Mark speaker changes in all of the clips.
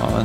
Speaker 1: Ja,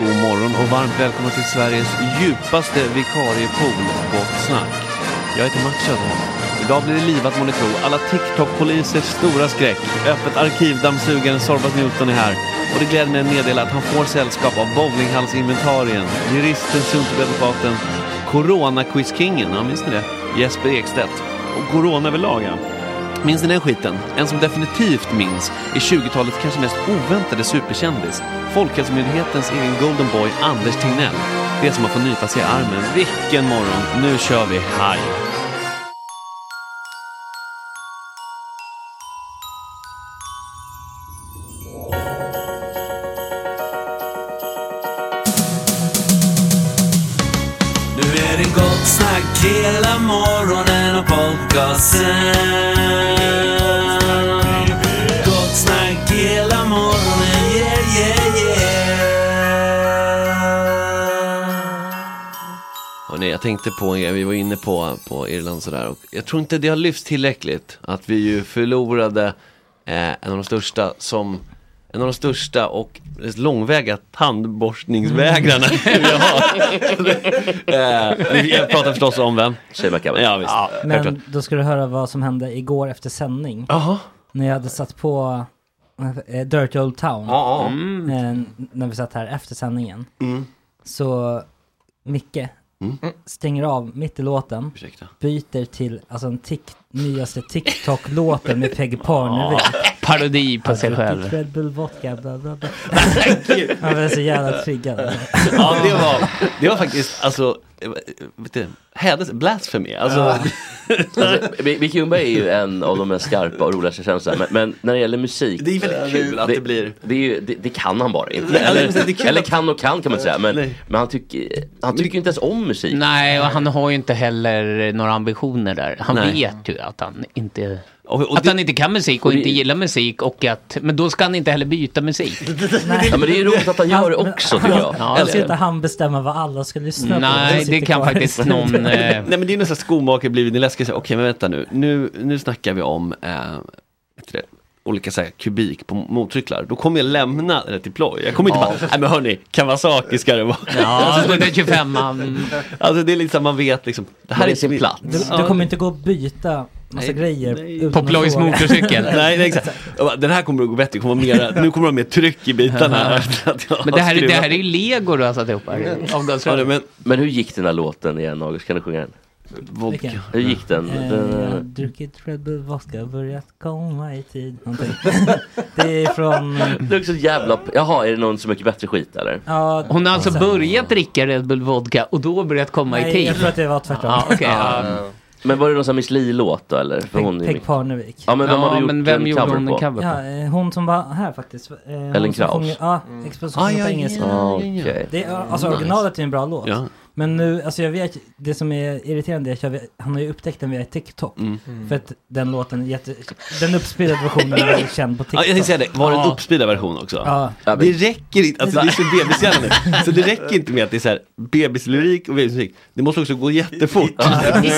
Speaker 2: God morgon och varmt välkomna till Sveriges djupaste vikariepool, Gott Snack. Jag heter Max Söderholm. Idag blir det livat må ni tro. Alla TikTok-polisers stora skräck. Öppet arkivdammsugaren Sorbas Newton är här. Och det gläder mig att meddela att han får sällskap av bowlinghalsinventarien, juristen Suntoredvokaten, Corona-quizkingen, ja minns ni det? Jesper Ekstedt. Och corona överlag ja. Minns ni den skiten? En som definitivt minns är 20-talets kanske mest oväntade superkändis. Folkhälsomyndighetens egen Golden Boy Anders Tegnell. Det som har fått nypa sig i armen. Vilken morgon! Nu kör vi haj!
Speaker 3: hela morgonen och podcasten. Gott snack hela morgonen, yeah, yeah, yeah.
Speaker 2: Hörrni, jag tänkte på en grej, vi var inne på, på Irland sådär. Och jag tror inte det har lyfts tillräckligt att vi ju förlorade eh, en av de största som en av de största och långväga tandborstningsvägrarna vi har. eh, jag pratar förstås om vem?
Speaker 4: Tjejbacka.
Speaker 2: Ja, visst. självklart.
Speaker 5: Men då ska du höra vad som hände igår efter sändning.
Speaker 2: Jaha.
Speaker 5: När jag hade satt på eh, Dirty Old Town.
Speaker 2: Ja, ja.
Speaker 5: eh, när vi satt här efter sändningen. Så Micke stänger av mitt i låten,
Speaker 2: Ursäkta.
Speaker 5: byter till alltså, den tik- nyaste TikTok-låten med Peggy Parnevik.
Speaker 6: Parodi på sig
Speaker 5: Ditt
Speaker 6: själv.
Speaker 5: Red Bull vodka, bla bla bla. Jag blev så jävla triggad.
Speaker 2: Ja, det var, det var faktiskt, alltså, eh, vet du, hädelse, blasfemi. Alltså,
Speaker 4: Alltså, B- B- Kumba är ju en av de mest skarpa och roliga kändisarna. Men, men när det gäller musik.
Speaker 2: Det är väldigt kul att det blir-
Speaker 4: Det, är ju, det, det kan han bara inte.
Speaker 2: Nej, det är
Speaker 4: Eller,
Speaker 2: kul
Speaker 4: eller
Speaker 2: att-
Speaker 4: kan och kan kan man inte säga. Men,
Speaker 2: Nej.
Speaker 4: men han tycker han tycker ju inte ens om musik.
Speaker 6: Nej, och han har ju inte heller några ambitioner där. Han
Speaker 2: Nej.
Speaker 6: vet ju att han inte...
Speaker 2: och, och
Speaker 6: att
Speaker 2: det,
Speaker 6: han inte kan musik och, inte gillar musik och att, men då ska han inte heller byta musik.
Speaker 4: Ja, men det är ju roligt att han gör det också tycker jag.
Speaker 6: Ja,
Speaker 5: Han ska
Speaker 6: eller-
Speaker 5: inte han bestämma vad alla ska lyssna på.
Speaker 6: Nej,
Speaker 5: Han
Speaker 6: det
Speaker 5: sitter
Speaker 6: kan
Speaker 5: kvar.
Speaker 6: faktiskt någon... Eh,
Speaker 2: Nej men det är ju nästan skomakare blivit, ni läskar sig, okej men vänta nu, nu, nu snackar vi om eh, vet du det, olika så här, kubik på motorcyklar, då kommer jag lämna det till ploj, jag kommer inte bara, nej men hörni, Kawasaki ska det vara.
Speaker 6: ja, den 25 mm,
Speaker 2: Alltså det är liksom, man vet liksom, det här
Speaker 4: Han
Speaker 2: är
Speaker 4: är sin plats.
Speaker 5: Du, du kommer inte gå och byta massa grejer. utan
Speaker 6: på
Speaker 5: att
Speaker 6: Ploys
Speaker 5: fråga.
Speaker 6: motorcykel.
Speaker 2: Nej, nej exakt. Jag bara, Den här kommer att gå bättre, det kommer att vara mera, nu kommer det vara mer tryck i bitarna. efter att jag har
Speaker 6: Men det här, är- det
Speaker 2: skruvat.
Speaker 6: här är ju lego du har satt ihop här.
Speaker 2: Ja, det,
Speaker 6: Avgasröret.
Speaker 2: men,
Speaker 4: Men hur gick den här låten igen August? Kan du sjunga den?
Speaker 5: Vilken?
Speaker 2: vodka.
Speaker 4: Hur gick den?
Speaker 5: Eh,
Speaker 4: den
Speaker 5: jag har
Speaker 4: eh,
Speaker 5: druckit Red Bull vodka, börjat komma i tid. Någonting. det är från...
Speaker 4: det är också jävla... Jaha, är det någon så mycket bättre skit eller?
Speaker 5: Ja,
Speaker 6: Hon har alltså börjat dricka Red Bull Vodka och då börjat komma i
Speaker 5: nej,
Speaker 6: tid.
Speaker 5: jag tror att det var tvärtom.
Speaker 6: Ja, okej. ja.
Speaker 4: Men var det någon sån här Miss Li-låt då eller? För hon är ju
Speaker 5: Peg, Peg
Speaker 4: mycket-
Speaker 5: Parnevik.
Speaker 4: Ja men vem har
Speaker 6: Ja,
Speaker 4: du gjort
Speaker 6: men vem
Speaker 4: en
Speaker 6: gjorde
Speaker 4: cover
Speaker 6: hon en
Speaker 4: på?
Speaker 6: cover
Speaker 5: Ja,
Speaker 6: på?
Speaker 5: eh, hon som var här faktiskt. Eh,
Speaker 4: Ellen
Speaker 5: hon som
Speaker 4: Krauss.
Speaker 5: sjunger- Ja, Exposition på engelska.
Speaker 4: Ja, okej.
Speaker 5: Det, är- alltså originalet är en bra låt.
Speaker 2: Ja.
Speaker 5: Men nu, alltså jag vet, det som är irriterande är att jag vet, han har ju upptäckt den via TikTok.
Speaker 6: Mm.
Speaker 5: För att den låten, är jätte, den uppspelade versionen är Typ, eh, känd
Speaker 2: Ja,
Speaker 5: på TikTok.
Speaker 2: jag tänkte säga det, var det en uppspeedad version också?
Speaker 5: Ja.
Speaker 4: Ja, men-
Speaker 2: Det räcker inte, alltså det är så bebishjärna nu. Så det räcker inte med att det är så här bebislyrik och bebismusik. Det måste också gå jättefort.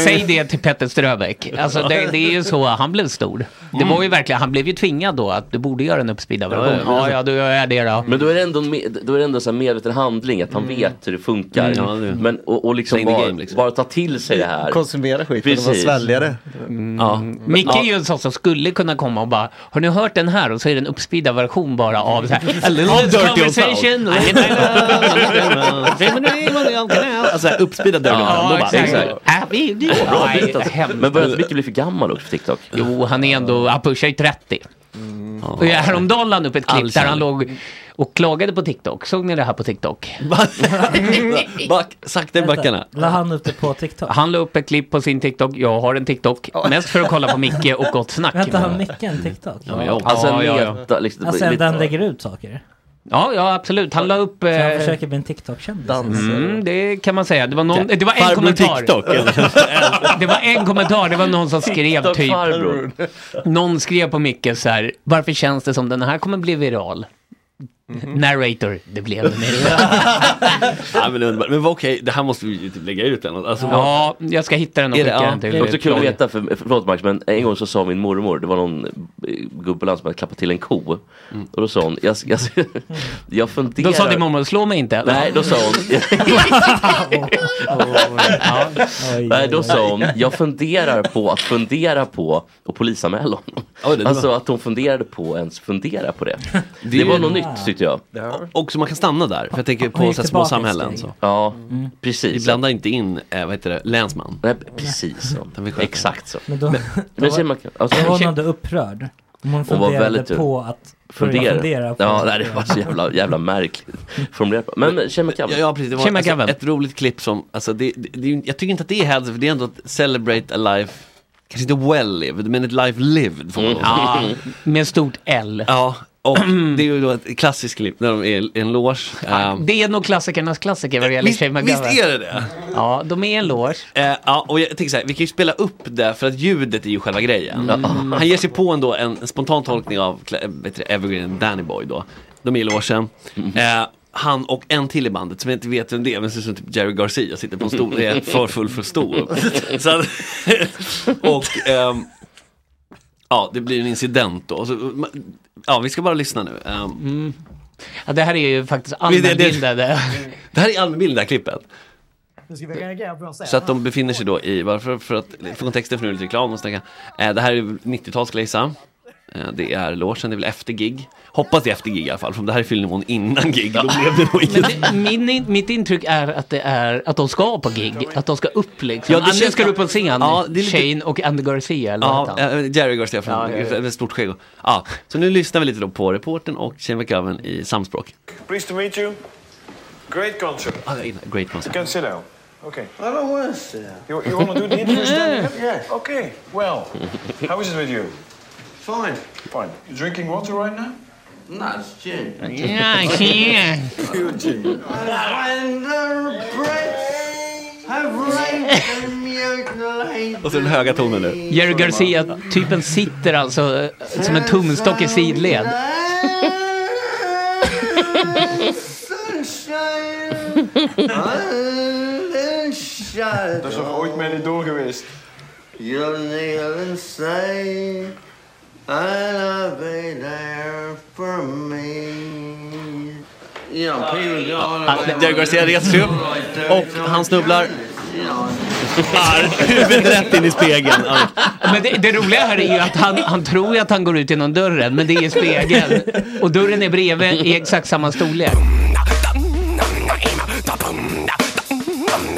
Speaker 6: Säg det till Petter Ströbeck. Alltså det, det är ju så, han blev stor. Det var
Speaker 7: Mm.
Speaker 6: ju verkligen, han blev ju tvingad då att du borde göra en uppspeedad version. Ja,
Speaker 7: alltså,
Speaker 6: ja, då gör jag det då.
Speaker 4: Men då är det ändå en, med, då är det ändå så här medveten handling att han
Speaker 6: Mm.
Speaker 4: vet hur det funkar.
Speaker 2: Ja, det-
Speaker 4: Men, och, och liksom,
Speaker 2: Playing the
Speaker 4: bara,
Speaker 2: game, liksom.
Speaker 4: bara ta till sig det här.
Speaker 7: Konsumera skiten och bara
Speaker 4: Precis.
Speaker 7: svälja det.
Speaker 2: Mm.
Speaker 6: Mm,
Speaker 4: Ja.
Speaker 6: Micke är ju en sån som skulle kunna komma och bara, har ni hört den här? Och så är det en uppspeedad version bara av så här, A
Speaker 2: Av
Speaker 6: little
Speaker 2: Dirty Old
Speaker 6: conversation.
Speaker 2: Alltså uppspeedad där
Speaker 6: Ja,
Speaker 2: då bara,
Speaker 6: exakt.
Speaker 4: exakt.
Speaker 6: Äh, vi- det-
Speaker 4: Bra
Speaker 6: Nej,
Speaker 4: bit alltså.
Speaker 6: hemskt.
Speaker 4: Men börjar inte mycket bli för gammal också för TikTok?
Speaker 6: Jo, han är ändå, han pushar ju 30. Och jag- häromdagen la han upp ett klipp
Speaker 2: Mm. All
Speaker 6: där han
Speaker 2: kärlek.
Speaker 6: låg och klagade på TikTok. Såg ni det här på TikTok?
Speaker 2: Back, sakta i backarna.
Speaker 5: La han upp det på TikTok?
Speaker 6: Han la upp ett klipp på sin TikTok. Jag har en TikTok. Mest för att kolla på Micke och Gott Snack.
Speaker 5: Vänta, har Micke en TikTok?
Speaker 2: jag-
Speaker 4: Alltså
Speaker 6: ja,
Speaker 4: en
Speaker 6: ja, ja.
Speaker 4: meta, liksom.
Speaker 5: Alltså
Speaker 4: lite-
Speaker 5: där han lägger ut saker?
Speaker 6: Ja, ja, absolut. Han la upp...
Speaker 5: Så han
Speaker 6: Eh,
Speaker 5: försöker bli en TikTok-kändis?
Speaker 6: mm, det kan man säga. Det var, någon, det var en
Speaker 2: Farbror
Speaker 6: kommentar.
Speaker 2: TikTok. eller?
Speaker 6: Det var en kommentar. Det var någon som skrev
Speaker 4: TikTok
Speaker 6: typ...
Speaker 4: farbror.
Speaker 6: Någon skrev på Micke så här, varför känns det som den här kommer bli viral?
Speaker 4: Mhm.
Speaker 6: Narrator, det blev den.
Speaker 2: Ja, men underbart. Men vad okej, det här måste vi ju typ lägga ut eller något. Alltså, vad-
Speaker 6: Ja, jag ska hitta den och
Speaker 2: Är det-
Speaker 6: skicka
Speaker 2: ja,
Speaker 6: den
Speaker 4: Det är
Speaker 6: till
Speaker 4: också kul att
Speaker 6: Ploy.
Speaker 4: veta, för, förlåt Max, men en gång så sa min mormor, det var någon eh, gubbe på landet som hade klappat till en ko. Och då sa hon, jag, jag, jag funderar.
Speaker 6: Då sa din mormor, slå mig inte.
Speaker 4: Nej, då sa hon,
Speaker 5: Oj,
Speaker 4: Nej, då sa hon, jag funderar på att fundera på och polisanmäla honom.
Speaker 2: Oj, det var-
Speaker 4: Alltså att hon funderade på ens fundera på det. Det, var något nytt tyckte jag.
Speaker 2: Också man kan stanna där, för jag tänker
Speaker 5: Och
Speaker 2: på så här, små
Speaker 5: tillbaka
Speaker 2: samhällen.
Speaker 5: ett steg.
Speaker 2: Så. Mm.
Speaker 4: Ja,
Speaker 2: Vi
Speaker 4: precis.
Speaker 2: blandar inte in, eh, vad heter det, länsman.
Speaker 4: Nej, precis så.
Speaker 2: vi sköter.
Speaker 4: Exakt så.
Speaker 5: Men då,
Speaker 4: Men säger man, alltså,
Speaker 5: då var hon ändå upprörd. Om
Speaker 4: var
Speaker 5: hon funderade
Speaker 4: väldigt-
Speaker 5: på att börja
Speaker 4: fundera.
Speaker 5: fundera på
Speaker 4: ja, nej, det var så jävla, jävla märkligt formulerat. Men Shemma
Speaker 2: Ja,
Speaker 4: Kabel.
Speaker 2: ja precis, det var
Speaker 6: Tjena,
Speaker 2: alltså,
Speaker 6: grabben.
Speaker 2: ett roligt klipp som, alltså, det, det, det, är ju- jag tycker inte att det är heads, för det är ändå att celebrate a life, kanske inte well lived, men ett life lived får man lov att säga.
Speaker 6: Mm. Ja, med stort L.
Speaker 2: Ja, Och det är ju då ett klassiskt klipp när de är i en loge. Ehm,
Speaker 6: Det är nog klassikernas klassiker vad det gäller
Speaker 2: visst,
Speaker 6: Shave
Speaker 2: visst
Speaker 6: McGowan.
Speaker 2: är det det?
Speaker 6: Ja, de är en loge.
Speaker 2: Eh, ja, och jag tänker så här, vi kan ju spela upp det för att ljudet är ju själva grejen.
Speaker 6: Mm.
Speaker 2: Han ger sig på ändå en, en spontan tolkning av Cla- vet du, Evergreen Danny Boy då. De är i logen.
Speaker 6: Mm.
Speaker 2: Eh, han och en till i bandet som jag inte vet vem det är, men ser ut som typ Jerry Garcia sitter på en stol och är för full för att stå upp. Så att, och ehm, ja, det blir en incident då. Så, ma- ja, vi ska bara lyssna nu. Ehm,
Speaker 6: Ja, det här är ju faktiskt
Speaker 2: är det-
Speaker 6: Mm. allmänbildade.
Speaker 2: Det här är allmänbilden, det här klippet. Så att de befinner sig då i, varför? För att, för kontexten för nu är det lite reklam, måste tänka. Eh, det här är 90-tals skulle jag gissa. Eh, det är logen, det är väl efter gig. Hoppas det är efter gig i alla fall, för om det här är fyllnivån innan gig, då blev det nog
Speaker 6: Men
Speaker 2: inget.
Speaker 6: det, min, in- mitt intryck är att, det är att de ska på gig, att de ska upp liksom.
Speaker 2: Ja,
Speaker 6: Ja,
Speaker 2: det
Speaker 6: Anders
Speaker 2: känns-
Speaker 6: ska upp på en scen,
Speaker 2: Ja, det är lite-
Speaker 6: Shane och Andy Garcia eller vad
Speaker 2: Ja,
Speaker 6: heter han?
Speaker 2: eh, Jerry Garcia
Speaker 6: Ja,
Speaker 2: från,
Speaker 6: ja, ja.
Speaker 2: med stort skägg. och- Ja, så nu lyssnar vi lite då på reporten och Shane McGovern i samspråk.
Speaker 7: Pleased to meet you. Great concert.
Speaker 2: Ah, det är en Great concert.
Speaker 7: Can sit down. Okay. I don't want to sit down. You, you want to do the interview standing up? Yeah. Okay. Well, how is it with you? Fine. Fine. You drinking water right now? No, it's gin.
Speaker 6: Ja, yeah.
Speaker 7: Pure gin.
Speaker 2: Och så den höga tonen nu.
Speaker 6: Jerry Garcia-typen sitter alltså eh, som en tumstock i sidled.
Speaker 8: Ờ.
Speaker 7: Er is nog ooit mee niet door geweest. You'll kneel and say, I'll be there for me. You know, people go on
Speaker 2: Ah, Jerry Garcia reser sig upp och han snubblar. Arr, huvudet rätt in i spegeln. Ja.
Speaker 6: Men det, det roliga här är ju att han, han tror ju att han går ut genom dörren, men det är i spegeln. Och dörren är bredvid i exakt samma storlek.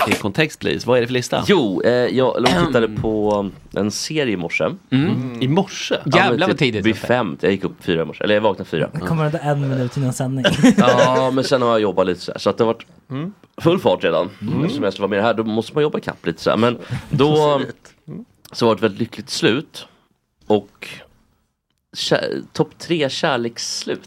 Speaker 2: Till kontext please, vad är det för lista?
Speaker 4: Jo, eh, jag låg och tittade på en serie i morse.
Speaker 2: Mm. I morse?
Speaker 4: Ja, men
Speaker 6: Mm. Jävlar
Speaker 4: typ
Speaker 6: vad tidigt.
Speaker 4: Vid
Speaker 6: Uffe.
Speaker 4: fem, jag gick upp fyra i morse, eller jag vaknade fyra.
Speaker 5: Kommer det en minut innan sändning?
Speaker 4: Ja, men sen har jag jobbat lite så här, så att det har varit
Speaker 6: Mm.
Speaker 4: full fart redan. Eftersom jag ska vara med här, då måste man jobba ikapp lite så här. Men då så var det ett väldigt lyckligt slut. Och kär, topp tre kärleksslut.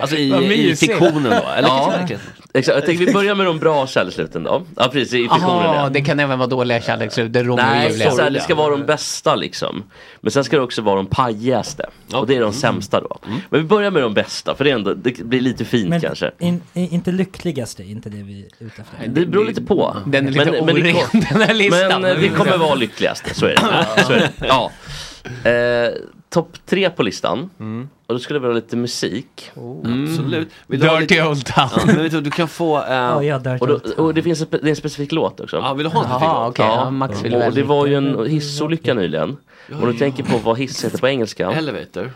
Speaker 2: Alltså i,
Speaker 6: Vad
Speaker 2: i
Speaker 6: mysigt.
Speaker 2: fiktionen då? Eller
Speaker 4: Ja.
Speaker 2: kanske verkligen?
Speaker 4: Exakt, jag tänkte vi börjar med de bra kärlekssluten då. Ja, precis, i fiktionen.
Speaker 6: Jaha,
Speaker 4: ja.
Speaker 6: det kan även vara dåliga kärleksslut. Det är Romeo och
Speaker 4: Nej,
Speaker 6: Julia.
Speaker 4: så här, det ska vara de bästa liksom. Men sen ska det också vara de pajigaste. Och det är de sämsta då.
Speaker 6: Mm.
Speaker 4: Men vi börjar med de bästa, för det, är ändå, det blir lite fint
Speaker 5: Men
Speaker 4: kanske.
Speaker 5: in, in, inte lyckligaste, inte det vi är ute efter.
Speaker 4: Det beror lite på.
Speaker 6: Den är lite
Speaker 4: Men- men det
Speaker 6: oren,
Speaker 4: kom-
Speaker 6: den här listan.
Speaker 4: Men eh, vi kommer vara lyckligast, så är det. Så är det. Ja. Eh, Topp tre på listan. Och då skulle det vara lite musik.
Speaker 2: Mm. Oh, Absolut. Vill du ha lite...
Speaker 6: Mm. Dirty Old Town.
Speaker 2: Ja, men vet du, du kan få... eh,
Speaker 5: Ja, ja, där
Speaker 4: Och, då, och det finns en, spe- det är en specifik låt också.
Speaker 2: ja, vill du ha en till?
Speaker 6: Jaha, okej. Ja, Max vill
Speaker 4: och det
Speaker 6: väl.
Speaker 4: var ju en hissolycka nyligen. Om du
Speaker 2: ja.
Speaker 4: tänker på vad hiss heter på engelska.
Speaker 2: Elevator?
Speaker 4: Nah,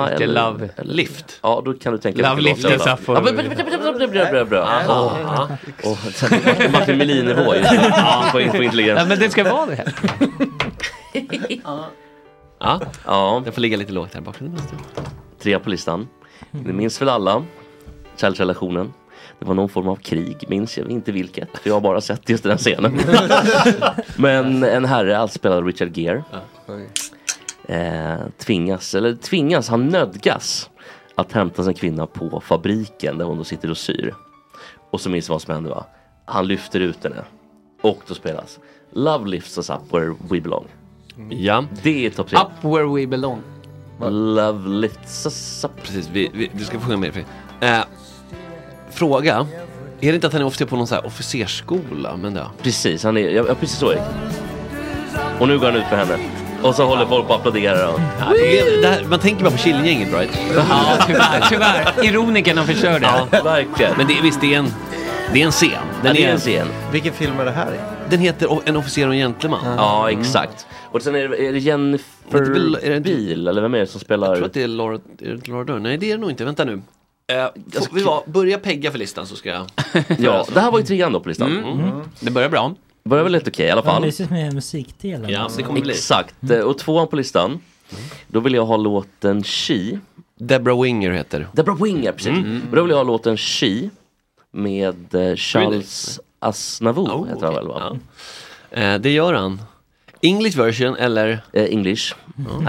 Speaker 6: Helvete,
Speaker 4: eller-
Speaker 6: love.
Speaker 2: Lift?
Speaker 4: Ja, då kan du tänka
Speaker 6: Love
Speaker 4: vilken låt
Speaker 6: lift
Speaker 4: det
Speaker 6: us up
Speaker 4: var.
Speaker 6: for-
Speaker 4: Ja, men- men- men- men- men- men- bra, bra, bra. Åh, ja. Och sen- Martin Melin-nivå just nu. Ja, på på
Speaker 6: Ja,
Speaker 4: intelligens.
Speaker 6: men det ska vara det.
Speaker 2: Ja,
Speaker 4: Ja.
Speaker 2: den får ligga lite lågt här i bakgrunden.
Speaker 4: trea på listan. Ni minns väl alla kärleksrelationen? Det var någon form av krig, minns jag inte vilket. För jag har bara sett just den här scenen. Men en herre, allt spelad av Richard Gere, eh, tvingas, eller tvingas, han nödgas att hämta sin kvinna på fabriken där hon då sitter och syr. Och så minns jag vad som hände va? Han lyfter ut henne. Och då spelas Love lifts us up where we belong.
Speaker 2: Ja,
Speaker 4: Det är topp tre.
Speaker 6: Up where we belong.
Speaker 4: Love lifts us up.
Speaker 2: precis. Vi, vi, du ska få sjunga med. Eh, fråga. Är det inte att han är officer på någon så här officersskola? Men ja.
Speaker 4: Precis, han är, ja, ja, precis så är det. Och nu går han ut för henne. Och så håller folk på och applåderar. Och,
Speaker 2: Ja, det, det här, man tänker bara på Killinggänget right?
Speaker 6: Ja, tyvärr. tyvärr. Ironikerna förstör det.
Speaker 4: ja, verkligen.
Speaker 2: Men det, visst, det är en, det är en scen.
Speaker 4: ja,
Speaker 2: Den,
Speaker 4: det är en
Speaker 2: är,
Speaker 4: scen.
Speaker 7: Vilken film är det här i?
Speaker 2: den heter O- En officer och en gentleman.
Speaker 4: Ja, exakt. Och sen är det, är det Jennifer
Speaker 2: Är det väl- är det inte-
Speaker 4: Biel, eller vem är det som spelar?
Speaker 2: Jag tror att det är Laura, är det inte Laura Dern. Nej, det är det nog inte. Vänta nu. Eh, får vi var, börja pegga för listan så ska jag...
Speaker 4: Ja, det här var ju trean då på listan.
Speaker 6: Mm, Det börjar bra.
Speaker 4: Börjar väl helt okej i alla
Speaker 5: Vad
Speaker 4: fall.
Speaker 5: mysigt med musikdelen.
Speaker 2: Ja, det kommer bli. Mm.
Speaker 4: Exakt. Eh, Och tvåan på listan. Då vill jag ha låten She.
Speaker 2: Deborah Winger heter. Mm.
Speaker 4: Debra Winger, precis. Och då vill jag ha låten She med eh, Charles Aznavour,
Speaker 2: Oh,
Speaker 4: heter han
Speaker 2: okej.
Speaker 4: väl va?
Speaker 2: Ja. Eh, det gör han. English version eller... Mm.
Speaker 4: Eh, English.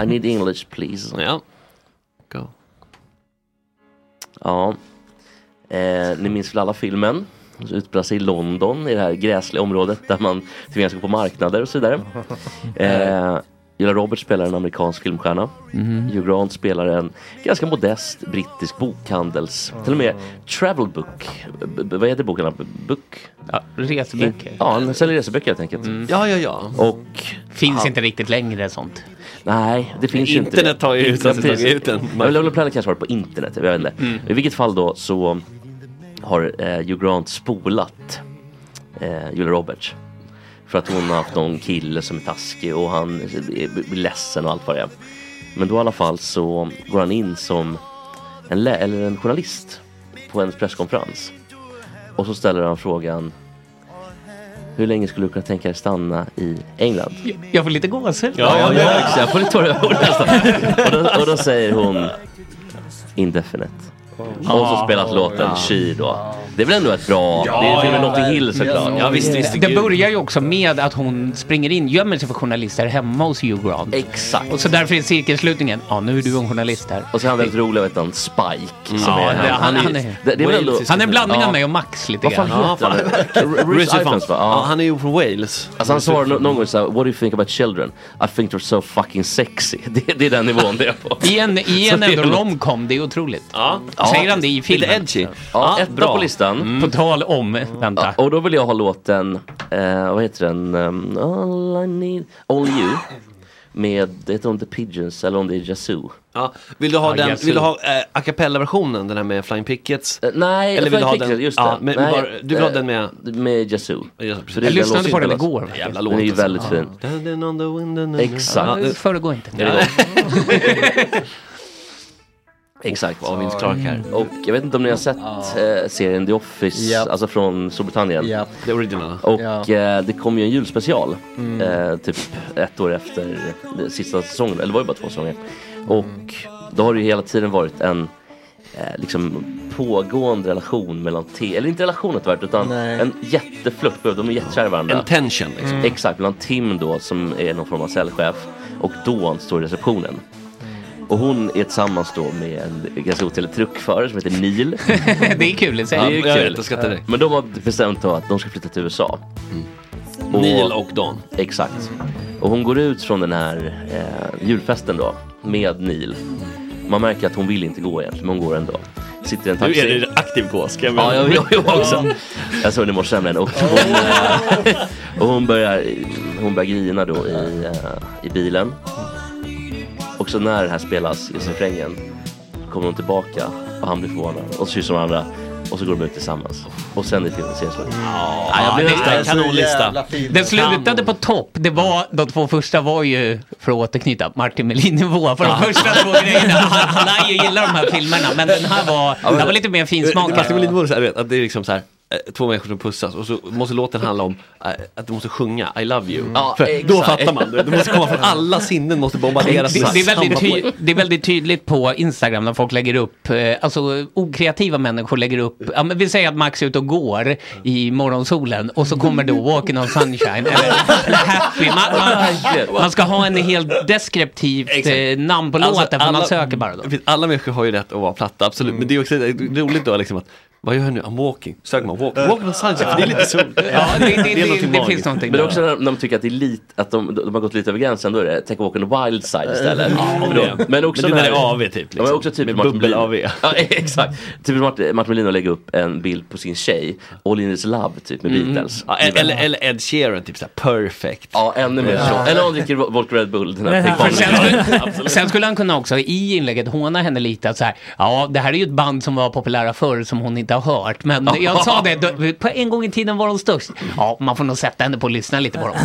Speaker 4: I need English please.
Speaker 2: Ja. Go.
Speaker 4: Ja. Eh, ni minns väl alla filmen? Som utspelar sig i London i det här gräsliga området där man tvingas gå på marknader och så vidare. Eh, Julia Roberts spelar en amerikansk filmstjärna.
Speaker 6: Mhm.
Speaker 4: Hugh Grant spelar en ganska modest brittisk bokhandels... Till och
Speaker 6: Mm.
Speaker 4: med travel book. B- b- vad heter boken? B- Book? Ja,
Speaker 6: reseböcker.
Speaker 4: Ja, han säljer reseböcker helt enkelt.
Speaker 6: Ja, ja, ja.
Speaker 4: Och...
Speaker 6: Finns
Speaker 4: han-
Speaker 6: inte riktigt längre sånt.
Speaker 4: Nej, det finns ju inte
Speaker 6: Internet har ju
Speaker 4: Internet-
Speaker 6: tagit ut den.
Speaker 4: Jag vill väl kanske vara på internet, jag vet inte.
Speaker 6: Mm.
Speaker 4: I vilket fall då så har eh, Hugh Grant spolat eh, Julia Roberts. För att hon har haft någon kille som är taskig och han är blir ledsen och allt vad det är. Men då i alla fall så går han in som en, lä- eller en journalist på en presskonferens. Och så ställer han frågan hur länge skulle du kunna tänka dig stanna i England?
Speaker 6: Jag får lite gåshud.
Speaker 4: Ja, jag med också. Jag får lite tårar i ögonen nästan. Och då, och då säger hon Indefinite. Och så spelas låten
Speaker 6: Ja.
Speaker 4: She då. Det är väl ändå ett bra...
Speaker 6: Ja,
Speaker 4: det är till och med
Speaker 6: ja,
Speaker 4: Notting Hill såklart.
Speaker 6: Det börjar ju också med att hon springer in, gömmer sig för journalister hemma hos Hugh Grant.
Speaker 4: Exakt.
Speaker 6: Och så därför är cirkelslutningen, ja nu är du en journalist här.
Speaker 4: Och så är han väldigt rolig, vet han, Spike.
Speaker 6: Ja, det- han, han, är,
Speaker 4: det- det är väl ändå-
Speaker 6: han är en blandning
Speaker 4: Ja.
Speaker 6: av mig och Max lite
Speaker 4: Vad fan
Speaker 6: grann.
Speaker 4: heter han? R- Rhys Ifans, va? Ja.
Speaker 6: han
Speaker 4: är ju från Wales. Alltså han svarar no- någon gång såhär, what do you think about children? I think they're so fucking sexy. Det, det är den nivån det är på.
Speaker 6: I en, i
Speaker 4: Så
Speaker 6: en
Speaker 4: det är
Speaker 6: ändå
Speaker 4: något-
Speaker 6: romcom, det är otroligt. Säger han det i filmen? Mm.
Speaker 4: Ja, etta på listan.
Speaker 6: På tal om, vänta.
Speaker 4: och då vill jag ha låten, eh, vad heter den? Um, all I need, Only You. Med, heter hon The Pigeons eller om det är Yazoo?
Speaker 2: Ja. Vill du ha,
Speaker 4: Ja,
Speaker 2: den,
Speaker 4: Yazoo.
Speaker 2: vill du ha eh, a cappella-versionen, den här med Flying Pickets?
Speaker 4: Eh, nej,
Speaker 2: Eller vill du ha
Speaker 4: Flying
Speaker 2: den?
Speaker 4: Pigeons, just
Speaker 2: ja,
Speaker 4: det.
Speaker 2: men
Speaker 4: Nej,
Speaker 2: bara, du vill ha
Speaker 4: eh,
Speaker 2: den med?
Speaker 4: Med Yazoo.
Speaker 2: precis. Jag lyssnade på den igår, verkligen.
Speaker 4: Jävla låt. Den är ju
Speaker 2: alltså.
Speaker 4: väldigt
Speaker 2: Ja.
Speaker 4: fin.
Speaker 2: Standing on the window-
Speaker 4: Exakt.
Speaker 2: Ja,
Speaker 6: föregå inte.
Speaker 4: Det är gott. Exakt, vad Vince Clark här. Och jag vet inte om ni har sett eh, serien The Office,
Speaker 9: Japp.
Speaker 4: alltså från Storbritannien.
Speaker 9: Japp.
Speaker 4: The original. Och
Speaker 9: Ja.
Speaker 4: eh, det kom ju en julspecial,
Speaker 9: Mm.
Speaker 4: eh, typ ett år efter eh, sista säsongen, eller det var ju bara två säsonger. Och då har det ju hela tiden varit en eh, liksom pågående relation mellan T, eller inte relation rätt utan
Speaker 2: Nej.
Speaker 4: en jätteflört, de är jättekära i varandra.
Speaker 2: En tension, liksom. Mm.
Speaker 4: Exakt, mellan Tim då som är någon form av säljchef och Dawn står i receptionen. Och hon är tillsammans då med en ganska otrevlig truckförare som heter Neil.
Speaker 6: det är kul i sig.
Speaker 4: Det är ju kul. Men de har bestämt då att de ska flytta till USA.
Speaker 2: Neil och Dawn.
Speaker 4: Exakt. Och hon går ut från den här eh, julfesten då med Neil. Man märker att hon vill inte gå egentligen, men hon går ändå. Sitter i en
Speaker 1: Nu
Speaker 4: taxi.
Speaker 1: är det aktiv gås. kan
Speaker 4: Ja, jag, jag, jag också.
Speaker 1: Ja.
Speaker 4: Jag såg den i morse nämligen. Och hon, eh, och hon, börjar, hon börjar grina då i, eh, i bilen. Och så när det här spelas, just refrängen, kommer hon tillbaka och han blir förvånad. Och så kysser de varandra. Och så går de ut tillsammans. Och sen är filmen slut. Ja, jag blir nästan-
Speaker 6: Den slutade på topp. Det var, de två första var ju, för att återknyta, Martin Melin-nivå. För de första två grejerna. Han, han lär ju gilla de här filmerna. Men den här var, den här var lite mer finsmakad.
Speaker 2: Martin Melin var så här, du vet, att det är liksom så här. eh, Två människor som pussas och så måste låten handla om eh, att du måste sjunga I love you.
Speaker 6: Ja,
Speaker 2: För då
Speaker 6: exakt.
Speaker 2: fattar man, du vet, det måste komma från alla sinnen, måste bombarderas.
Speaker 6: Det, det, är väldigt
Speaker 2: Samma
Speaker 6: ty, det är väldigt tydligt på Instagram när folk lägger upp, eh, alltså okreativa människor lägger upp, ja, men vi säger att Max är ute och går i morgonsolen och så kommer då Walking on sunshine eller, eller Happy. Man, man, man ska ha en helt deskriptivt eh, namn på
Speaker 2: Alltså,
Speaker 6: låten för man söker bara då.
Speaker 2: Precis, Alla människor har ju rätt att vara platta, absolut. Men det är också roligt då liksom att vad gör jag nu? I'm walking. Söker man walking? Walking on sunshine, för det är lite så.
Speaker 4: Men också när när de tycker att, det är lite, att de, de har gått lite över gränsen, då är det Take a walk on the wild side istället.
Speaker 2: Ja,
Speaker 4: Men
Speaker 2: det
Speaker 4: då-
Speaker 2: är det.
Speaker 4: Men också
Speaker 2: Men det där är AV typ,
Speaker 4: Ja,
Speaker 2: liksom.
Speaker 4: men också typ
Speaker 2: Med
Speaker 4: Martin Melin.
Speaker 2: bubbel-AV.
Speaker 4: Ja, exakt. Typ Martin, Martin Melin att lägga upp en bild på sin tjej, All in is love, typ med
Speaker 2: Mm.
Speaker 4: Beatles.
Speaker 2: Ja, eller, eller Ed Sheeran, typ såhär perfect.
Speaker 4: Ja, ännu mer så.
Speaker 2: Ja.
Speaker 4: Eller om han dricker Vol- Volker Red Bull. Den här
Speaker 6: Men-
Speaker 4: Take
Speaker 6: för Liksom. sen,
Speaker 4: One.
Speaker 6: skulle, sen skulle han kunna också i inlägget håna henne lite att så här, ja det här är ju ett band som var populära förr som hon inte har hört. Men jag sa det, då- på en gång i tiden var de störst. Ja, man får nog sätta henne på och lyssna lite på dem.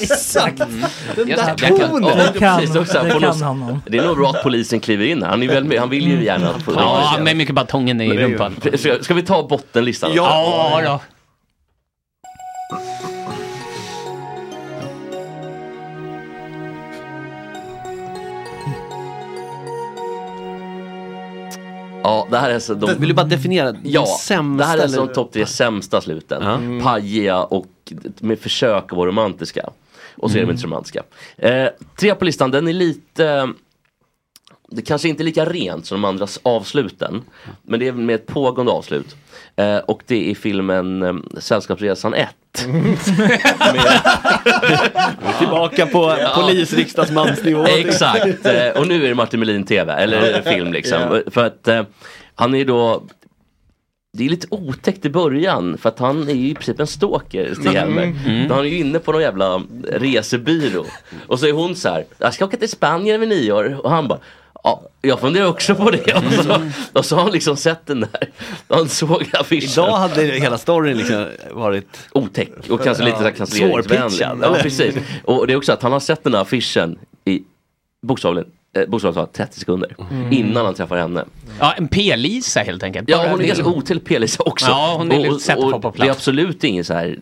Speaker 9: Exakt! Den
Speaker 6: Mm. Just
Speaker 9: där
Speaker 6: det, jag kan-
Speaker 9: tonen!
Speaker 4: Ja,
Speaker 6: Det kan-
Speaker 4: precis, också. Han
Speaker 6: det
Speaker 4: får
Speaker 6: kan
Speaker 4: någon-
Speaker 6: honom.
Speaker 4: Det är nog bra att polisen kliver in här. Han, är väl med, han vill ju gärna att polisen
Speaker 6: Ja, med mycket batongen i rumpan.
Speaker 4: Ska, ska vi ta bottenlistan?
Speaker 6: Ja, då.
Speaker 4: Ja, det här är så... De,
Speaker 2: Vill du bara definiera de
Speaker 4: ja, det
Speaker 2: sämsta
Speaker 4: här är så
Speaker 2: eller-
Speaker 4: de topp tre sämsta sluten. Mm. Pajiga och med försök att vara romantiska. Och så är de
Speaker 2: Mm.
Speaker 4: inte så romantiska. Eh, tre på listan, den är lite... det kanske inte är lika rent som de andras avsluten. Men det är med ett pågående avslut. Eh, och det är filmen eh, Sällskapsresan 1.
Speaker 2: Tillbaka på polisriksdagsmansnivå.
Speaker 4: Exakt. Eh, Och nu är det Martin Melin TV, eller film liksom.
Speaker 2: Ja.
Speaker 4: För att eh, han är ju då det är lite otäckt i början för att han är ju i princip en stalker till Helmer.
Speaker 2: Mm. Mm.
Speaker 4: Han är ju inne på någon jävla resebyrå. Och så är hon så här, jag ska åka till Spanien vid nyår. Och han bara, ja, jag funderar också på det. Och
Speaker 2: Mm.
Speaker 4: så, och så har han liksom sett den där. Han såg affischen.
Speaker 2: Idag hade hela storyn liksom varit
Speaker 4: otäck och kanske lite så här kansleringvänlig.
Speaker 2: Svårpitchad.
Speaker 4: Ja,
Speaker 2: eller?
Speaker 4: precis. Och det är också att han har sett den här affischen i bokstavligen, eh, bokstavligen talat 30 sekunder
Speaker 6: Mm.
Speaker 4: innan han träffar henne.
Speaker 6: Ja, en P-Lisa helt enkelt.
Speaker 4: Ja,
Speaker 6: Bara
Speaker 4: hon är
Speaker 6: det.
Speaker 4: ganska otäck P-Lisa också.
Speaker 6: Ja, hon är lite sätt att få på
Speaker 4: Det är
Speaker 6: plats.
Speaker 4: absolut ingen så här,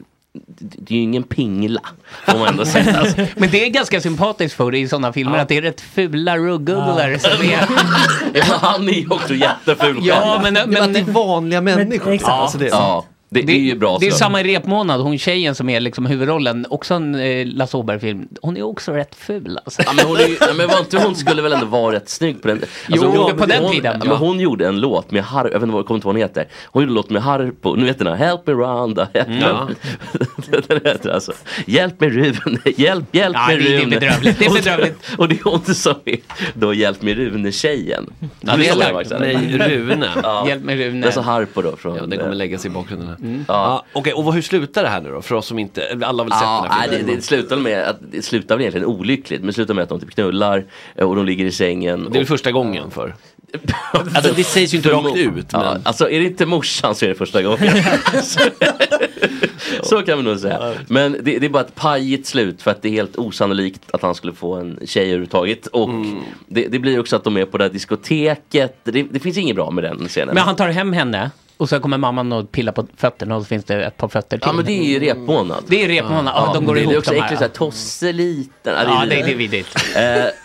Speaker 4: det är ju ingen pingla. Får man ändå säga. Alltså,
Speaker 6: Men det är ganska sympatiskt för det i sådana filmer att det är rätt fula ruggubbar. som är-
Speaker 4: han är ju också jätteful
Speaker 6: Ja,
Speaker 4: själv.
Speaker 6: men, men, det är vanliga människor.
Speaker 4: exakt. Alltså, det- Ja, det är ju bra
Speaker 6: Det är
Speaker 4: så.
Speaker 6: samma i repmånad, hon tjejen som är liksom huvudrollen, också en eh, Lasse Åberg-film. Hon är också rätt ful alltså.
Speaker 4: Ja, men, hon är ju, ja, men var inte hon skulle väl ändå vara rätt snygg på den alltså,
Speaker 6: Jo,
Speaker 4: hon,
Speaker 6: på den
Speaker 4: hon,
Speaker 6: tiden,
Speaker 4: Men
Speaker 6: ja.
Speaker 4: hon gjorde en låt med Harpo, jag vet inte vad, jag kommer inte ihåg vad hon heter. Hon gjorde en låt med Harpo, nu vet den här Help me Rhonda.
Speaker 6: Ja.
Speaker 4: den heter alltså Hjälp mig Rune, hjälp, hjälp
Speaker 6: Ja,
Speaker 4: mig
Speaker 6: det- det är
Speaker 4: Rune.
Speaker 6: bedrövligt, det är bedrövligt.
Speaker 4: Och, och det är hon som är då Hjälp mig Rune-tjejen.
Speaker 6: Ja, det är
Speaker 4: Lyssna på
Speaker 6: Hjälp
Speaker 4: den faktiskt.
Speaker 6: mig Rune. Hjälp mig Rune.
Speaker 4: Det är så Harpo då. Från,
Speaker 2: Ja, den kommer lägga sig i bakgrunden. här.
Speaker 4: Ja.
Speaker 2: Mm. Ja, Okej, och vad- hur slutar det här nu då? För oss som inte, alla har väl sett den här
Speaker 4: Ja, nej,
Speaker 2: filmen?
Speaker 4: det, det slutar med att det slutar väl egentligen olyckligt. Men det slutar med att de typ knullar eh, och de ligger i sängen.
Speaker 2: Det är väl första gången för? Alltså, det sägs ju inte rakt ut,
Speaker 4: Ja,
Speaker 2: men-
Speaker 4: alltså är det inte morsan så är det första gången. så, så kan man nog säga. Men det, det är bara ett pajigt slut för att det är helt osannolikt att han skulle få en tjej överhuvudtaget. Och
Speaker 2: Mm.
Speaker 4: det, det blir också att de är på det här diskoteket. Det, det finns inget bra med den scenen.
Speaker 6: Men han tar hem henne och så kommer mamman och pillar på fötterna och så finns det ett par fötter till.
Speaker 4: Ja men det är ju repmånad.
Speaker 6: Det är repmånad, ja, de går
Speaker 4: det,
Speaker 6: ihop
Speaker 4: Det är också
Speaker 6: de här,
Speaker 4: äckligt
Speaker 6: ja.
Speaker 4: såhär, tosseliten.
Speaker 6: Ja, det- det är
Speaker 4: vidrigt.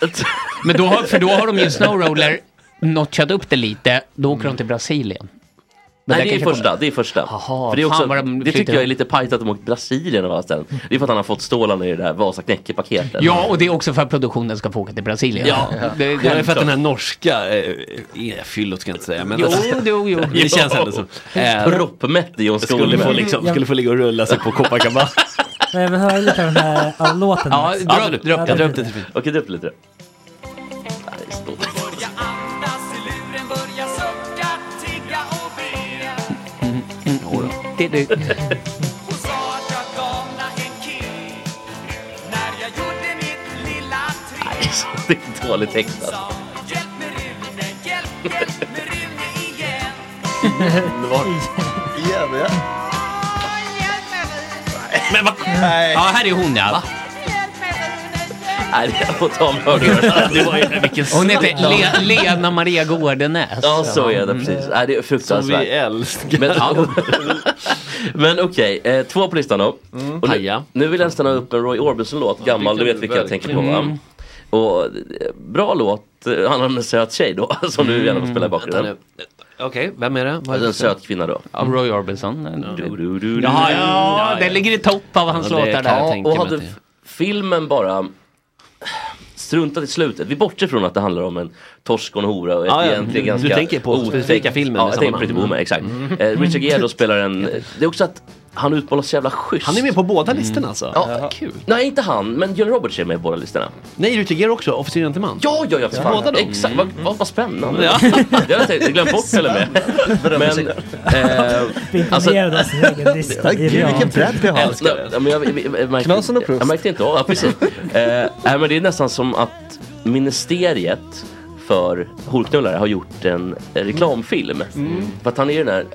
Speaker 4: Eh,
Speaker 6: Men då har, för då har de ju Snowroller notchat upp det lite, då åker de till Brasilien.
Speaker 4: Mm.
Speaker 6: Men
Speaker 4: Nej, det är
Speaker 6: kanske
Speaker 4: första. Det är första.
Speaker 6: Jaha,
Speaker 4: för det är också,
Speaker 6: fan vad de
Speaker 4: det tycker
Speaker 6: flyttar.
Speaker 4: jag är lite pajigt att de åkt till Brasilien av alla ställen. Det är för att han har fått stålarna i det där Vasa Knäcke-paketet.
Speaker 6: Ja, och det är också för att produktionen ska få åka till Brasilien.
Speaker 4: Ja.
Speaker 6: det,
Speaker 2: Det är för att den här norska, eh, eh, fyllot ska jag inte säga, men
Speaker 6: Jo, jo, jo.
Speaker 2: det känns ändå som... Eh,
Speaker 4: Proppmätt i John
Speaker 2: skulle få, liksom, skulle få ligga och rulla sig på Copacabana.
Speaker 5: Jag vill höra lite av den här av låten. också. Ja,
Speaker 4: Okej, dra upp lite.
Speaker 6: Det är det.
Speaker 4: Nej, så det är dåligt textat. alltså.
Speaker 7: Jävlar.
Speaker 6: Men vad... Ja, här är hon ja.
Speaker 4: Nej, jag får ta med hörlurarna. Det var ju- vilken
Speaker 6: Hon heter
Speaker 4: smäll.
Speaker 6: Le Lena Maria Gårdenäs.
Speaker 4: Ja, så är
Speaker 6: Mm.
Speaker 4: det precis. Nej, det är fruktansvärt.
Speaker 2: Som vi
Speaker 4: älskar. Men, ja. Men okej, eh, två på listan då. Och nu, nu vill jag stanna upp en Roy Orbison-låt, gammal, du
Speaker 2: Mm. det kan
Speaker 4: vet
Speaker 2: du
Speaker 4: vilken jag tänker
Speaker 2: verkligen.
Speaker 4: på va?
Speaker 2: Mm.
Speaker 4: Och eh, bra låt, Eh, handlar om en söt tjej då, som du gärna får spela i bakgrunden.
Speaker 2: Vänta nu. Okej, vem är det? Vad är
Speaker 4: Alltså
Speaker 2: det?
Speaker 4: en söt kvinna då.
Speaker 6: Av Roy Orbison.
Speaker 4: Du, du, du,
Speaker 6: Ja,
Speaker 4: du.
Speaker 6: ja, den ligger i topp av hans låtar där.
Speaker 4: Ja, och hade f- filmen bara struntat i slutet. Vi bortser från att det handlar om en torsk och en hora. Och ett
Speaker 2: Ja, ja.
Speaker 4: egentligen
Speaker 2: Du
Speaker 4: ganska
Speaker 2: tänker på
Speaker 4: otäckt-
Speaker 2: specifika filmen
Speaker 4: Ja,
Speaker 2: i
Speaker 4: jag tänker på Pretty
Speaker 2: sammanhang.
Speaker 4: Woman, exakt.
Speaker 2: Mm.
Speaker 4: Eh, Richard Gere då spelar en... Det är också att han utmålas så jävla schysst.
Speaker 2: Han är med på båda listorna alltså?
Speaker 4: Ja, kul. Nej, inte han, men John Roberts är med på båda listorna.
Speaker 2: Nej, Richard Gere också, Officer Gentleman.
Speaker 4: Ja, ja, ja, för fan.
Speaker 2: Båda dem.
Speaker 4: Exakt, vad, vad, vad spännande.
Speaker 2: Ja.
Speaker 4: Jag hade tänkt- glömt bort till och med. Men, eh, alltså,
Speaker 5: Imponerad av sin egen lista.
Speaker 4: Gud, vilken bredd vi har. Ja, men jag, jag, jag, märkte,
Speaker 5: Knasen och Proust.
Speaker 4: Jag märkte inte av, ja, precis. Eh, nej, men det är nästan som att ministeriet för horknullare har gjort en eh, reklamfilm.
Speaker 2: Mm.
Speaker 4: För att han är ju den här,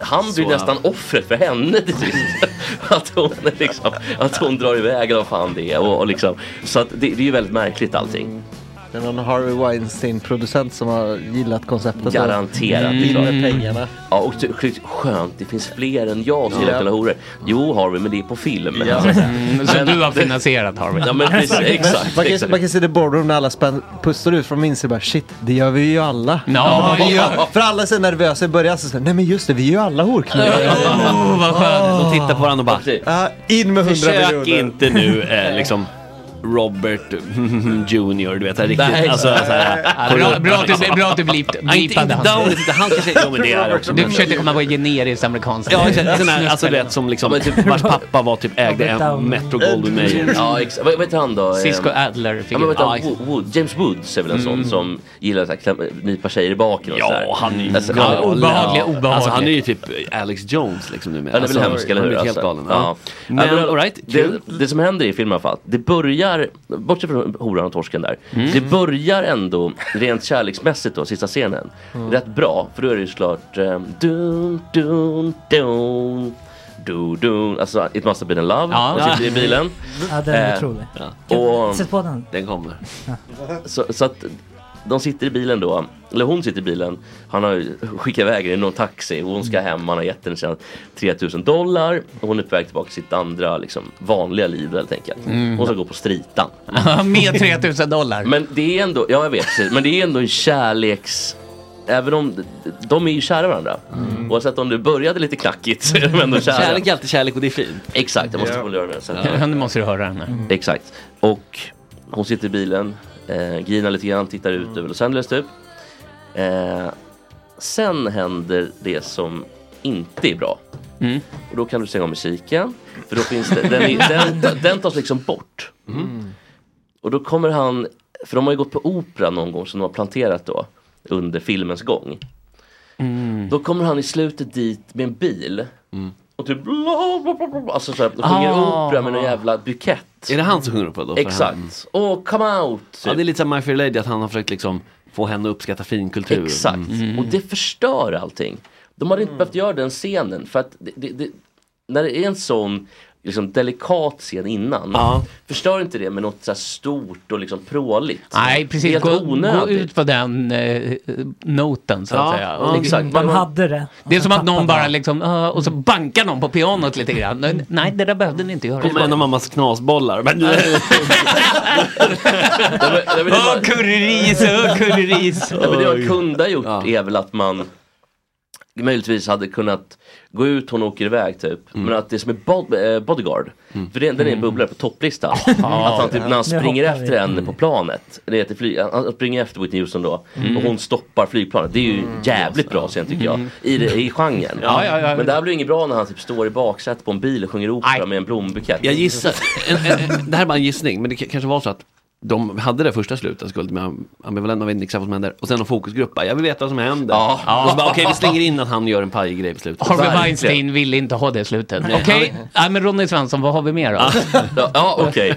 Speaker 4: han blir
Speaker 2: Så, ja.
Speaker 4: nästan offret för henne till sist. att, hon är liksom, att hon drar iväg eller vad fan det är. Och, och liksom, så att det, det är ju väldigt märkligt allting.
Speaker 10: Det är någon Harvey Weinstein-producent som har gillat konceptet.
Speaker 4: Garanterat. det är
Speaker 10: In
Speaker 4: klart.
Speaker 10: Mm. med pengarna.
Speaker 4: Ja, och det, sjukt skönt, det finns fler än jag som
Speaker 10: Ja.
Speaker 4: gillar ja. horor. Jo Harvey, men det är på film.
Speaker 10: Ja.
Speaker 6: Mm, så du har finansierat Harvey.
Speaker 4: Ja men precis, exakt.
Speaker 10: Man kan,
Speaker 4: exakt.
Speaker 10: man kan se det i Boardroom när alla spänn, pustar ut från insidan bara shit, det gör vi ju alla.
Speaker 6: Ja, vi gör-
Speaker 10: För alla är så nervösa i början, så säger nej men just det, vi är ju alla horknullar.
Speaker 2: Oh, vad skönt. De tittar på varandra och bara...
Speaker 10: Ja, in med 100
Speaker 2: Oh. Försök
Speaker 10: miljoner.
Speaker 2: inte nu eh, liksom Robert Junior, du vet. Så här, riktigt,
Speaker 6: Nej.
Speaker 2: alltså, så här,
Speaker 6: Bra- bra att du- bra att du blip-
Speaker 2: Nej, inte-
Speaker 6: blipade
Speaker 2: inte
Speaker 6: han.
Speaker 2: Downey, inte han kanske jo, men det är också.
Speaker 6: Du försökte komma på generiskt amerikanskt.
Speaker 2: Ja, exakt. Sån här, alltså du vet som liksom, vars pappa var typ ägde en Metro Goldwyn Mayer.
Speaker 4: Ja, exakt. Vad vad heter han då?
Speaker 6: Cisco
Speaker 4: Eh,
Speaker 6: Adler
Speaker 4: Ja, men
Speaker 6: figur.
Speaker 4: vänta,
Speaker 6: Ja,
Speaker 4: Wo- Wo- James Woods är väl en sån
Speaker 6: Mm.
Speaker 4: som gillar att nypa tjejer i baken och
Speaker 2: Ja,
Speaker 4: sådär.
Speaker 2: han är ju
Speaker 4: Alltså,
Speaker 2: galen.
Speaker 4: ja,
Speaker 2: Ja. Alltså han är ju typ Alex Jones liksom numera.
Speaker 4: Ja, det är väl
Speaker 2: Alltså,
Speaker 4: hemskt, eller
Speaker 2: han
Speaker 4: hur?
Speaker 2: blir helt
Speaker 4: alltså.
Speaker 2: galen.
Speaker 4: Ja.
Speaker 2: Ja.
Speaker 4: Men,
Speaker 2: Men, all right,
Speaker 4: det,
Speaker 2: kul.
Speaker 4: det som händer i filmen i alla fall, det börjar, bortsett från horan och torsken där,
Speaker 2: Mm.
Speaker 4: det börjar ändå rent kärleksmässigt då, sista scenen,
Speaker 3: Mm.
Speaker 4: rätt bra. För då är det ju såklart ehm, dun, dun, dun. Du, du, alltså It must have been in love,
Speaker 5: Ja.
Speaker 4: de sitter i bilen.
Speaker 5: Ja, den är
Speaker 4: Eh,
Speaker 5: otrolig.
Speaker 4: Och,
Speaker 5: Sätt på den.
Speaker 2: Den kommer.
Speaker 4: Så, så att de sitter i bilen då, eller hon sitter i bilen. Han har ju skickat iväg henne i någon taxi och hon ska
Speaker 5: Mm.
Speaker 4: hem. Han har gett henne sina 3000 dollar och hon är på väg tillbaka till sitt andra liksom, vanliga liv helt enkelt.
Speaker 6: Mm.
Speaker 4: Hon ska gå på stritan.
Speaker 6: Med 3000 dollar.
Speaker 4: Men det är ändå, ja jag vet precis, men det är ändå en kärleks... Även om de är ju kära varandra. Oavsett om det började lite knackigt så är de ändå kära.
Speaker 2: Kärlek är alltid kärlek och det är fint.
Speaker 4: Exakt, jag måste
Speaker 2: Ja. Mm.
Speaker 4: få göra det sen.
Speaker 6: Ja, nu måste du höra henne.
Speaker 4: Exakt. Och hon sitter i bilen, eh, grinar lite grann, tittar ut över Los Angeles typ. Eh, sen händer det som inte är bra.
Speaker 2: Mm.
Speaker 4: Och då kan du stänga av musiken. För då finns det, den, är- den, den tas liksom bort.
Speaker 11: Mm.
Speaker 4: Och då kommer han, för de har ju gått på opera någon gång som de har planterat då under filmens gång.
Speaker 2: Mm.
Speaker 4: Då kommer han i slutet dit med en bil. Och typ alltså så här, och sjunger
Speaker 2: Ah.
Speaker 4: opera med någon jävla bukett.
Speaker 2: Är det han som sjunger på då? Mm.
Speaker 4: Exakt. Och come out!
Speaker 2: Ja, det är lite som My Fair Lady, att han har försökt liksom få henne att uppskatta finkultur.
Speaker 4: Exakt.
Speaker 6: Mm.
Speaker 4: Och det förstör allting. De hade inte
Speaker 2: Mm.
Speaker 4: behövt göra den scenen. För att det, det, det, när det är en sån liksom, delikat scen innan. Förstör inte det med något så här stort och liksom pråligt.
Speaker 6: Nej,
Speaker 4: Det är
Speaker 6: precis. Gå,
Speaker 4: Helt
Speaker 6: gå
Speaker 4: onödigt.
Speaker 6: ut på den eh, noten så att
Speaker 4: Ja,
Speaker 6: säga. Liksom-
Speaker 4: ja, exakt.
Speaker 5: De hade det.
Speaker 6: Det är som att någon bara liksom, "Ah", och så bankar någon på pianot lite grann. Nej, det där behövde ni inte göra.
Speaker 2: Kommer en av mammas knasbollar. Men,
Speaker 6: Åh, curryris, åh, curryris.
Speaker 4: Ja, men det man kunde ha gjort är väl att man möjligtvis hade kunnat gå ut, hon åker iväg typ.
Speaker 6: Mm.
Speaker 4: Men att det som är bod- eh, bodyguard, för det, den är en bubblare på topplistan. Att han typ när han
Speaker 2: Nu
Speaker 4: springer
Speaker 2: hoppar vi.
Speaker 4: efter
Speaker 6: Mm.
Speaker 4: henne på planet, det heter fly- han- han springer efter Whitney Houston då
Speaker 2: Mm.
Speaker 4: och hon stoppar flygplanet. Det är ju
Speaker 6: Mm.
Speaker 4: jävligt bra scen tycker jag, i, det- i genren.
Speaker 2: Ja, ja, ja.
Speaker 4: Men det här blir inget bra när han typ står i baksätet på en bil och sjunger opera med en blombukett.
Speaker 2: Jag gissar. En, en, en, det här är bara en gissning, men det k- kanske var så att de hade det första slutet, skuld med ambivalent, man vet inte exakt vad som händer. Och sen en fokusgrupp, bara, jag vill veta vad som händer. Och så bara, okej vi slänger in att han gör en pajig grej på slutet.
Speaker 6: Harvey Weinstein ville inte ha det slutet.
Speaker 2: Nej.
Speaker 6: Okej, Nej, men Ronny Svensson, vad har vi mer då?
Speaker 4: Ja, ja okej.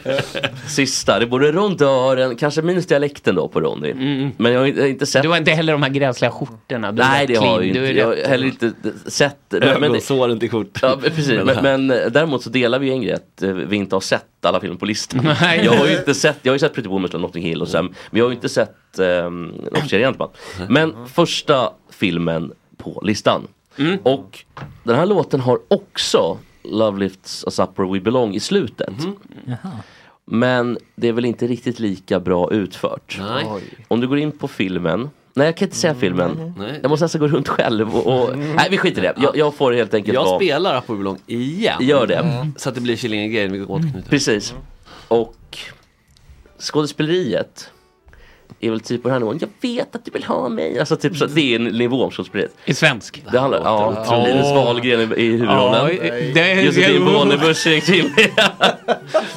Speaker 4: Sista, det borde rondören, kanske minus dialekten då på Ronny.
Speaker 6: Mm,
Speaker 4: Men jag har inte- jag har inte sett... Du
Speaker 6: har inte heller de här gräsliga skjortorna. Du
Speaker 4: Nej,
Speaker 6: är
Speaker 4: det har jag
Speaker 6: clean,
Speaker 4: ju
Speaker 6: du
Speaker 4: inte.
Speaker 6: är
Speaker 4: Jag har
Speaker 6: rätt.
Speaker 4: heller inte sett...
Speaker 2: Ögonsåren till kort.
Speaker 4: Ja, men precis. Men, men eh, däremot så delar vi ju en grej att eh, vi inte har sett alla filmer på listan.
Speaker 6: Nej.
Speaker 4: Jag har ju inte sett, jag har ju sett Pretty Woman och Notting Hill och sen, men jag har ju inte sett um, Officer Gentleman. Men första filmen på listan.
Speaker 6: Mm.
Speaker 4: Och den här låten har också Love Lifts Us Up Where We Belong i slutet.
Speaker 6: Mm.
Speaker 5: Jaha.
Speaker 4: Men det är väl inte riktigt lika bra utfört.
Speaker 5: Nej. Oj.
Speaker 4: Om du går in på filmen. Nej jag kan inte säga filmen.
Speaker 2: Nej. Mm.
Speaker 4: Jag måste nästan gå runt själv och... och nej vi skiter i det. Jag, jag får helt enkelt
Speaker 2: Jag
Speaker 4: vara...
Speaker 2: spelar Up Belong igen. Mm.
Speaker 4: Gör det.
Speaker 2: Så att det blir Killinggrejen vi
Speaker 6: Mm.
Speaker 2: återknyter.
Speaker 4: Precis. Och skådespeleriet är väl typ på den här nivån. Jag vet att du vill ha mig. Alltså typ så, det är en nivå om skådespeleriet.
Speaker 6: I svensk?
Speaker 4: Det handlar ja,
Speaker 6: otroligt.
Speaker 4: om Linus
Speaker 6: Åh.
Speaker 4: Wahlgren i, i huvudrollen.
Speaker 6: Ja, det-
Speaker 4: Josefin Bornebusch, Erik Timmer.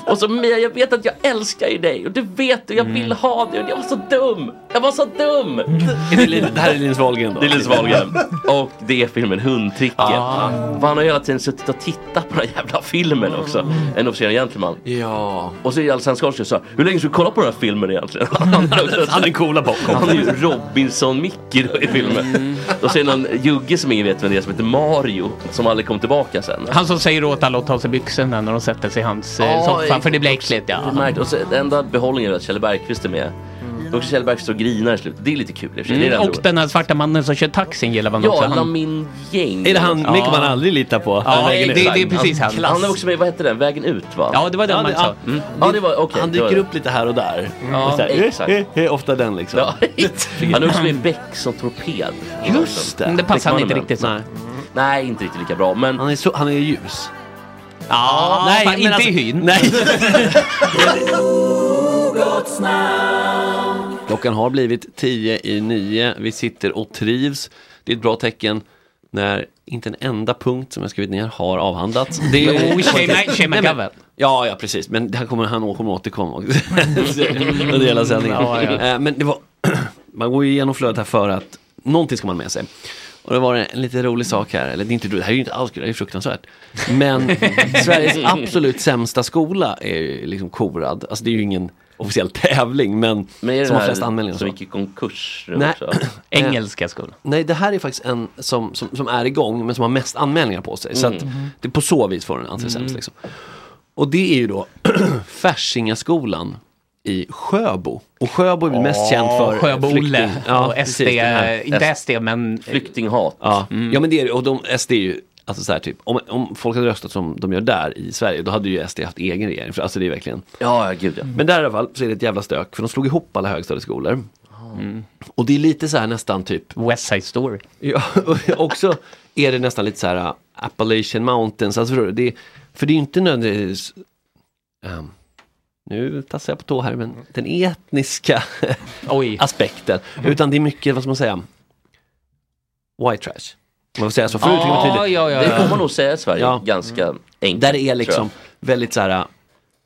Speaker 4: Och så Mia, jag vet att jag älskar ju dig och det vet du, jag vill ha dig och jag var så dum. Jag var så dum.
Speaker 2: Det här är Linus Wahlgren då.
Speaker 4: Det är Linus Wahlgren. Och det är filmen Hundtricket. För han har hela tiden suttit och tittat på den här jävla filmen också. En officer gentleman.
Speaker 2: Ja.
Speaker 4: Och så är Alsan Skarsgård så här, hur länge ska du kolla på den här filmen egentligen?
Speaker 2: Han är coola bakom.
Speaker 4: Han är ju Robinson-Micke då i filmen. Och så är det någon jugge som ingen vet vem det är som heter Mario. Som aldrig kom tillbaka sen.
Speaker 6: Han som säger åt alla att ta sig byxorna när de sätter sig i hans eh,
Speaker 4: Ja,
Speaker 6: soffa, för det blir
Speaker 4: också-
Speaker 6: äckligt. Ja.
Speaker 4: Det är märkligt. Och så den enda behållningen är att Kjell Bergqvist är med. Och Kjell Bergqvist står och grinar i slutet. Det är lite kul i och för sig. Det är
Speaker 6: Mm,
Speaker 4: ändå
Speaker 6: och den här svarta mannen som kör taxin gillar man
Speaker 4: Ja,
Speaker 6: också. Han-
Speaker 4: Lamin Gäng.
Speaker 6: Är det han- Ja. det kan man aldrig
Speaker 2: lita på.
Speaker 6: Ja, det- det- det är precis han.
Speaker 4: Han är också med, vad hette den, Vägen ut va?
Speaker 6: Ja, det var den man sa.
Speaker 4: Mm. Ja, det var, okej,
Speaker 2: Han
Speaker 4: det var
Speaker 2: dyker
Speaker 4: det. Mm.
Speaker 2: upp lite här och där.
Speaker 4: Ja,
Speaker 2: Så här, eh,
Speaker 4: exakt.
Speaker 2: eh, eh, Ofta den liksom.
Speaker 4: Han är också med i Beck som torped.
Speaker 2: Just det.
Speaker 4: Mm,
Speaker 2: Beckman
Speaker 4: han
Speaker 2: och Män.
Speaker 4: Nej. Nej, inte riktigt lika bra. Men...
Speaker 2: Han är, så, han är ljus.
Speaker 6: Ja,
Speaker 2: Nej,
Speaker 6: fan,
Speaker 2: men
Speaker 6: inte
Speaker 2: alltså-
Speaker 6: i hyn.
Speaker 2: Nej.
Speaker 3: gott snack.
Speaker 2: Klockan har blivit 10 i 9. Vi sitter och trivs. Det är ett bra tecken när inte en enda punkt som jag skrivit ner har avhandlats. Det är
Speaker 6: Jo, Shane- Shane
Speaker 2: Nej, men-
Speaker 6: McGowan.
Speaker 2: Ja, ja, precis. Men det här kommer han kommer återkomma också. under hela sändningen.
Speaker 6: Ja, ja.
Speaker 2: Eh, Men det var, man går ju igenom flödet här för att någonting ska man ha med sig. Och det var det en lite rolig sak här, eller det är inte roligt, det här är ju inte alls kul, det här är ju fruktansvärt. Men Sveriges absolut sämsta skola är ju liksom korad. Alltså det är ju ingen officiell tävling, men,
Speaker 4: är det
Speaker 2: som har
Speaker 4: här
Speaker 2: flest anmälningar.
Speaker 4: som
Speaker 2: gick i konkurs
Speaker 4: nu också?
Speaker 6: Engelska skolan.
Speaker 2: Nej, det här är faktiskt en som, som, som är igång men som har mest anmälningar på sig. Så
Speaker 6: Mm.
Speaker 2: att
Speaker 6: Mhm.
Speaker 2: det, på så vis får den anses
Speaker 6: Mm.
Speaker 2: sämst. Liksom. Och det är ju då Färsingaskolan i Sjöbo. Och Sjöbo är väl mest
Speaker 6: Åh,
Speaker 2: känd för
Speaker 6: Sjöbo-Olle
Speaker 2: flykting-
Speaker 6: och SD,
Speaker 2: precis, den här
Speaker 6: inte SD men
Speaker 2: Flyktinghat. Ja, ja men det är det. Och de, SD är ju, alltså så här typ, om, om folk hade röstat som de gör där i Sverige, då hade ju SD haft egen regering. För, alltså det är verkligen. Ja, ja gud ja. Men där i alla fall så är det ett jävla stök, för de slog ihop alla högstadieskolor.
Speaker 4: Mm.
Speaker 2: Och det är lite så här nästan typ
Speaker 6: West Side Story.
Speaker 2: Ja, och också är det nästan lite så här äh, Appalachian Mountains, alltså förstår du? Det, för det är ju inte nödvändigtvis ehm, nu tassar jag på tå här, men den etniska aspekten. Utan det är mycket, vad ska man säga, white trash. Om Man får säga så, förut tycker man
Speaker 4: Ja,
Speaker 2: tydligt.
Speaker 4: ja, Mm. ja, Det ja. får man nog säga i Sverige, ganska enkelt,
Speaker 2: Där det är liksom
Speaker 4: tror
Speaker 2: väldigt så här,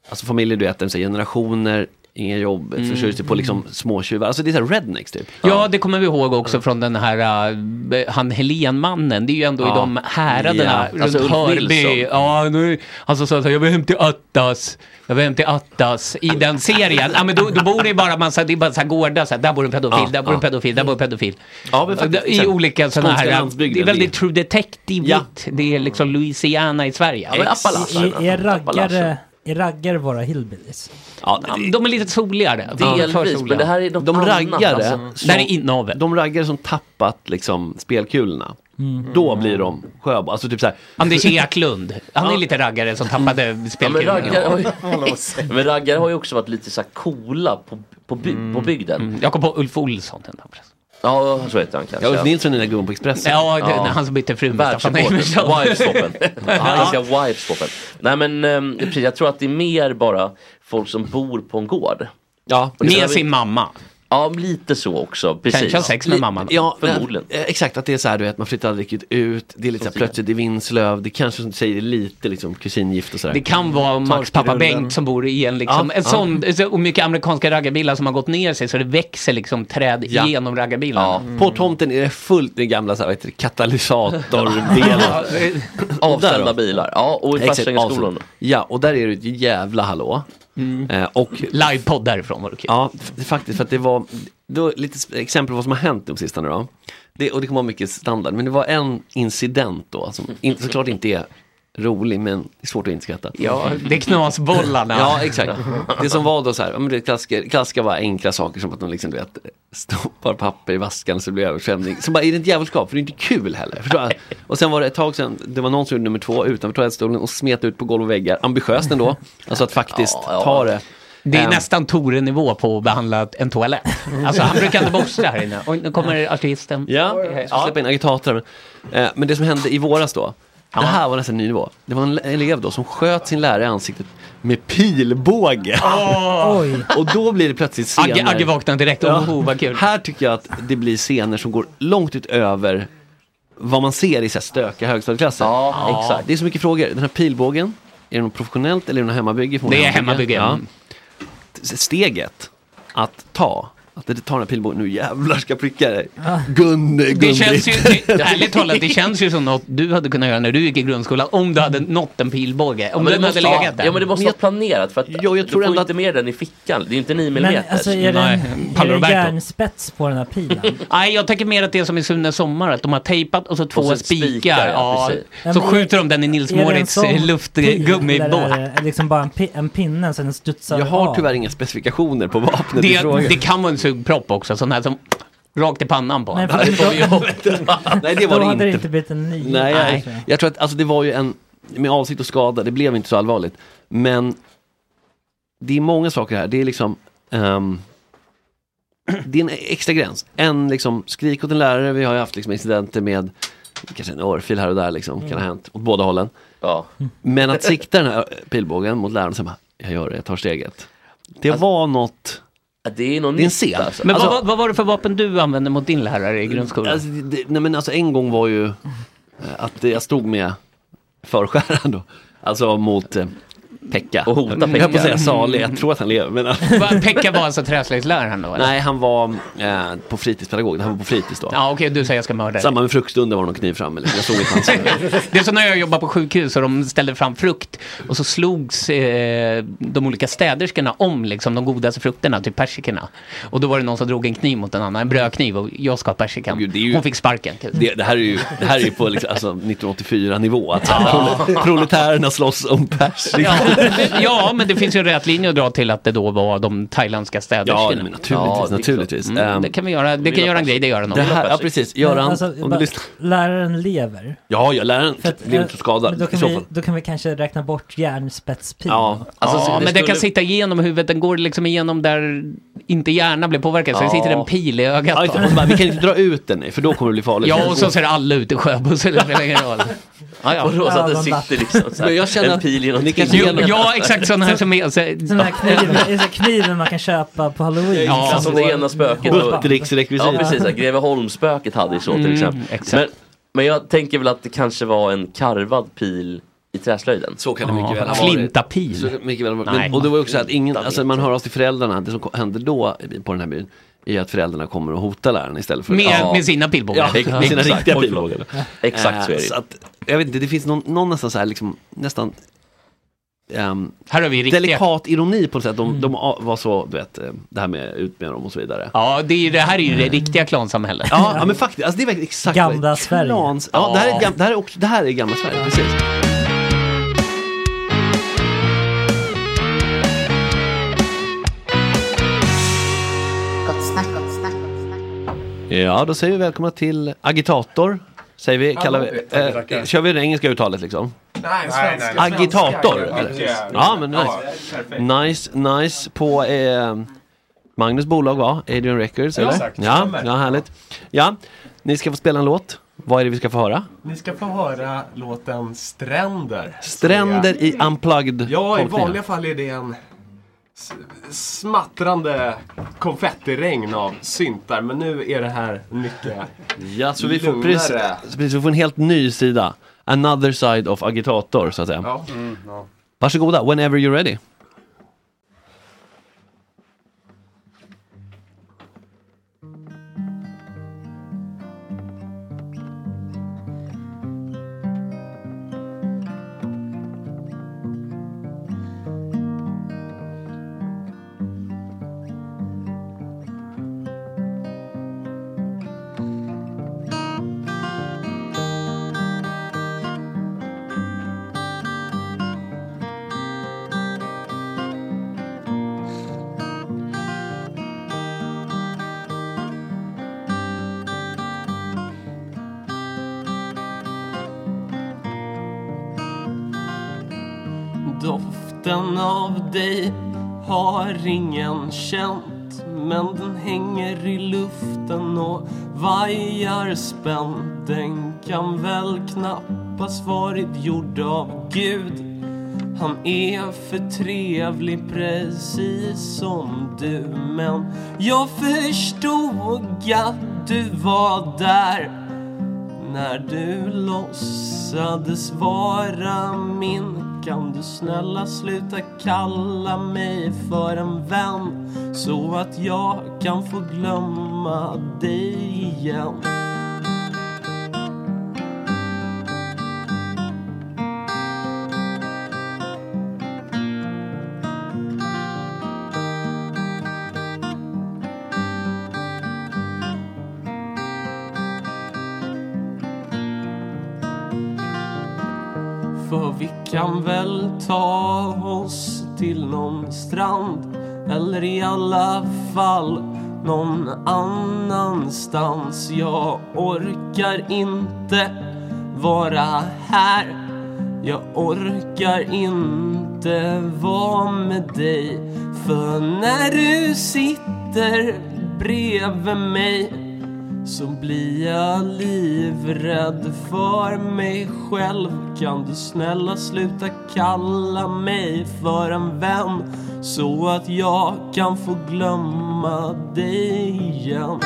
Speaker 2: alltså familjer du vet, de säger generationer, inga jobb,
Speaker 6: Mm.
Speaker 2: försörjer sig på liksom småtjuvar. Alltså det är så här rednecks typ.
Speaker 6: Ja, det kommer vi ihåg också från den här, äh, han Helenmannen, det är ju ändå
Speaker 2: Ja.
Speaker 6: i de häraderna
Speaker 2: Ja. Alltså,
Speaker 6: runt
Speaker 2: Ulf Nilsson.
Speaker 6: Hörby. Ja, nu, han som sa så här, jag vill hem till Attas, jag vill hem till Attas
Speaker 2: Alltså.
Speaker 6: i den serien. Ja, men då, då bor det ju bara massa, det är bara så här gårdar, så här, där bor en pedofil,
Speaker 2: Ja,
Speaker 6: där bor en
Speaker 2: ja.
Speaker 6: pedofil, där bor en pedofil.
Speaker 2: Ja, men faktiskt.
Speaker 6: I olika sådana
Speaker 2: Skånska
Speaker 6: här,
Speaker 2: landsbygden,
Speaker 6: det är väldigt
Speaker 2: det-
Speaker 6: true detective det är liksom Louisiana i Sverige.
Speaker 5: Ja, men Appalachia. Är- är raggare- Är raggare bara hillbillies?
Speaker 2: Ja,
Speaker 6: de är lite soligare.
Speaker 5: Delvis,
Speaker 6: För soliga.
Speaker 5: men det här är något
Speaker 2: de
Speaker 5: annat,
Speaker 2: raggare,
Speaker 5: alltså.
Speaker 2: som-
Speaker 6: Det här är inavel.
Speaker 2: De raggare som tappat liksom spelkulorna.
Speaker 6: Mm.
Speaker 2: Då blir de Sjöbo. Alltså typ så här.
Speaker 6: Anders Eklund, han är
Speaker 2: Ja.
Speaker 6: lite raggare som tappade
Speaker 4: men
Speaker 6: spelkulorna.
Speaker 4: raggare har
Speaker 2: Alltså,
Speaker 4: ju, men raggare har ju också varit lite så här coola på, på, by,
Speaker 2: Mm.
Speaker 4: på bygden.
Speaker 6: Jag kom på Ulf Olsson.
Speaker 4: Ja, så heter han kanske.
Speaker 2: Ja, Ulf Nilsson är den där gubben på Expressen.
Speaker 6: Ja, det- när han som bytte fru med Staffan Emerson.
Speaker 4: Wiveswappen. Han ska wiveswappen. Nej men ehm, precis, jag tror att det är mer bara folk som bor på en gård.
Speaker 2: Ja,
Speaker 6: med sin mamma.
Speaker 4: Ja, lite så också. Precis.
Speaker 6: Kanske har sex med
Speaker 4: Li-
Speaker 6: mamman.
Speaker 2: Ja,
Speaker 4: Förmodligen.
Speaker 2: eh, Exakt, att det är så här du vet, man flyttar aldrig riktigt ut. Det är lite så här, plötsligt i Vinslöv. Det kanske som du säger är lite liksom kusingift och sådär.
Speaker 6: Det kan vara Max pappa Bengt som bor i en liksom,
Speaker 2: Ja,
Speaker 6: en
Speaker 2: ja.
Speaker 6: sån, så- och mycket amerikanska raggarbilar som har gått ner sig så det växer liksom träd
Speaker 2: Ja.
Speaker 6: genom raggarbilarna.
Speaker 2: Ja. På tomten är det fullt med gamla så här, vad heter det,
Speaker 6: Ja,
Speaker 2: katalysatordelar.
Speaker 4: Avställda
Speaker 2: Där då.
Speaker 4: bilar. Ja, och i
Speaker 2: Exakt,
Speaker 4: Färsängaskolan.
Speaker 2: avställda. Ja, och där är det ett jävla hallå.
Speaker 4: Mm.
Speaker 2: Eh, och
Speaker 6: Livepodd därifrån var det kul.
Speaker 2: Ja, f- faktiskt för att det var då, lite s- exempel på vad som har hänt de sistone då. Det, och det kommer vara mycket standard, men det var en incident då som in, såklart inte är rolig, men det är svårt att inte skratta.
Speaker 6: Ja, det är knasbollarna.
Speaker 2: Ja, exakt. Det som var då så här, ja, men det klassiska, klassiska var enkla saker som att de liksom, du vet, stoppar papper i vaskan så blir det översvämning. Så bara, är det ett djävulskap? För det är inte kul heller. Förstår jag? Och sen var det ett tag sedan, det var någon som gjorde nummer två utanför toalettstolen och smet ut på golv och väggar. Ambitiöst ändå. Alltså att faktiskt ta det.
Speaker 6: Det är
Speaker 2: Ehm,
Speaker 6: nästan Tore-nivå på att behandla en toalett. Alltså han brukar inte borsta här inne. Oj, nu kommer artisten.
Speaker 2: Ja,
Speaker 6: Eh,
Speaker 2: jag ska släppa in agitatorer. Men, eh, men det som hände i våras då, det här var nästan en ny nivå. Det var en le- elev då som sköt sin lärare i ansiktet med pilbåge.
Speaker 6: Åh! Oj.
Speaker 2: Och då blir det plötsligt scener.
Speaker 6: Agge- Agge vaknar direkt. Åh, vad kul.
Speaker 2: Här tycker jag att det blir scener som går långt utöver vad man ser i så här stökiga högstadieklasser.
Speaker 4: Ja, exakt.
Speaker 2: Det är så mycket frågor. Den här pilbågen, är det något professionellt eller är det något hemmabygge? Får man
Speaker 6: Det är hemmabygge. Mm.
Speaker 2: Steget att ta, att det tar den här pilbågen, nu jävlar ska jag pricka dig. Gun,
Speaker 6: Det känns ju, det, ärligt talat, det känns ju som något du hade kunnat göra när du gick i grundskolan om du hade nått en pilbåge. Om
Speaker 4: men
Speaker 6: du
Speaker 4: det
Speaker 6: hade
Speaker 4: måste-
Speaker 6: legat där.
Speaker 4: Ja, men det måste vara planerat för att du får inte med den i fickan. Det är inte 9
Speaker 5: Men
Speaker 4: millimeter.
Speaker 5: alltså är det, en, är det järnspets på den här pilen?
Speaker 6: Nej, jag tänker mer att det är som i Sunes sommar, att de har tejpat och så två
Speaker 5: sen
Speaker 6: spikar.
Speaker 5: spikar, ja,
Speaker 6: ja,
Speaker 5: precis.
Speaker 6: så
Speaker 5: Men
Speaker 6: skjuter de den i Nils
Speaker 5: Är det en
Speaker 6: Moritz
Speaker 5: sån
Speaker 6: eh,
Speaker 5: pil
Speaker 6: luftgummibåt.
Speaker 5: eller är det liksom bara en, pi- en pinne så den studsar
Speaker 6: Jag har
Speaker 5: av?
Speaker 6: tyvärr
Speaker 2: inga specifikationer på vapnet
Speaker 5: i
Speaker 6: det,
Speaker 5: fråga.
Speaker 6: det kan vara en sugpropp också, sån här som rakt i pannan på
Speaker 5: Men
Speaker 6: honom.
Speaker 5: för-
Speaker 6: Det får vi ju hoppas.
Speaker 2: Nej, det var
Speaker 5: Då
Speaker 2: det
Speaker 5: hade det
Speaker 2: inte.
Speaker 5: inte blivit en nio.
Speaker 2: Nej,
Speaker 5: Nej.
Speaker 2: jag, jag tror att alltså, det var ju en, med avsikt att skada, det blev inte så allvarligt. Men det är många saker här, det är liksom, ehm, det är en extra gräns. En liksom skrik åt en lärare, vi har ju haft liksom incidenter med kanske en örfil här och där liksom, kan ha hänt, åt båda hållen. Men att sikta den här pilbågen mot läraren, så bara, jag gör det, jag tar steget. Det var något...
Speaker 4: Alltså- Det är, någon
Speaker 2: det är en scen. Alltså.
Speaker 6: Men vad-
Speaker 2: Alltså-
Speaker 6: vad, vad var det för vapen du använde mot din lärare i grundskolan?
Speaker 2: Alltså, det- det, nej men alltså en gång var ju eh, att jag stod med förskäraren då. Alltså mot eh, Pekka.
Speaker 4: Och hota
Speaker 2: Jag höll på
Speaker 4: Pekka.
Speaker 2: att säga salig, jag tror att han lever. Men,
Speaker 6: Va- Pekka var alltså träslöjdsläraren då? eller?
Speaker 2: nej, han var eh, på fritidspedagog. Han var på fritids då.
Speaker 6: Ja, okej, du säger jag ska mörda dig.
Speaker 2: Samma med fruktstunden var det någon kniv framme. Liksom. Jag såg inte hans
Speaker 6: Det är som när jag jobbade på sjukhus och de ställde fram frukt och så slogs eh, de olika städerskorna om liksom, de godaste frukterna, typ persikorna. Och då var det någon som drog en kniv mot en annan, en brödkniv och jag skar persikan. Hon fick sparken. typ.
Speaker 2: Det, det här är ju, det här är ju på liksom, alltså, 1984-nivå. Att
Speaker 6: Ja.
Speaker 2: prole- proletärerna slåss om persik.
Speaker 6: Ja, men- ja, men det finns ju en rät linje att dra till att det då var de thailändska
Speaker 2: Ja,
Speaker 6: städerskorna.
Speaker 2: men naturligtvis,
Speaker 6: det är klart.
Speaker 2: naturligtvis.
Speaker 6: Mm,
Speaker 2: Ehm,
Speaker 6: det kan vi göra. Det
Speaker 2: vill
Speaker 6: kan
Speaker 2: ha
Speaker 6: göra en grej, det gör han
Speaker 2: Det här, ja precis, Göran, om du
Speaker 5: alltså, bara-
Speaker 2: lyssnar.
Speaker 5: Läraren lever.
Speaker 2: Ja, ja, läraren
Speaker 5: För att,
Speaker 2: blir
Speaker 5: eh,
Speaker 2: så skadad
Speaker 5: men då,
Speaker 2: i
Speaker 5: kan
Speaker 2: så
Speaker 5: vi,
Speaker 2: fall.
Speaker 5: då kan vi kanske räkna bort hjärnspetspin.
Speaker 2: Ja, alltså,
Speaker 6: ja, men den kan sitta igenom huvudet, den går liksom igenom där inte hjärnan blir påverkad, så det sitter en pil i ögat.
Speaker 2: Ja, just det. Och så bara, vi kan inte dra ut den, nej, för då kommer det bli farligt. Alltså.
Speaker 6: Ja, och så ser alla ut i Sjöbussen, liksom. det spelar ingen roll. Ja, ja.
Speaker 4: Och då så att den sitter liksom så här,
Speaker 2: Men jag känner
Speaker 4: en
Speaker 2: att-
Speaker 4: pil genom
Speaker 2: ni kanske
Speaker 6: Jo,
Speaker 4: tinningen.
Speaker 6: ja, exakt sådana här som är... alltså- Så,
Speaker 5: Den här kniven, det är så här kniven man kan köpa på halloween. Liksom.
Speaker 4: Ja, som det ena spöket. Ja, precis. Ja, Greveholmsspöket hade ju så till
Speaker 6: Mm,
Speaker 4: exempel. Men, men jag tänker väl att det kanske var en karvad pil i träslöjden.
Speaker 2: Så kan det mycket väl ha varit.
Speaker 6: Flintapil.
Speaker 2: Så mycket väl,
Speaker 6: Nej.
Speaker 2: men, och det var ju också att ingen, alltså man hör av sig till föräldrarna, det som ko- hände då i- på den här byn är att föräldrarna kommer att hota läraren istället för
Speaker 6: Med- med sina pilbågar.
Speaker 2: Ja, med sina
Speaker 6: Exakt.
Speaker 2: riktiga
Speaker 6: Oj,
Speaker 2: pilbågar.
Speaker 6: förlåt. Exakt så är det ju.
Speaker 2: så att, Jag vet inte, det finns någon, någon nästan så här, liksom, nästan ehm,
Speaker 6: Här har vi riktiga- Mm.
Speaker 2: delikat ironi på något sätt. De, de a- var så, du vet, eh, det här med ut med dem och så vidare.
Speaker 6: Ja, det, är, ju- det här är ju det riktiga klansamhället.
Speaker 2: Ja, ja men faktiskt, alltså det är verkligen exakt
Speaker 6: Gamla Sverige.
Speaker 2: Klans, ja, Det, här är, gam- det, här är också, det här är gamla Sverige, precis.
Speaker 12: Gott snack, gott snack.
Speaker 2: Ja, då säger vi välkomna till Agitator. Säger vi, kallar vi,
Speaker 11: Agitator, tackar.
Speaker 2: eh, kör vi det engelska uttalet liksom?
Speaker 11: Nej,
Speaker 2: Agitator. eller?
Speaker 11: Ja,
Speaker 2: Ja, men
Speaker 11: ja,
Speaker 2: nice.
Speaker 11: perfekt.
Speaker 2: Nice, nice. På eh, Magnus bolag va? Adrian Records,
Speaker 11: Ja,
Speaker 2: eller?
Speaker 11: exakt.
Speaker 2: Ja,
Speaker 11: Stämmer.
Speaker 2: ja, härligt. Ja, ni ska få spela en låt. Vad är det vi ska få höra?
Speaker 11: Ni ska få höra låten Stränder.
Speaker 2: Stränder i unplugged
Speaker 11: Ja, i
Speaker 2: tolkningen.
Speaker 11: vanliga fall är det en s- smattrande konfettiregn av syntar. Men nu är det här mycket
Speaker 2: Ja, så vi får,
Speaker 11: lugnare.
Speaker 2: precis, så vi får en helt ny sida. Another side of Agitator, så att säga.
Speaker 11: Ja. Mm, ja.
Speaker 2: Varsågoda, whenever you're ready.
Speaker 11: Doften av dig har ingen känt Men den hänger i luften och vajar spänt Den kan väl knappast varit gjord av Gud han är för trevlig precis som du Men jag förstod att du var där när du låtsades vara min Kan du snälla sluta kalla mig för en vän Så att jag kan få glömma dig igen För vi kan väl ta oss till någon strand Eller i alla fall någon annanstans Jag orkar inte vara här Jag orkar inte vara med dig För när du sitter bredvid mig så blir jag livrädd för mig själv Kan du snälla sluta kalla mig för en vän så att jag kan få glömma dig igen.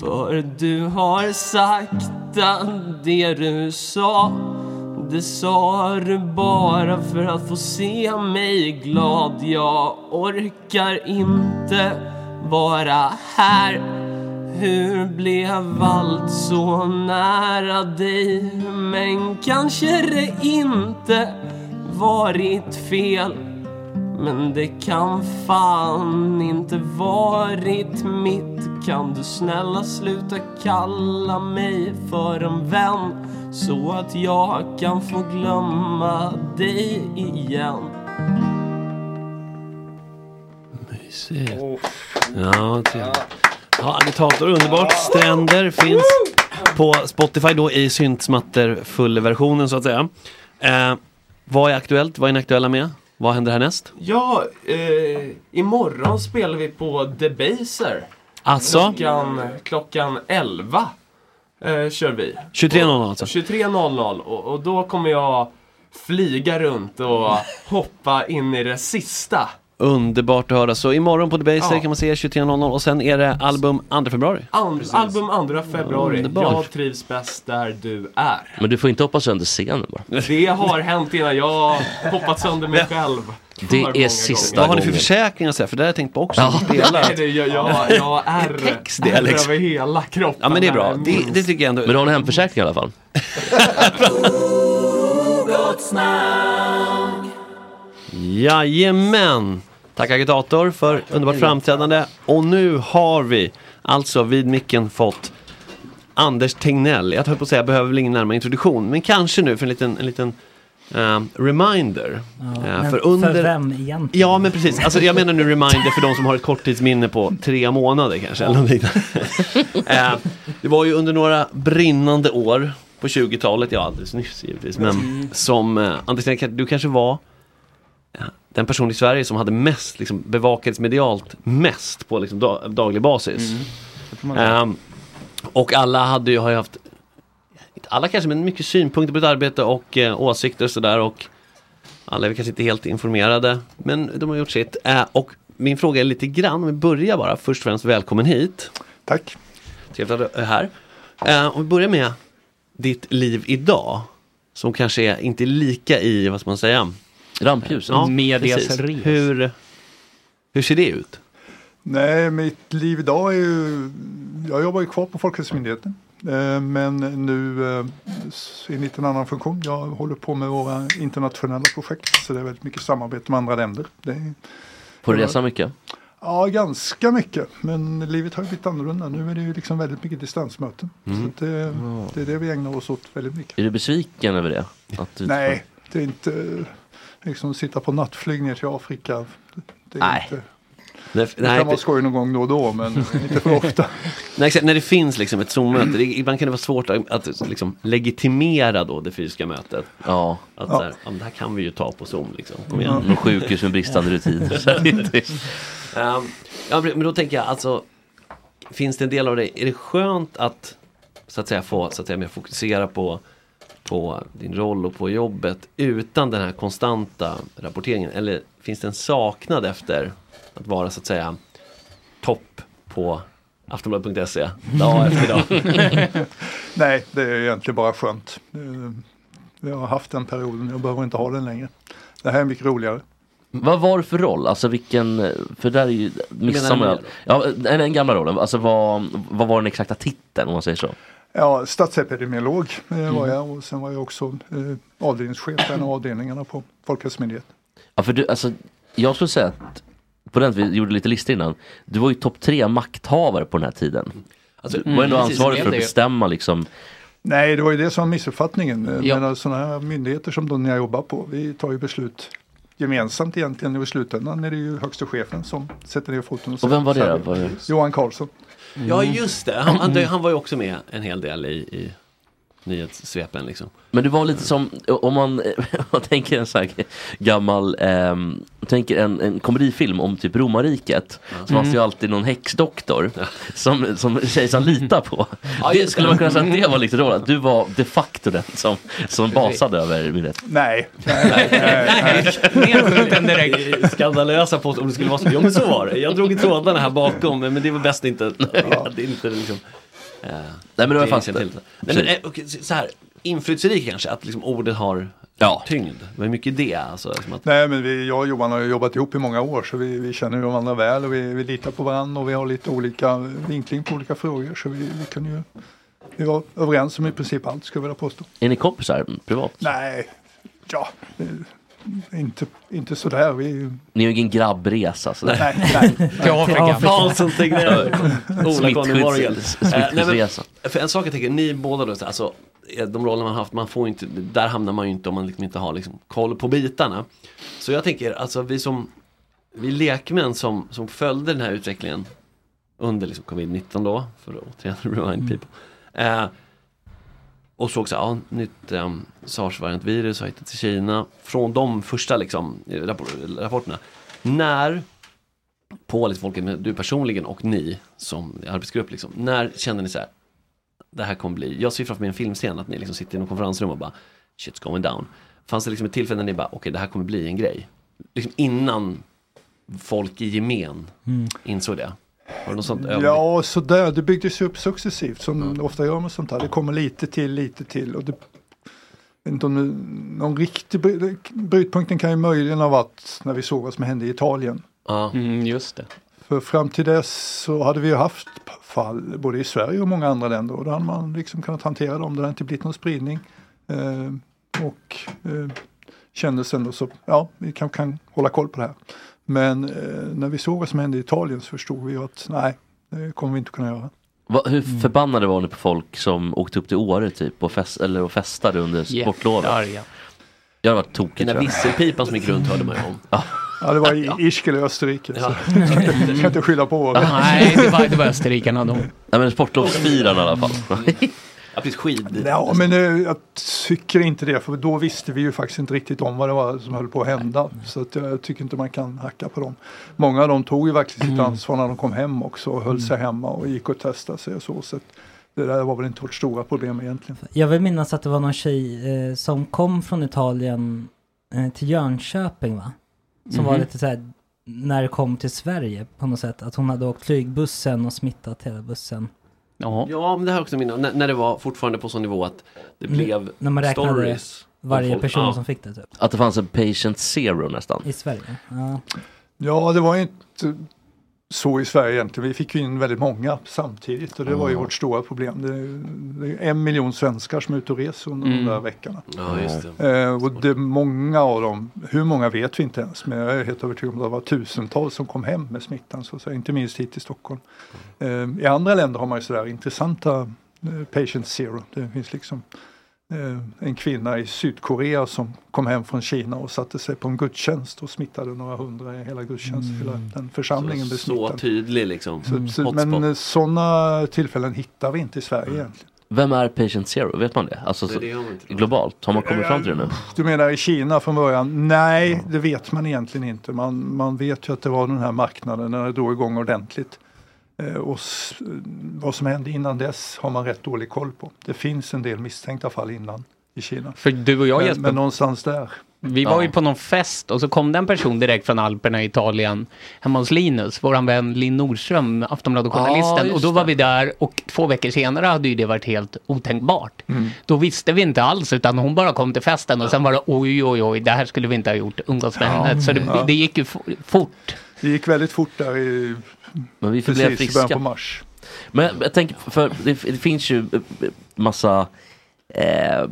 Speaker 11: För du har sagt att det du sa det sa du bara för att få se mig glad Jag orkar inte vara här Hur blev allt så nära dig? Men kanske det inte varit fel men det kan fan inte varit mitt Kan du snälla sluta kalla mig för en vän Så att jag kan få glömma dig igen
Speaker 2: Mysigt.
Speaker 11: Oh.
Speaker 2: Ja, trevligt. Ja, agitator, underbart. Stränder finns på Spotify då i syntsmatter-fullversionen så att säga. Eh, vad är aktuellt? Vad är ni aktuella med? Vad händer härnäst?
Speaker 11: Ja, eh, imorgon spelar vi på Debaser.
Speaker 2: Alltså?
Speaker 11: Klockan, klockan 11 eh, kör vi.
Speaker 2: 23.00 alltså?
Speaker 11: 23.00 och, och då kommer jag flyga runt och hoppa in i det sista.
Speaker 2: Underbart att höra. Så imorgon på Debaser
Speaker 11: Ja.
Speaker 2: kan man se 23.00 och sen är det album 2 februari.
Speaker 11: An- album 2 februari.
Speaker 2: Underbart.
Speaker 11: Jag trivs bäst där du är.
Speaker 4: Men du får inte hoppa sönder scenen bara.
Speaker 11: Det har hänt innan jag har hoppat sönder mig själv.
Speaker 4: Det
Speaker 11: För
Speaker 4: är
Speaker 11: många
Speaker 4: sista
Speaker 2: Vad har ni för
Speaker 4: gången.
Speaker 2: försäkringar? så här? För det har jag tänkt på också.
Speaker 4: Ja.
Speaker 11: Nej, det- jag- jag- jag har ärr.
Speaker 2: det,
Speaker 11: Ärr
Speaker 2: Alex.
Speaker 11: över hela kroppen.
Speaker 2: Ja men det är bra.
Speaker 11: här.
Speaker 2: Det, det tycker jag ändå. Men
Speaker 4: du har en hemförsäkring i alla fall?
Speaker 2: Jajamän! Tack agitator för underbart framträdande. Och nu har vi alltså vid micken fått Anders Tegnell. Jag höll på att säga, behöver väl ingen närmare introduktion. Men kanske nu för en liten, en liten eh, reminder. Eh,
Speaker 5: men
Speaker 2: för under...
Speaker 5: för vem egentligen?
Speaker 2: Ja men precis, alltså, jag menar nu reminder för de som har ett korttidsminne på tre månader kanske. Eller något liknande. eh, det var ju under några brinnande år på 20-talet, ja alldeles nyss givetvis, men
Speaker 1: Mm.
Speaker 2: som eh, Anders, Tegnell, du kanske var eh, den person i Sverige som hade mest, liksom, bevakats medialt mest på liksom, da- daglig basis.
Speaker 1: Mm. Det får man säga.
Speaker 2: Ehm, och alla hade ju, har ju haft, inte alla kanske, men mycket synpunkter på ditt arbete och eh, åsikter och sådär. Och alla är väl kanske inte helt informerade, men de har gjort sitt. Eh, och min fråga är lite grann, om vi börjar bara, först och främst välkommen hit.
Speaker 13: Tack.
Speaker 2: Trevligt att du är här. Eh, om vi börjar med ditt liv idag, som kanske är inte lika i, vad ska man säga?
Speaker 4: Rampljus.
Speaker 13: Medias
Speaker 2: precis.
Speaker 13: res.
Speaker 2: Hur, hur ser det ut?
Speaker 13: Nej, mitt liv idag är ju... Jag jobbar ju kvar på Folkhälsomyndigheten. eh, Men nu eh, s- i en liten annan funktion. Jag håller på med våra internationella projekt. Så det är väldigt mycket samarbete med andra länder. Det är,
Speaker 4: Får du resa mycket?
Speaker 13: Ja, ganska mycket. Men livet har ju blivit annorlunda. Nu är det ju liksom väldigt mycket distansmöten.
Speaker 4: Mm.
Speaker 13: Så att det, det är det vi ägnar oss åt väldigt mycket.
Speaker 4: Är du besviken över det? Att du
Speaker 13: Nej, det är inte eh, liksom sitta på nattflyg ner till Afrika. Det är
Speaker 2: Nej.
Speaker 13: inte...
Speaker 2: Nej,
Speaker 13: Det kan vara skoj någon gång då och då, men inte för ofta.
Speaker 2: Nej, exakt. när det finns liksom ett Zoom-möte, det, ibland kan det vara svårt att, att liksom, legitimera då det fysiska mötet.
Speaker 4: Ja.
Speaker 2: Att
Speaker 4: Ja.
Speaker 2: Så här, ja, men det här kan vi ju ta på Zoom liksom. Kom
Speaker 4: Ja.
Speaker 2: igen.
Speaker 4: Någon sjukhus med bristande rutiner, så att det inte
Speaker 2: Ehm, ja, men då tänker jag alltså, finns det en del av det, är det skönt att så att säga få, så att säga, mer fokusera på, på din roll och på jobbet utan den här konstanta rapporteringen? Eller finns det en saknad efter att vara så att säga topp på aftonbladet.se dag efter dag?
Speaker 13: Nej, det är egentligen bara skönt. Eh, Jag har haft den perioden, jag behöver inte ha den längre. Det här är mycket roligare.
Speaker 4: Vad var det för roll? Alltså vilken, för där är ju, missar
Speaker 13: Menar
Speaker 4: man
Speaker 13: du
Speaker 4: ju- ja, den, den gamla rollen, alltså vad, vad var den exakta titeln om man säger så?
Speaker 13: Ja, statsepidemiolog eh, var
Speaker 4: Mm.
Speaker 13: jag och sen var jag också eh, avdelningschef för en av avdelningarna på Folkhälsomyndigheten.
Speaker 4: Ja, för du, alltså, jag skulle säga att, på den vi gjorde lite listor innan, du var ju topp tre makthavare på den här tiden.
Speaker 2: Alltså,
Speaker 4: du var ändå
Speaker 13: mm, precis,
Speaker 4: ansvarig
Speaker 13: det
Speaker 4: för att
Speaker 13: är det.
Speaker 4: bestämma liksom,
Speaker 13: Nej, det var ju det som var missuppfattningen. Eh,
Speaker 4: Ja.
Speaker 13: Ja. Men sådana här myndigheter som de jag jobbar på, vi tar ju beslut gemensamt egentligen och i slutändan är det ju högste chefen som sätter ner foten.
Speaker 4: Och vem var det
Speaker 13: säger-
Speaker 4: då? Var det-
Speaker 13: Johan Karlsson.
Speaker 2: Ja, just det. Han, han, han var ju också med en hel del i, i nyhetssvepen. Liksom.
Speaker 4: Men det var lite som, om man, om man tänker en så här gammal, ehm, tänker en, en komedifilm om typ romarriket. Så fanns det ju
Speaker 2: Mm.
Speaker 4: alltid någon häxdoktor som, som kejsaren litar på.
Speaker 2: Ja,
Speaker 4: det
Speaker 2: just
Speaker 4: skulle
Speaker 2: det.
Speaker 4: man kunna säga att det var liksom rollen, att du var de facto den som, som basade över myndigheten.
Speaker 13: Nej.
Speaker 2: Det är Skandalösa på om det skulle vara så. Ja men så var det. Jag drog i trådarna här bakom men det var bäst inte. Det är inte liksom. eh,
Speaker 4: men det var fast
Speaker 2: känns
Speaker 4: det.
Speaker 2: till. Nej, men,
Speaker 4: Precis.
Speaker 2: eh, okej, så så här, inflytelserik kanske, att liksom ordet har tyngd. Vad är mycket det alltså? Liksom att,
Speaker 13: Nej, men vi, jag och Johan har ju jobbat ihop i många år så vi, vi känner ju varandra väl och vi, vi litar på varandra och vi har lite olika vinkling på olika frågor så vi, vi kan ju vi var överens om i princip allt skulle jag vilja påstå.
Speaker 4: Är ni kompisar privat?
Speaker 13: Nej, ja, eh, inte, inte sådär. Vi är ju
Speaker 4: Ni är ju ingen grabbresa sådär.
Speaker 13: Nej, nej. Till Afrika. Afrika.
Speaker 2: Karlsson Tegnér. Ola Conny
Speaker 4: Smittskydds-
Speaker 2: Morgan. Eh, nej, men-
Speaker 4: Smittskyddsresa.
Speaker 2: För en sak jag tänker, ni båda då, så här, alltså, eh, de roller man har haft, man får inte, där hamnar man ju inte om man liksom inte har liksom, koll på bitarna. Så jag tänker, alltså vi som, vi lekmän som, som följde den här utvecklingen under liksom, covid-19 då, för att återigen
Speaker 4: Mm.
Speaker 2: remind people. Eh, och såg så här, ja, nytt eh, sars-variantvirus har hittats i Kina. Från de första liksom, eh, rappor- rapporterna. När på liksom folket, men du personligen och ni som arbetsgrupp, liksom, när känner ni så här, det här kommer bli, jag ser framför mig en filmscen att ni liksom sitter i något konferensrum och bara, shit's going down. Fanns det liksom ett tillfälle när ni bara, okej det här kommer bli en grej? Liksom innan folk i gemen
Speaker 13: Mm.
Speaker 2: insåg det? Var det något sånt ögonblick?
Speaker 13: Ja, sådär. Det byggdes ju upp successivt som det ofta gör med sånt här. Det kommer lite till, lite till. Och det, jag vet inte om det, någon riktig bry- brytpunkten kan ju möjligen ha varit när vi såg vad som hände i Italien.
Speaker 6: Mm, just det.
Speaker 13: För fram till dess så hade vi ju haft p- fall både i Sverige och många andra länder och då hade man liksom kunnat hantera dem. Det hade inte blivit någon spridning. Eh, och eh, kändes ändå så, ja, vi kan, kan hålla koll på det här. Men eh, när vi såg vad som hände i Italien så förstod vi ju att nej, det kommer vi inte kunna göra.
Speaker 4: Va, hur
Speaker 5: Mm.
Speaker 4: förbannade var ni på folk som åkte upp till Åre typ och, fest, eller och festade under sportlovet?
Speaker 6: Jättearga.
Speaker 4: Jag hade varit tokig
Speaker 2: Den där
Speaker 4: tror jag.
Speaker 2: visselpipan som gick runt hörde man ju om.
Speaker 13: Ja, det var i Ischgl i Österrike. Så. Jag kan inte skylla på Åre.
Speaker 6: Nej, det var, det var österrikarna de.
Speaker 4: Nej men sportlovsfirarna i alla fall.
Speaker 2: Ja, precis, skid.
Speaker 13: Ja, men eh, jag tycker inte det, för då visste vi ju faktiskt inte riktigt om vad det var som höll på att hända. Så att jag, tycker inte man kan hacka på dem. Många av dem tog ju verkligen sitt
Speaker 14: Mm.
Speaker 13: ansvar när de kom hem också och höll sig hemma och gick och testade sig och så. så att det där var väl inte vårt stora problem egentligen.
Speaker 5: Jag vill minnas att det var någon tjej eh, som kom från Italien eh, till Jönköping va? Som var
Speaker 6: Mhm.
Speaker 5: lite så här när det kom till Sverige på något sätt. Att hon hade åkt flygbussen och smittat hela bussen.
Speaker 2: Ja, men det här är också minne, när, när det var fortfarande på sån nivå att det
Speaker 5: Mm,
Speaker 2: blev
Speaker 5: när man räknade
Speaker 2: stories.
Speaker 5: varje
Speaker 2: Och folk-
Speaker 5: person som fick det, typ.
Speaker 4: Att det fanns en patient zero nästan.
Speaker 5: I Sverige. Ja.
Speaker 13: Ja, det var ju inte så i Sverige egentligen. Vi fick ju in väldigt många samtidigt och det var ju
Speaker 14: Ja.
Speaker 13: vårt stora problem. Det, det är en miljon svenskar som är ute och reser under
Speaker 14: Mm.
Speaker 13: de där veckorna.
Speaker 14: Ja, just det.
Speaker 13: Eh, och det är många av dem, hur många vet vi inte ens, men jag är helt övertygad om att det var tusentals som kom hem med smittan, så, att säga, inte minst hit till Stockholm. Eh, I andra länder har man ju sådär intressanta eh, patient zero. Det finns liksom eh, en kvinna i Sydkorea som kom hem från Kina och satte sig på en gudstjänst och smittade några hundra i hela gudstjänsten. Hela den församlingen
Speaker 2: Mm. så,
Speaker 13: blev
Speaker 2: så
Speaker 13: smittad.
Speaker 2: tydlig liksom.
Speaker 13: Så, så,
Speaker 2: Hotspot.
Speaker 13: men eh, sådana tillfällen hittar vi inte i Sverige egentligen.
Speaker 4: Vem är patient zero? Vet man det? Alltså
Speaker 13: Nej,
Speaker 4: så,
Speaker 13: det gör man
Speaker 4: globalt, har man kommit fram till det nu?
Speaker 13: Du menar i Kina från början? Nej, det vet man egentligen inte. Man, man vet ju att det var den här marknaden när det drog igång ordentligt. Eh, och s, vad som hände innan dess har man rätt dålig koll på. Det finns en del misstänkta fall innan i Kina.
Speaker 6: För du och jag,
Speaker 13: men,
Speaker 6: Jesper-
Speaker 13: men någonstans där.
Speaker 6: Vi var ju på någon fest och så kom det en person direkt från Alperna i Italien hemma hos Linus, våran vän Linn Nordström,
Speaker 2: Ja,
Speaker 6: Aftonbladet-journalisten.
Speaker 2: just
Speaker 6: och då var vi där och två veckor senare hade ju det varit helt otänkbart. Då visste vi inte alls utan hon bara kom till festen och sen var det oj, oj, oj, det här skulle vi inte ha gjort, umgås med henne. Så det,
Speaker 13: Ja.
Speaker 6: det gick ju fo- fort.
Speaker 13: Det gick väldigt fort där i,
Speaker 4: Men vi förblev
Speaker 13: precis i början
Speaker 4: friska.
Speaker 13: på mars.
Speaker 4: Men jag tänker, för det, det finns ju eh, massa eh,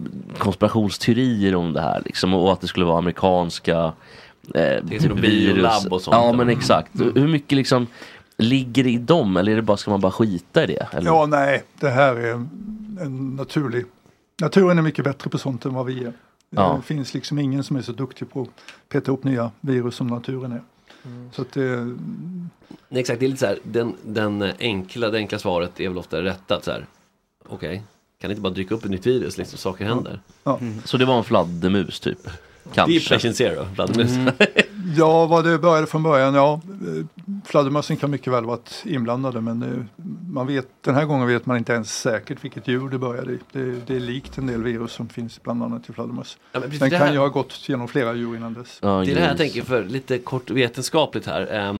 Speaker 4: konspirationsteorier om det här liksom och att det skulle vara amerikanska eh,
Speaker 2: Det är
Speaker 4: typ
Speaker 2: något
Speaker 4: virus.
Speaker 2: biolab och sånt,
Speaker 4: Ja
Speaker 2: eller?
Speaker 4: men exakt.
Speaker 2: Mm.
Speaker 4: Hur mycket liksom ligger det i dem eller är det bara, ska man bara skita i det? Eller?
Speaker 13: Ja, nej, det här är en, en naturlig... Naturen är mycket bättre på sånt än vad vi är.
Speaker 4: Ja.
Speaker 13: Det finns liksom ingen som är så duktig på att peta upp nya virus som naturen är.
Speaker 2: Mm.
Speaker 13: Så att det,
Speaker 2: Nej, exakt, det är lite så här, den, den eh, enkla, det enkla svaret är väl ofta rätta. att så här, Okej, kan det inte bara dyka upp ett nytt virus liksom, saker händer.
Speaker 13: Ja.
Speaker 2: Mm.
Speaker 4: Så det var en fladdermus typ? Kanske. Mm.
Speaker 2: Det är patient zero, fladdermus.
Speaker 13: Ja, vad det började från början, ja. eh, Fladdermössen kan mycket väl ha varit inblandade men eh, man vet, den här gången vet man inte ens säkert vilket djur det började i. Det, det är likt en del virus som finns bland annat i fladdermöss.
Speaker 2: Ja, men precis,
Speaker 13: den
Speaker 2: det
Speaker 13: kan
Speaker 2: här-
Speaker 13: ju ha gått genom flera djur innan dess.
Speaker 2: det är det här jag tänker för lite kort vetenskapligt här. Ehm,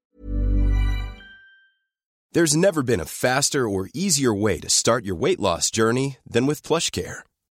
Speaker 15: There's never been a faster or easier way to start your weight loss journey than with PlushCare.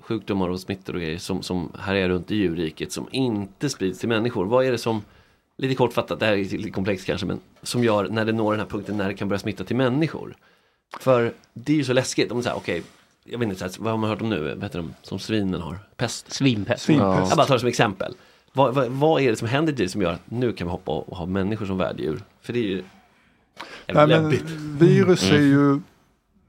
Speaker 2: sjukdomar och smittor och grejer som, som härjar runt i djurriket som inte sprids till människor. Vad är det som, lite kortfattat, det här är lite komplext kanske, men som gör när det når den här punkten när det kan börja smitta till människor? För det är ju så läskigt, om det är så här, okej, jag vet inte, så här, vad har man hört om nu, vad heter de, som svinen har? Pest?
Speaker 6: Svinpest.
Speaker 2: Ja.
Speaker 6: Svinpest.
Speaker 2: Jag bara tar det som exempel. Vad, vad, vad är det som händer till det som gör att nu kan vi hoppa och ha människor som värddjur? För det är ju
Speaker 13: Nej,
Speaker 2: jävligt
Speaker 13: men
Speaker 2: läbbigt.
Speaker 13: virus är
Speaker 2: Mm.
Speaker 13: ju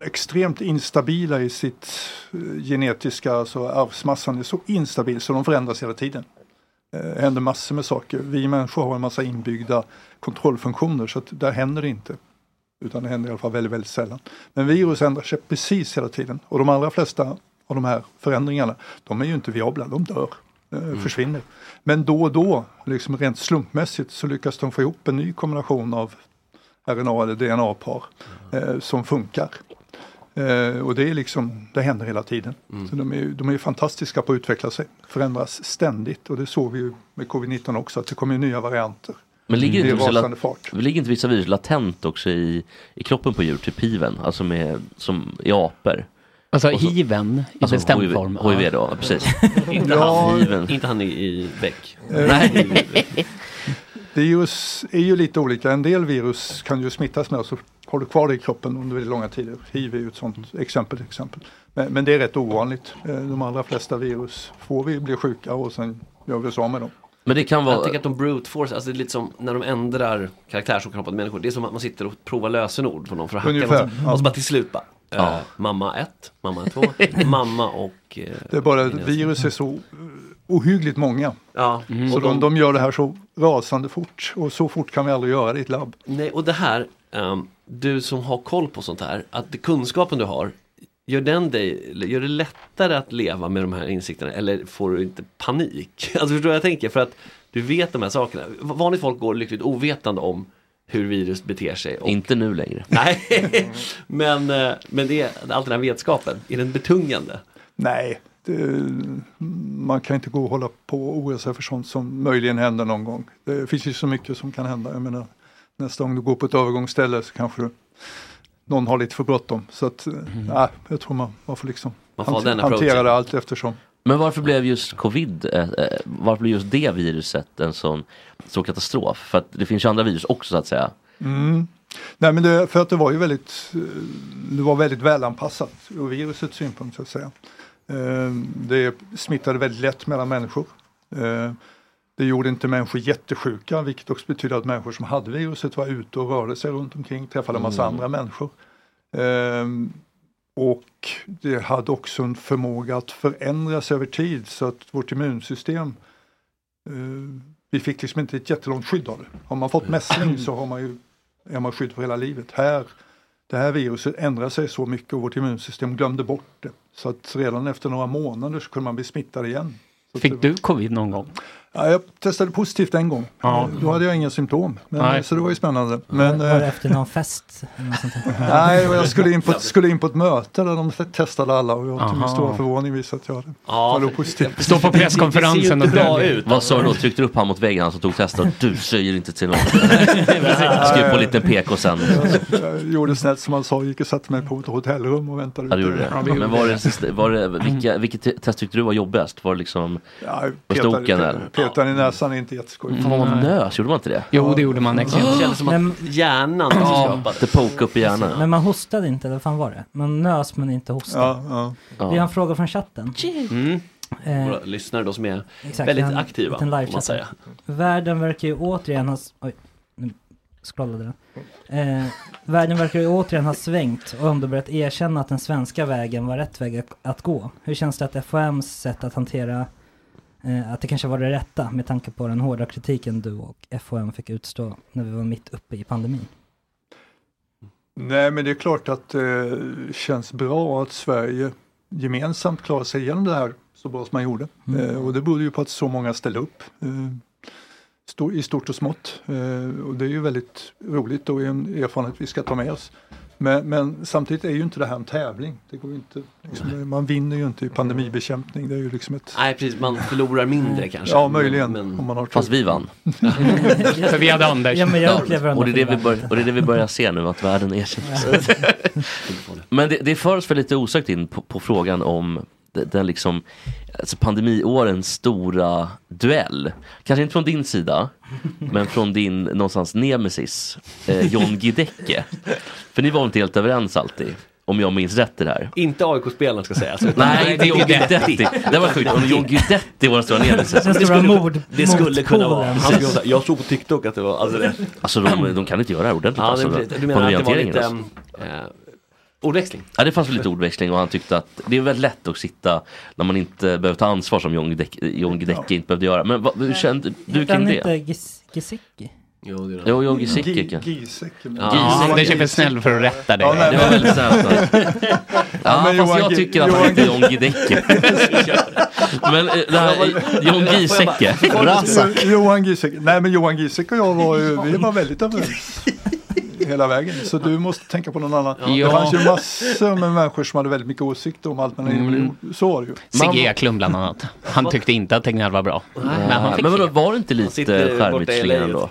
Speaker 13: extremt instabila i sitt eh, genetiska, alltså arvsmassan är så instabil så de förändras hela tiden. Det händer massor med saker. Vi människor har en massa inbyggda kontrollfunktioner så att där händer det inte. Utan det händer i alla fall väldigt, väldigt sällan. Men virus ändrar sig precis hela tiden och de allra flesta av de här förändringarna, de är ju inte viabla, de dör, eh,
Speaker 4: Mm.
Speaker 13: försvinner. Men då och då, liksom rent slumpmässigt, så lyckas de få ihop en ny kombination av RNA eller DNA-par eh, som funkar. Eh, och det är liksom, det händer hela tiden.
Speaker 4: Mm.
Speaker 13: Så de är, ju- de är ju fantastiska på att utveckla sig, förändras ständigt och det såg vi ju med covid-19 också, att det kommer ju nya varianter.
Speaker 4: Men ligger
Speaker 13: det
Speaker 4: inte,
Speaker 13: är
Speaker 4: vissa,
Speaker 13: rasande
Speaker 4: lat-
Speaker 13: fart.
Speaker 4: ligger inte vissa virus latent också i, i kroppen på djur, typ hiven, alltså med, som i apor?
Speaker 6: Alltså
Speaker 4: Och så-
Speaker 6: hiven i
Speaker 4: alltså
Speaker 6: bestämd
Speaker 4: HIV
Speaker 6: form.
Speaker 4: HIV då, precis.
Speaker 2: Inte
Speaker 13: Ja.
Speaker 2: han, inte han i, i bäck.
Speaker 13: Eh, Virus är ju lite olika. En del virus kan ju smittas med och så har du kvar det i kroppen under väldigt långa tider. Hiv är ju ett sånt exempel. till exempel. Men, men det är rätt ovanligt. Eh, De allra flesta virus får vi bli sjuka och sen gör vi oss av med dem.
Speaker 4: Men det kan
Speaker 2: Jag tycker att de brute force, alltså det är lite som när de ändrar karaktär som kan hoppa till människor. Det är som att man sitter och provar lösenord på någon för att hacka
Speaker 13: Ungefär,
Speaker 2: någon.
Speaker 13: ja.
Speaker 2: Och så bara till slut bara,
Speaker 13: Ja.
Speaker 2: eh, mamma 1, mamma 2, mamma och... eh,
Speaker 13: Det är bara att
Speaker 2: Innan-
Speaker 13: virus är så eh, ohyggligt många.
Speaker 2: Ja.
Speaker 4: Mhm.
Speaker 2: Mm.
Speaker 13: Så
Speaker 2: Och
Speaker 13: de,
Speaker 2: de-
Speaker 13: de gör det här så rasande fort och så fort kan vi aldrig göra det i ett labb.
Speaker 2: Nej, och det här, ehm, du som har koll på sånt här, att det kunskapen du har, gör, den dig, gör det lättare att leva med de här insikterna eller får du inte panik? Alltså förstår du vad jag tänker? För att du vet de här sakerna. V- Vanligt folk går lyckligt ovetande om hur virus beter sig. Och...
Speaker 4: Inte nu längre.
Speaker 2: Nej, men, eh, men det, all den här vetskapen, är den betungande?
Speaker 13: Nej, det, man kan inte gå och hålla på och oroa sig för sånt som möjligen händer någon gång. Det finns ju så mycket som kan hända. Jag menar, nästa gång du går på ett övergångsställe så kanske du, någon har lite för bråttom. Så att, nej, jag tror man, man får liksom
Speaker 4: Mm. Man får ha
Speaker 13: hante-
Speaker 4: den approachen.
Speaker 13: hantera det allt eftersom.
Speaker 4: Men varför blev just covid, eh, eh, varför blev just det viruset en sån stor katastrof? För att det finns ju andra virus också så att säga.
Speaker 13: Mm. Nej men det, för att det var ju väldigt, eh, det var väldigt välanpassat ur virusets synpunkt så att säga. Eh, Det smittade väldigt lätt mellan människor. Eh, Det gjorde inte människor jättesjuka, vilket också betyder att människor som hade viruset var ute och rörde sig runt omkring, träffade en massa
Speaker 14: Mm.
Speaker 13: andra människor. Ehm, Och det hade också en förmåga att förändras över tid så att vårt immunsystem, eh, vi fick liksom inte ett jättelångt skydd av det. Har man fått mässling så har man ju, är man skydd för hela livet. Här, det här viruset ändrar sig så mycket och vårt immunsystem glömde bort det. Så att redan efter några månader så kunde man bli smittad igen.
Speaker 6: Fick du covid någon gång?
Speaker 13: Ja, jag testade positivt en gång.
Speaker 6: Ja.
Speaker 13: Då hade jag inga symptom. Men,
Speaker 6: Nej.
Speaker 13: så det var ju spännande. Men,
Speaker 5: var det
Speaker 13: eh,
Speaker 5: efter någon fest? eller något sånt där?
Speaker 13: Nej, och jag skulle in, på, skulle in på ett möte där de testade alla och jag till min
Speaker 5: Aha.
Speaker 13: stora förvåning visade att jag hade
Speaker 14: Ja,
Speaker 13: var då
Speaker 14: för-
Speaker 13: positivt.
Speaker 6: Stå på presskonferensen Det ser ju inte och bra dölja. ut.
Speaker 4: Vad sa du då? Tryckte du upp han mot väggen, han som tog testet? Du säger inte till någon. Skrev på en liten PK sen.
Speaker 13: Jag gjorde snällt som han sa, gick och satte mig på ett hotellrum och väntade.
Speaker 4: Ja, du
Speaker 13: ute.
Speaker 4: gjorde det. Men var det, sista- var det vilka, vilket te- test tyckte du var jobbigast? Var det liksom
Speaker 13: Ja,
Speaker 4: på
Speaker 13: petade-
Speaker 4: stoken eller? Mm.
Speaker 13: Petade i näsan är inte jätteskoj.
Speaker 4: Fan vad man nös, gjorde man inte det?
Speaker 6: Jo, det gjorde man.
Speaker 4: exakt.
Speaker 13: Det kändes som att
Speaker 14: hjärnan
Speaker 4: Det poke upp i hjärnan.
Speaker 5: Men man hostade inte, eller vad fan var det? Man nös men inte hostade.
Speaker 13: Ja,
Speaker 4: ja.
Speaker 5: Vi har en fråga från chatten.
Speaker 14: Mm.
Speaker 5: Eh,
Speaker 14: Våra lyssnare då som är
Speaker 5: Exakt,
Speaker 14: väldigt
Speaker 5: en
Speaker 14: aktiva.
Speaker 5: liten
Speaker 14: Om
Speaker 5: live-chatt.
Speaker 14: man säger.
Speaker 5: Världen verkar ju återigen ha... s- Oj, nu scrollade den. Eh, världen verkar ju återigen ha svängt och ändå börjat erkänna att den svenska vägen var rätt väg att- att gå. Hur känns det att FOMs sätt att hantera eh, att det kanske var det rätta med tanke på den hårda kritiken du och FOM fick utstå när vi var mitt uppe i pandemin?
Speaker 13: Nej, men det är klart att det känns bra att Sverige gemensamt klarar sig igenom det här så bra som man gjorde.
Speaker 5: Mm.
Speaker 13: Eh, och det berodde ju på att så många ställde upp. Eh, stor, I stort och smått. Eh, och det är ju väldigt roligt och är en erfarenhet vi ska ta med oss. Men, men samtidigt är ju inte det här en tävling. Det går ju inte, liksom, man vinner ju inte i pandemibekämpning. Det är ju liksom ett...
Speaker 14: Nej precis, man förlorar mindre kanske.
Speaker 13: Ja, möjligen. om man har tur.
Speaker 4: Fast vi vann.
Speaker 6: För vi hade Anders.
Speaker 5: Ja, men jag upplever ändå
Speaker 4: Och det, är det vi
Speaker 5: förlorade.
Speaker 4: bör, och det är det vi börjar se nu, att världen erkänner. Men det, det för oss väl lite osökt in på, på frågan om de- den liksom, alltså pandemiårens stora duell. Kanske inte från din sida, men från din någonstans nemesis, eh, John Guidecke. För ni var inte helt överens alltid, om jag minns rätt i det här.
Speaker 14: Inte AIK-spelarna ska sägas. utan-
Speaker 4: Nej, det är John Guidetti. Det var sjukt. Om John Guidetti var den stora
Speaker 14: Det
Speaker 4: nemesis.
Speaker 14: skulle-
Speaker 5: mord-
Speaker 14: Det skulle kunna
Speaker 4: motpolen.
Speaker 14: vara. Han skulle kunna säga, Jag såg på TikTok att det var... Alltså, det,
Speaker 4: Alltså de, de kan inte göra det här ordentligt.
Speaker 14: ja, det,
Speaker 4: alltså,
Speaker 14: är precis. du menar att det var
Speaker 4: pandemihanteringen,
Speaker 14: lite...
Speaker 4: alltså.
Speaker 14: ehm, eh, ordväxling?
Speaker 4: Ja, det fanns väl lite ordväxling och han tyckte att det är väldigt lätt att sitta när man inte behöver ta ansvar som John Guidecke John Guidecke inte behövde göra. Men vad, hur kände du
Speaker 5: Hette han
Speaker 4: kring
Speaker 5: inte
Speaker 4: det?
Speaker 5: Gis- Giesecke?
Speaker 4: Jo, jo, Giesecke.
Speaker 13: Gi- Giesecke.
Speaker 4: Ja, Giesecke.
Speaker 6: Anders är för snäll för att rätta dig.
Speaker 4: Ja, nej, Det var men- väldigt snällt, alltså. Ja, fast jag tycker att han heter John Guidecke. Men eh, det här, eh, John Giesecke. Razak.
Speaker 13: Johan Giesecke. Nej men Johan Giesecke och jag var ju, vi var väldigt överens. Hela vägen. Så du måste tänka på någon annan.
Speaker 6: Ja.
Speaker 13: Det fanns ju massor med människor som hade väldigt mycket åsikter om allt man hade
Speaker 6: Mm.
Speaker 13: gjort. Så var det ju.
Speaker 6: Sigge Eklund bland annat. Han tyckte inte att Tegnell var bra. Men han fick
Speaker 4: Men vadå,
Speaker 6: fel.
Speaker 4: var det inte
Speaker 6: sitter
Speaker 4: lite
Speaker 6: borta i
Speaker 4: skärmigt
Speaker 6: LA
Speaker 4: slingan
Speaker 6: just
Speaker 4: då?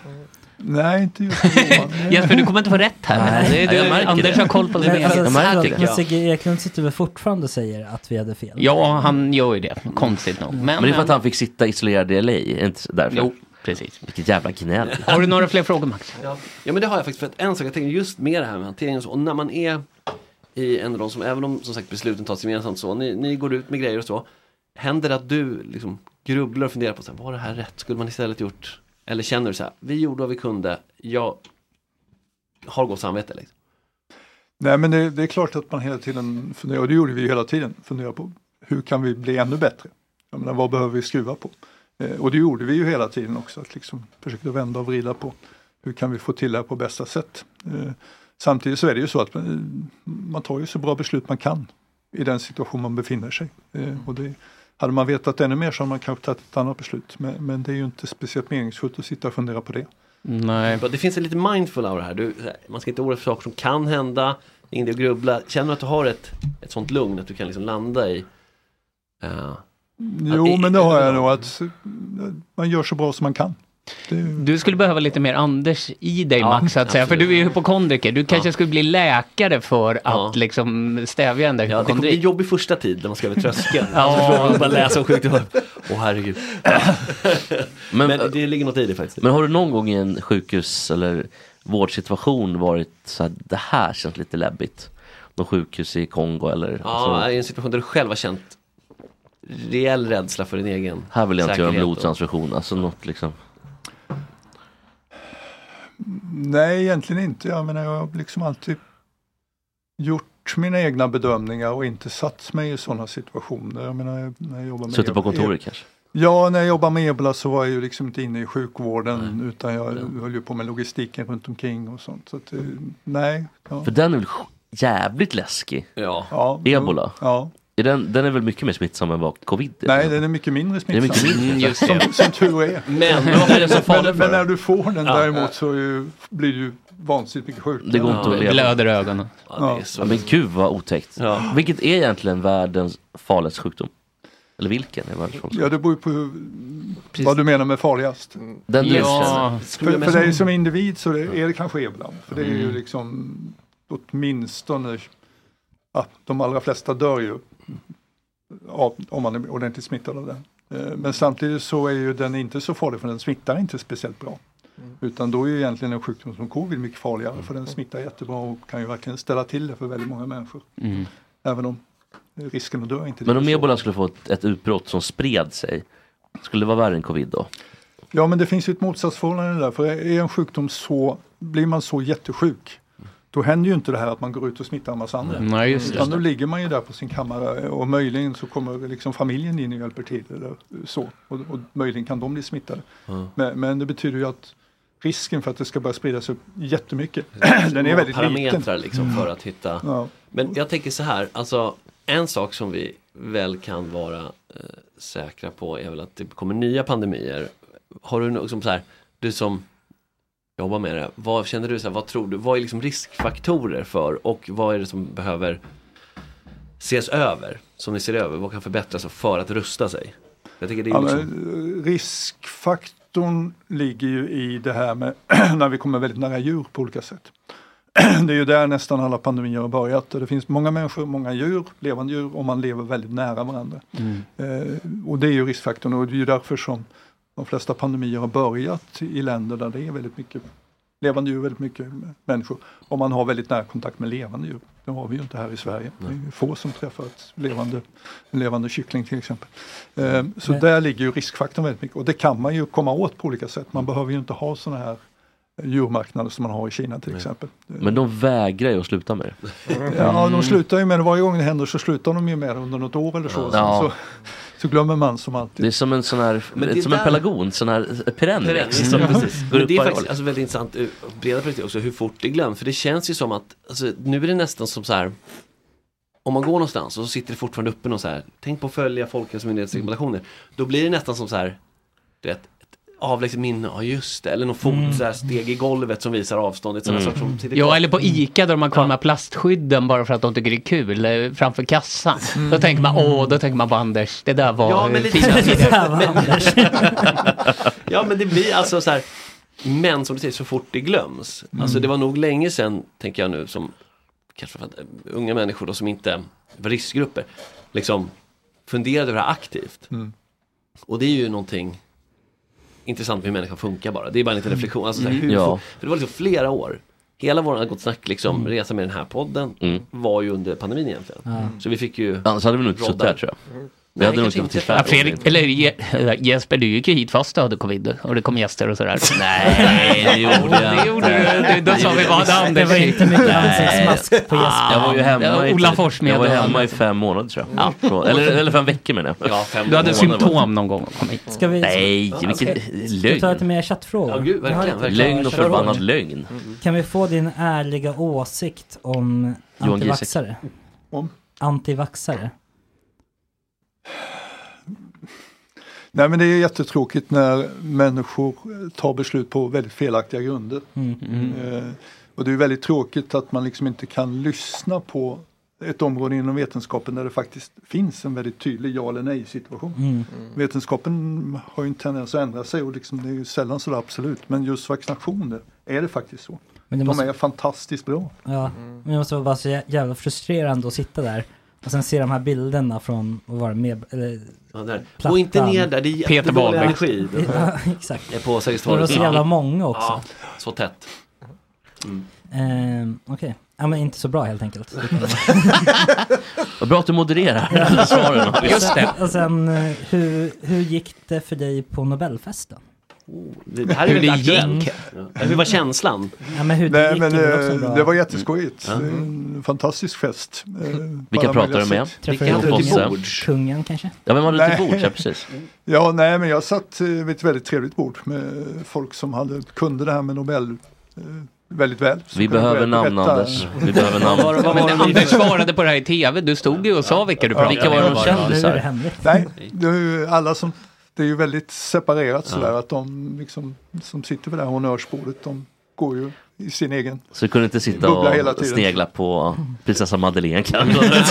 Speaker 13: Nej, inte just Johan.
Speaker 6: Jesper, du kommer inte få rätt här.
Speaker 4: Nej,
Speaker 6: Det är-
Speaker 4: jag
Speaker 6: du-
Speaker 4: märker
Speaker 6: Anders
Speaker 4: det.
Speaker 6: har koll på
Speaker 4: Jag
Speaker 6: sin
Speaker 4: märker det.
Speaker 6: egen.
Speaker 4: här tycker
Speaker 5: Men
Speaker 4: jag.
Speaker 5: alltså, Sigge Eklund sitter väl fortfarande och säger att vi hade fel?
Speaker 6: Ja, han gör ju det. Konstigt nog. Men,
Speaker 4: Men det är för att
Speaker 6: men-
Speaker 4: han fick sitta isolerad i LA, är inte därför?
Speaker 6: Jo, precis.
Speaker 4: Vilket jävla gnäll.
Speaker 6: Har du några fler frågor Max?
Speaker 14: Ja men det har jag faktiskt. För att en sak jag tänker just med det här med hanteringen och så. Och när man är i en av de som, även om som sagt besluten tas gemensamt så. Ni, ni går ut med grejer och så. Händer det att du liksom grubblar och funderar på så här, var det här rätt? Skulle man istället gjort? Eller känner du så här, vi gjorde vad vi kunde. Jag har gott samvete liksom.
Speaker 13: Nej men det, det är klart att man hela tiden funderar, och det gjorde vi ju hela tiden, funderar på hur kan vi bli ännu bättre? Jag menar, vad behöver vi skruva på? Eh, och det gjorde vi ju hela tiden också, att liksom försöka vända och vrida på hur kan vi få till det här på bästa sätt? Eh, samtidigt så är det ju så att eh, man tar ju så bra beslut man kan i den situation man befinner sig. Eh, och det, hade man vetat ännu mer så hade man kanske tagit ett annat beslut. Men, men det är ju inte speciellt meningsfullt att sitta och fundera på det.
Speaker 2: Mm.
Speaker 6: Nej.
Speaker 14: Det finns en lite mindful av det här. Du, man ska inte oroa sig för saker som kan hända. Det är inte att grubbla. Känner du att du har ett, ett sånt lugn att du kan liksom landa i? eh,
Speaker 13: Jo, men det har jag nog att eh, man gör så bra som man kan.
Speaker 6: Du skulle behöva lite mer Anders i dig
Speaker 13: Ja,
Speaker 6: Max, så att säga. För
Speaker 14: absolut.
Speaker 6: du är ju hypokondriker. Du kanske skulle bli läkare för att liksom stävja den där
Speaker 14: Ja, det kommer bli
Speaker 6: hypokondrin.
Speaker 14: jobbig första tid när man ska över tröskeln. Alltså,
Speaker 6: Ja.
Speaker 14: ja. Bara läsa om sjukdomar. Åh herregud.
Speaker 4: Men, eh,
Speaker 14: det ligger något i det faktiskt.
Speaker 4: Men har du någon gång i en sjukhus eller vårdsituation varit så här, det här känns lite läbbigt? Någon sjukhus i Kongo eller? alltså,
Speaker 14: Ja, i en situation där du själv har känt
Speaker 2: rejäl rädsla för din egen
Speaker 4: Här vill jag inte göra en
Speaker 2: säkerhet och-
Speaker 4: blodtransfusion, alltså något liksom.
Speaker 13: Nej, egentligen inte. Jag menar, jag har liksom alltid gjort mina egna bedömningar och inte satt mig i sådana situationer. Jag menar, när jag jobbar med
Speaker 4: Suttit på
Speaker 13: e-
Speaker 4: kontoret
Speaker 13: e-
Speaker 4: kanske?
Speaker 13: Ja, när jag jobbade med ebola så var jag ju liksom inte inne i sjukvården utan jag höll ju på med logistiken runt omkring och sånt. Så att, eh, nej. Ja.
Speaker 4: För den är väl sj- jävligt läskig?
Speaker 2: Ja.
Speaker 13: Ja.
Speaker 4: Ebola?
Speaker 13: Ja.
Speaker 4: Är Den, den är väl mycket mer smittsam än vad covid är?
Speaker 13: Nej, den är mycket mindre
Speaker 4: Den är
Speaker 13: smittsam.
Speaker 4: mycket mindre. Mm, just
Speaker 13: som,
Speaker 4: det.
Speaker 13: som tur är.
Speaker 4: Men varför är den så farlig
Speaker 13: men,
Speaker 4: för?
Speaker 13: men när du får den
Speaker 4: Ja.
Speaker 13: däremot så är ju, blir du ju vansinnigt mycket sjukare.
Speaker 4: Det går inte att leva.
Speaker 13: Ja, det är
Speaker 4: Ja, men gud vad otäckt.
Speaker 13: Ja.
Speaker 4: Vilket är egentligen världens farligaste sjukdom? Eller vilken är världens farligaste?
Speaker 13: Ja, det beror ju på hur, vad du menar med farligast.
Speaker 4: Den du Ja. känner.
Speaker 13: För, för dig som individ så är det kanske ebola. För det är
Speaker 4: Mm.
Speaker 13: ju liksom åtminstone, ja, de allra flesta dör ju av, om man är ordentligt smittad av den. Eh, Men samtidigt så är ju den inte så farlig för den smittar inte speciellt bra.
Speaker 4: Mm.
Speaker 13: Utan då är ju egentligen en sjukdom som covid mycket farligare för den smittar jättebra och kan ju verkligen ställa till det för väldigt många människor.
Speaker 4: Mm.
Speaker 13: Även om eh, risken att dö är inte
Speaker 4: Men om
Speaker 13: lika stor.
Speaker 4: ebola skulle få ett, ett utbrott som spred sig, skulle det vara värre än covid då?
Speaker 13: Ja, men det finns ju ett motsatsförhållande där. För är en sjukdom så, blir man så jättesjuk, då händer ju inte det här att man går ut och smittar en massa andra.
Speaker 6: Mm. Nej, just det.
Speaker 13: Utan då ligger man ju där på sin kammare och möjligen så kommer liksom familjen in och hjälper till eller så. Och, och möjligen kan de bli smittade.
Speaker 2: Ja.
Speaker 13: Men, men det betyder ju att risken för att det ska börja spridas upp jättemycket, den är
Speaker 2: många
Speaker 13: väldigt
Speaker 2: parametrar
Speaker 13: liten. Mm.
Speaker 2: Liksom för att hitta.
Speaker 13: Ja.
Speaker 2: Men jag tänker så här, alltså en sak som vi väl kan vara eh, säkra på är väl att det kommer nya pandemier. Har du något som så här, du som jobbar med det, vad känner du så här, vad tror du, vad är liksom riskfaktorer för och vad är det som behöver ses över, som ni ser över, vad kan förbättras för att rusta sig? Jag tänker det är
Speaker 13: Ja,
Speaker 2: liksom,
Speaker 13: men, eh, riskfaktorn ligger ju i det här med när vi kommer väldigt nära djur på olika sätt. Det är ju där nästan alla pandemier har börjat. och Det finns många människor, många djur, levande djur och man lever väldigt nära varandra. Eh, och det är ju riskfaktorn och det är ju därför som de flesta pandemier har börjat i länder där det är väldigt mycket levande djur, väldigt mycket människor. Och man har väldigt nära kontakt med levande djur. Det har vi ju inte här i Sverige. Det är ju få som träffar ett levande, en levande kyckling till exempel. Eh, så
Speaker 5: Nej.
Speaker 13: där ligger ju riskfaktorn väldigt mycket och det kan man ju komma åt på olika sätt. Man behöver ju inte ha sådana här eh, djurmarknader som man har i Kina till exempel.
Speaker 4: Men de vägrar ju att sluta med det.
Speaker 13: Ja, de slutar ju med det. Varje gång det händer så slutar de ju med det under något år eller så.
Speaker 4: Ja.
Speaker 13: Så, så glömmer man som alltid.
Speaker 4: Det är som en sån här,
Speaker 13: Men det
Speaker 4: som
Speaker 13: där-
Speaker 4: en pelargon, sån här perennix.
Speaker 2: Perennis,
Speaker 4: som
Speaker 2: ja, precis.
Speaker 4: går
Speaker 2: Men
Speaker 4: upp
Speaker 2: det är
Speaker 4: varje
Speaker 2: faktiskt
Speaker 4: år.
Speaker 2: alltså, väldigt intressant ur breda perspektiv också hur fort det glöms. För det känns ju som att alltså, nu är det nästan som så här om man går någonstans och så sitter det fortfarande uppe någon så här, tänk på att följa Folkhälsomyndighetens rekommendationer. Då blir det nästan som så här, du vet, ett avlägset minne, ja just det, eller någon fot,
Speaker 4: Mm.
Speaker 2: så här, steg i golvet som visar avståndet. Sådana saker som sitter
Speaker 6: Ja,
Speaker 2: kvar. Mm.
Speaker 6: eller på ICA där de har kvar de här plastskydden bara för att de tycker det är kul eh, framför kassan. Då tänker man, åh, då tänker man på Anders, det där var
Speaker 2: Mm. Ja, men
Speaker 6: eh,
Speaker 2: lite
Speaker 6: fina
Speaker 2: så.
Speaker 6: tider.
Speaker 2: ja men det blir alltså så här Men som du säger så fort det glöms
Speaker 4: Mm.
Speaker 2: Alltså det var nog länge sedan tänker jag nu som Kanske för att, eh, unga människor då som inte var riskgrupper Liksom funderade över det här aktivt
Speaker 13: Mm.
Speaker 2: Och det är ju någonting Intressant med hur människan funkar bara Det är bara en liten reflektion alltså, så här, hur,
Speaker 4: Mm. Ja.
Speaker 2: får- För det var liksom flera år Hela våran Gott Snack liksom, resa med den här podden
Speaker 4: Mm.
Speaker 2: var ju under pandemin egentligen.
Speaker 4: Mm.
Speaker 2: Så vi fick ju...
Speaker 4: Annars hade vi nog inte
Speaker 2: rodda.
Speaker 4: suttit här tror jag. Vi hade nog
Speaker 2: Mm. kanske
Speaker 4: inte varit i
Speaker 6: Ja,
Speaker 4: Sverige.
Speaker 6: Fredrik, eller Je- Jesper, du gick ju hit fast du hade covid och det kom gäster och sådär.
Speaker 4: Nej, det gjorde jag
Speaker 6: Det gjorde
Speaker 4: inte.
Speaker 6: du. Då sa vi vad
Speaker 4: Det
Speaker 6: hade Anders
Speaker 4: var inte mycket
Speaker 6: Nej.
Speaker 4: ansiktssmask på
Speaker 6: Ah,
Speaker 4: Jag var ju hemma, i,
Speaker 6: Ola Forssmed.
Speaker 4: jag var hemma i fem månader tror jag. Så, Eller, eller fem veckor menar jag.
Speaker 6: Ja, fem Du hade månader var det. symptom någon gång och kom hit.
Speaker 5: Ska vi,
Speaker 4: Nej,
Speaker 5: ska-
Speaker 4: vilken
Speaker 5: Ska vi ta
Speaker 4: lögn.
Speaker 5: lite mer chattfrågor?
Speaker 4: Ja, gud,
Speaker 5: Jag har
Speaker 4: verkligen,
Speaker 5: lite
Speaker 4: verkligen.
Speaker 5: klara
Speaker 4: Lögn och
Speaker 5: chattfrågor.
Speaker 4: förbannad lögn.
Speaker 5: Kan vi få din ärliga åsikt om
Speaker 4: Johan
Speaker 5: antivaxare?
Speaker 13: Om?
Speaker 5: Antivaxare.
Speaker 13: Nej men det är jättetråkigt när människor tar beslut på väldigt felaktiga grunder.
Speaker 5: Mm.
Speaker 13: Eh, och det är väldigt tråkigt att man liksom inte kan lyssna på ett område inom vetenskapen där det faktiskt finns en väldigt tydlig ja eller nej situation.
Speaker 5: Mm. Mm.
Speaker 13: Vetenskapen har ju en tendens att ändra sig och liksom det är ju sällan sådär absolut. Men just vaccinationer är det faktiskt så.
Speaker 5: Men det måste-
Speaker 13: De är fantastiskt bra.
Speaker 5: Ja,
Speaker 2: Mm.
Speaker 5: men det måste vara så jä- jävla frustrerande att sitta där och sen se de här bilderna från, vad var det, med, eller,
Speaker 2: Ja, där.
Speaker 5: plattan.
Speaker 2: Gå inte ner där, det är jättedålig energi.
Speaker 5: Ja, exakt.
Speaker 2: Det är på Sergels
Speaker 5: Det var
Speaker 2: torg.
Speaker 5: så jävla många också.
Speaker 2: Mm. Ja, så tätt.
Speaker 5: Ehm, Okej, Ja men inte så bra helt enkelt.
Speaker 4: Vad bra att du modererar svaren. Marcus.
Speaker 5: Och sen eh, hur, hur gick det för dig på Nobelfesten?
Speaker 2: Oh, Det, det här är ju
Speaker 5: Hur
Speaker 2: lite
Speaker 5: det
Speaker 2: aktuellt.
Speaker 5: gick.
Speaker 2: Ja. Hur var känslan?
Speaker 5: Ja men hur det
Speaker 13: Nej,
Speaker 5: gick
Speaker 13: men,
Speaker 5: är väl också
Speaker 13: eh,
Speaker 5: bra.
Speaker 13: det var jätteskojigt.
Speaker 5: Mm.
Speaker 13: Det är En fantastisk fest. eh, på
Speaker 4: Vilka
Speaker 13: alla
Speaker 4: pratar
Speaker 13: möjliga
Speaker 4: du med?
Speaker 13: sätt.
Speaker 5: Träffade du bords? Kungen kanske?
Speaker 4: Ja, vem hade du till
Speaker 13: Nej.
Speaker 4: bords? Ja, precis.
Speaker 13: Ja, nej, men jag satt eh, vid ett väldigt trevligt bord med folk som hade, kunde det här med Nobel eh, väldigt väl. Så
Speaker 4: Vi
Speaker 13: kunde
Speaker 4: behöver
Speaker 6: Mm.
Speaker 13: berätta-
Speaker 4: namn, Anders. Vi behöver namn.
Speaker 6: Vad var- Men Anders svarade på det här i tv, du stod ju och sa vilka du pratade
Speaker 4: Vilka var de kändisar?
Speaker 13: Nej, det är ju alla som, det är ju väldigt separerat sådär att de liksom, som sitter vid det här honnörsbordet, de går ju i sin egen.
Speaker 4: Så du kunde inte sitta
Speaker 13: Bubbla hela
Speaker 4: och
Speaker 13: tiden.
Speaker 4: snegla på prinsessa Madeleine kanske?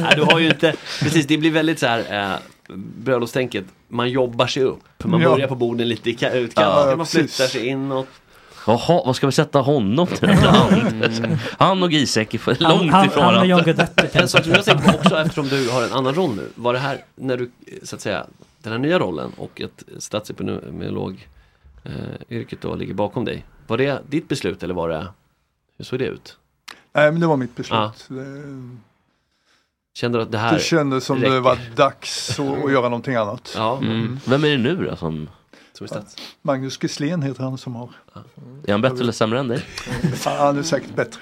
Speaker 2: Nej, du har ju inte, precis det blir väldigt så här eh, bröllopstänket, man jobbar sig upp, man
Speaker 4: Ja.
Speaker 2: börjar på borden lite i ka-
Speaker 4: Ja,
Speaker 2: utkanten, man
Speaker 4: precis.
Speaker 2: flyttar sig inåt.
Speaker 4: Jaha, vad ska vi sätta honom till? Han och Giesecke är för långt ifrån varandra.
Speaker 2: En sak som jag tänker på också eftersom du har en annan roll nu. Var det här när du, så att säga, den här nya rollen och ett statsepidemiolog eh, yrket då ligger bakom dig. Var det ditt beslut eller var det, hur såg det ut?
Speaker 13: Nej, men det var mitt beslut.
Speaker 2: Ja.
Speaker 13: Det-
Speaker 2: Kände du att det här
Speaker 13: Det kändes som det
Speaker 2: räcker?
Speaker 13: var dags att, att göra någonting annat.
Speaker 2: Ja.
Speaker 4: Mm. Vem är det nu då? Som,
Speaker 2: Som är stats?
Speaker 13: Magnus Gisslén heter han som har.
Speaker 4: är han bättre eller sämre än dig?
Speaker 13: Han är säkert bättre.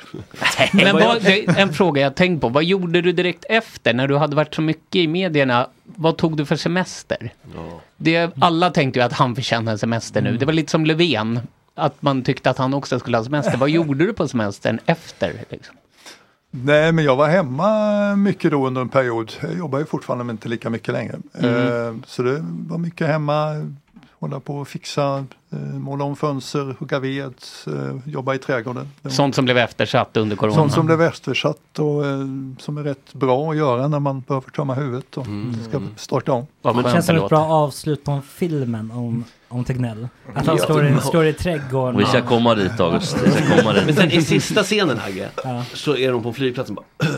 Speaker 6: Men vad, det, är en fråga jag tänkt på, vad gjorde du direkt efter när du hade varit så mycket i medierna? Vad tog du för semester? Det, alla tänkte ju att han förtjänar en semester
Speaker 13: Mm.
Speaker 6: nu. Det var lite som Löfven, att man tyckte att han också skulle ha semester. Vad gjorde du på semestern efter? Liksom?
Speaker 13: Nej, men jag var hemma mycket då under en period. Jag jobbar ju fortfarande men inte lika mycket längre.
Speaker 6: Mm.
Speaker 13: Eh, så det var mycket hemma, hålla på och fixa, eh, måla om fönster, hugga ved, eh, jobba i trädgården. Det var
Speaker 6: Sånt som blev eftersatt under corona.
Speaker 13: Mm. Sånt som blev eftersatt och eh, som är rätt bra att göra när man behöver tömma huvudet och ska starta om.
Speaker 6: Vad
Speaker 5: Det känns som ett bra avslut på filmen om, om Tegnell. Att han
Speaker 13: Ja.
Speaker 5: står, i, står i trädgården.
Speaker 4: Vi ska komma dit August. Vi ska komma dit.
Speaker 2: Men sen i sista scenen Hagge,
Speaker 5: Ja.
Speaker 2: så är de på flygplatsen bara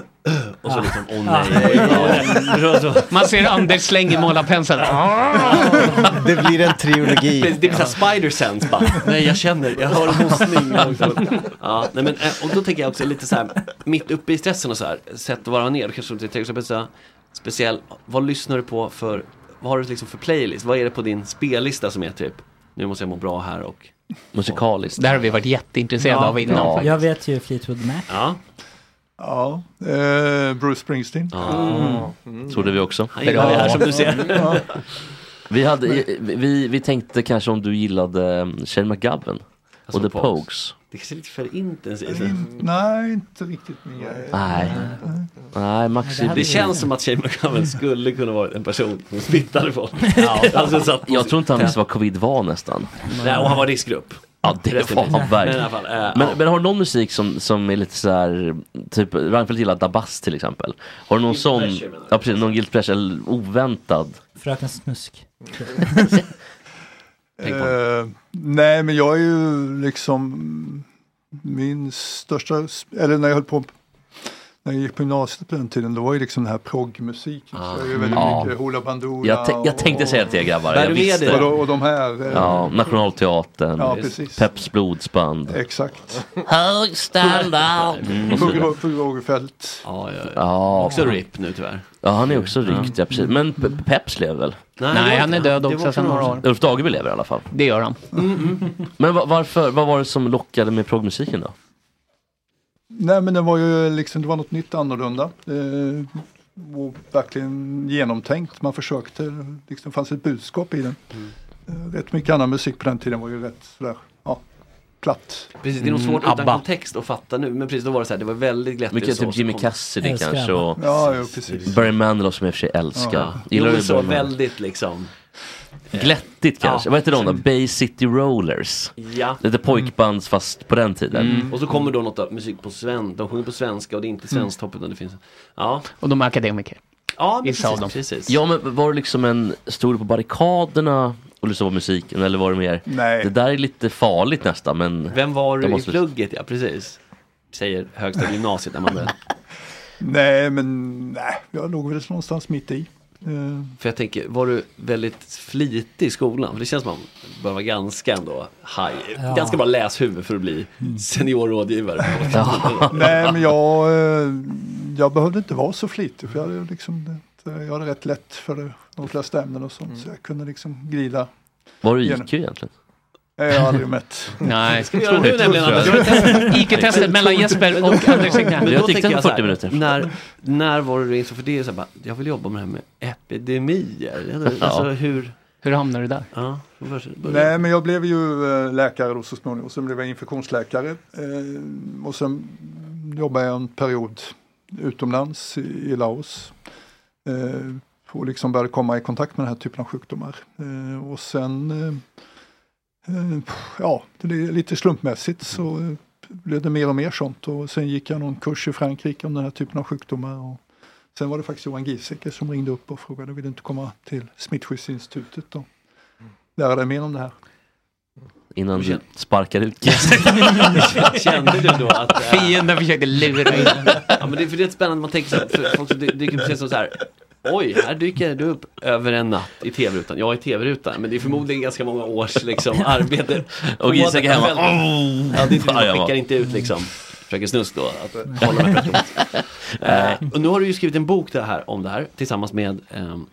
Speaker 2: och så
Speaker 6: Ja.
Speaker 2: liksom, åh
Speaker 6: Ja.
Speaker 2: nej. Ja. Så-
Speaker 6: Man ser Anders slänger målarpenseln.
Speaker 2: Det blir en trilogi. Det, det blir såhär spider sense bara. Nej jag känner, jag hör en hostning. ja, nej, men, eh, och då tänker jag också lite så här, mitt uppe i stressen och så här, sätt att vara ner. Kanske till exempel så här, speciell, vad lyssnar du på för, vad har du liksom för playlist? Vad är det på din spellista som är typ, nu måste jag må bra här och
Speaker 4: musikaliskt.
Speaker 6: Det här har vi varit jätteintresserade av innan. faktiskt.
Speaker 5: Jag vet ju Fleetwood Mac.
Speaker 2: Ja.
Speaker 13: Ja, eh, Bruce Springsteen.
Speaker 4: Ja. Trodde vi också.
Speaker 13: Han gillar det här som du ser. Ja.
Speaker 4: Vi, hade, vi, vi tänkte kanske om du gillade eh, Shane McGavin och The
Speaker 2: Pogues.
Speaker 4: Pogues.
Speaker 2: det kanske är lite för intensivt.
Speaker 4: Mm.
Speaker 13: Nej, inte riktigt min grej.
Speaker 4: Nej. Nej, Max
Speaker 2: Det känns som att Shane McGovern skulle kunna vara en person som smittade folk. Ja, alltså satt på
Speaker 4: Jag
Speaker 2: sitt
Speaker 4: tror inte han
Speaker 2: tält.
Speaker 4: visste vad covid var nästan.
Speaker 2: Nej, och han var riskgrupp.
Speaker 4: Ja, det
Speaker 2: Resten
Speaker 4: var han
Speaker 2: är- Men i alla
Speaker 4: verkligen.
Speaker 2: fall, eh,
Speaker 4: Men,
Speaker 2: ja.
Speaker 4: men har du någon musik som, som är lite så här, typ Reinfeldt gillar Dabas till exempel. Har du någon sån,
Speaker 5: pleasure, menar
Speaker 4: ja precis, någon guilt pleasure, eller oväntad?
Speaker 5: Fröken Snusk.
Speaker 13: Eh, nej, men jag är ju liksom min största, eller när jag höll på när jag gick på gymnasiet på den tiden, då var ju liksom den här proggmusiken. så jag är ju väldigt
Speaker 4: Ja.
Speaker 13: mycket Hoola Bandoola.
Speaker 4: Jag, tänk- jag tänkte säga det till er grabbar, jag visste.
Speaker 13: Och, och de här. eh,
Speaker 4: Ja, Nationalteatern,
Speaker 13: Ja, precis.
Speaker 4: Peps blodsband.
Speaker 13: Exakt.
Speaker 4: Hög standard. Mm.
Speaker 13: Pugh Ro- Pugh Rogefeldt.
Speaker 2: Ja, ja,
Speaker 4: Ja.
Speaker 2: Typ. Också RIP nu tyvärr.
Speaker 4: Ja, han är också rykt, ja precis. Men Pe- Peps lever väl?
Speaker 2: Nej, Nej, det var- han är död det också var sedan några några år.
Speaker 4: Ulf Dageby lever i alla fall.
Speaker 6: Det gör han.
Speaker 4: Men va- varför, vad var det som lockade med progmusiken då?
Speaker 13: Nej men det var ju liksom, det var något nytt annorlunda. Eh, och verkligen genomtänkt. Man försökte, liksom det fanns ett budskap i den. Eh, rätt mycket annan musik på den tiden var ju rätt sådär, ja, platt. Mm,
Speaker 2: Precis, det är nog
Speaker 4: Mm,
Speaker 2: svårt utan kontext att fatta nu. Men precis, då var det så här, det var väldigt glättigt.
Speaker 4: Mycket
Speaker 2: så,
Speaker 4: typ
Speaker 2: så
Speaker 4: Jimmy
Speaker 2: kom-
Speaker 4: Cassidy kanske och
Speaker 13: Ja, ja, precis.
Speaker 4: Barry Manilow som jag i och för sig älskar.
Speaker 2: Ja.
Speaker 4: Gillar
Speaker 2: Jo,
Speaker 4: du
Speaker 2: men så
Speaker 4: Barry Manilow?
Speaker 2: väldigt liksom.
Speaker 4: Glättigt
Speaker 2: Ja. Mm.
Speaker 4: kanske. Vad heter de då? Bay City Rollers.
Speaker 2: Ja.
Speaker 4: Lite pojkbands fast på den tiden.
Speaker 2: Mm. Och så kommer då något av musik på svenska. De sjunger på svenska och det är
Speaker 4: Mm.
Speaker 2: inte svenskt hopp utan det finns. Ja,
Speaker 6: Och de är akademiker.
Speaker 2: ja men
Speaker 6: Vissa av
Speaker 2: precis,
Speaker 6: dem.
Speaker 2: precis.
Speaker 4: Ja men var det liksom en, stod du på barrikaderna och lyssnade på musiken eller var det mer?
Speaker 2: Nej.
Speaker 4: Det där är lite farligt nästan men.
Speaker 2: Vem var
Speaker 4: de
Speaker 2: du i
Speaker 4: måste-
Speaker 2: plugget? Ja, precis. Säger högstadiegymnasiet när man börjar.
Speaker 13: Nej men nej, jag låg väl någonstans mitt i. Eh,
Speaker 2: För jag tänker, var du väldigt flitig i skolan? För det känns som att man bör vara ganska ändå high.
Speaker 13: Ja.
Speaker 2: Ganska bra läshuvud för att bli seniorrådgivare.
Speaker 13: Nej, men jag, eh, jag behövde inte vara så flitig för jag hade, liksom, ett- jag hade rätt lätt för de flesta ämnen och sånt.
Speaker 2: Mm.
Speaker 13: Så jag kunde liksom grida.
Speaker 4: Var du
Speaker 13: igenom.
Speaker 4: IQ egentligen?
Speaker 13: Eh, Jag har aldrig mätt.
Speaker 6: Nej. Ska vi göra nu nämligen, Anders? Gör ett test. IQ-testet mellan Jesper och Anders Tegnell.
Speaker 2: Men då
Speaker 6: Jag tyckte
Speaker 2: tänker
Speaker 6: det var
Speaker 2: så här,
Speaker 6: 40 minuter.
Speaker 2: När, när var du insåg, för det är så här, bara, jag vill jobba med det här med epidemier.
Speaker 6: Ja.
Speaker 2: Alltså, hur...
Speaker 6: Hur hamnade du där?
Speaker 2: Ja, vars- börja.
Speaker 13: Nej, men jag blev ju eh, läkare då så småningom. Sen blev jag infektionsläkare. Eh, Och sen jobbade jag en period utomlands i i Laos. Eh, Och liksom började komma i kontakt med den här typen av sjukdomar. Eh, Och sen, eh, eh, ja, det är lite slumpmässigt så eh, blev det mer och mer sånt. Och sen gick jag någon kurs i Frankrike om den här typen av sjukdomar. Och sen var det faktiskt Johan Giesecke som ringde upp och frågade, vill du inte komma till Smittskyddsinstitutet och lära dig mer om det här?
Speaker 4: Innan du sparkar ut
Speaker 2: Kände du då att... äh,
Speaker 6: Fienden försökte lura in.
Speaker 2: Ja, men det, för det är spännande, man tänker så här, för folk som dy- dyker precis som så här. Oj, här dyker du upp över en natt i tv-rutan. Jag i tv-rutan, men det är förmodligen ganska många års liksom, arbete.
Speaker 4: Och Isak är hemma.
Speaker 2: Ja, det är inte det,
Speaker 4: Fan, jag
Speaker 2: man
Speaker 4: var-
Speaker 2: skickar inte ut liksom. Fröken Snusk då. Att hålla med fröken Snusk. Eh, och nu har du ju skrivit en bok det här, om det här tillsammans med ehm,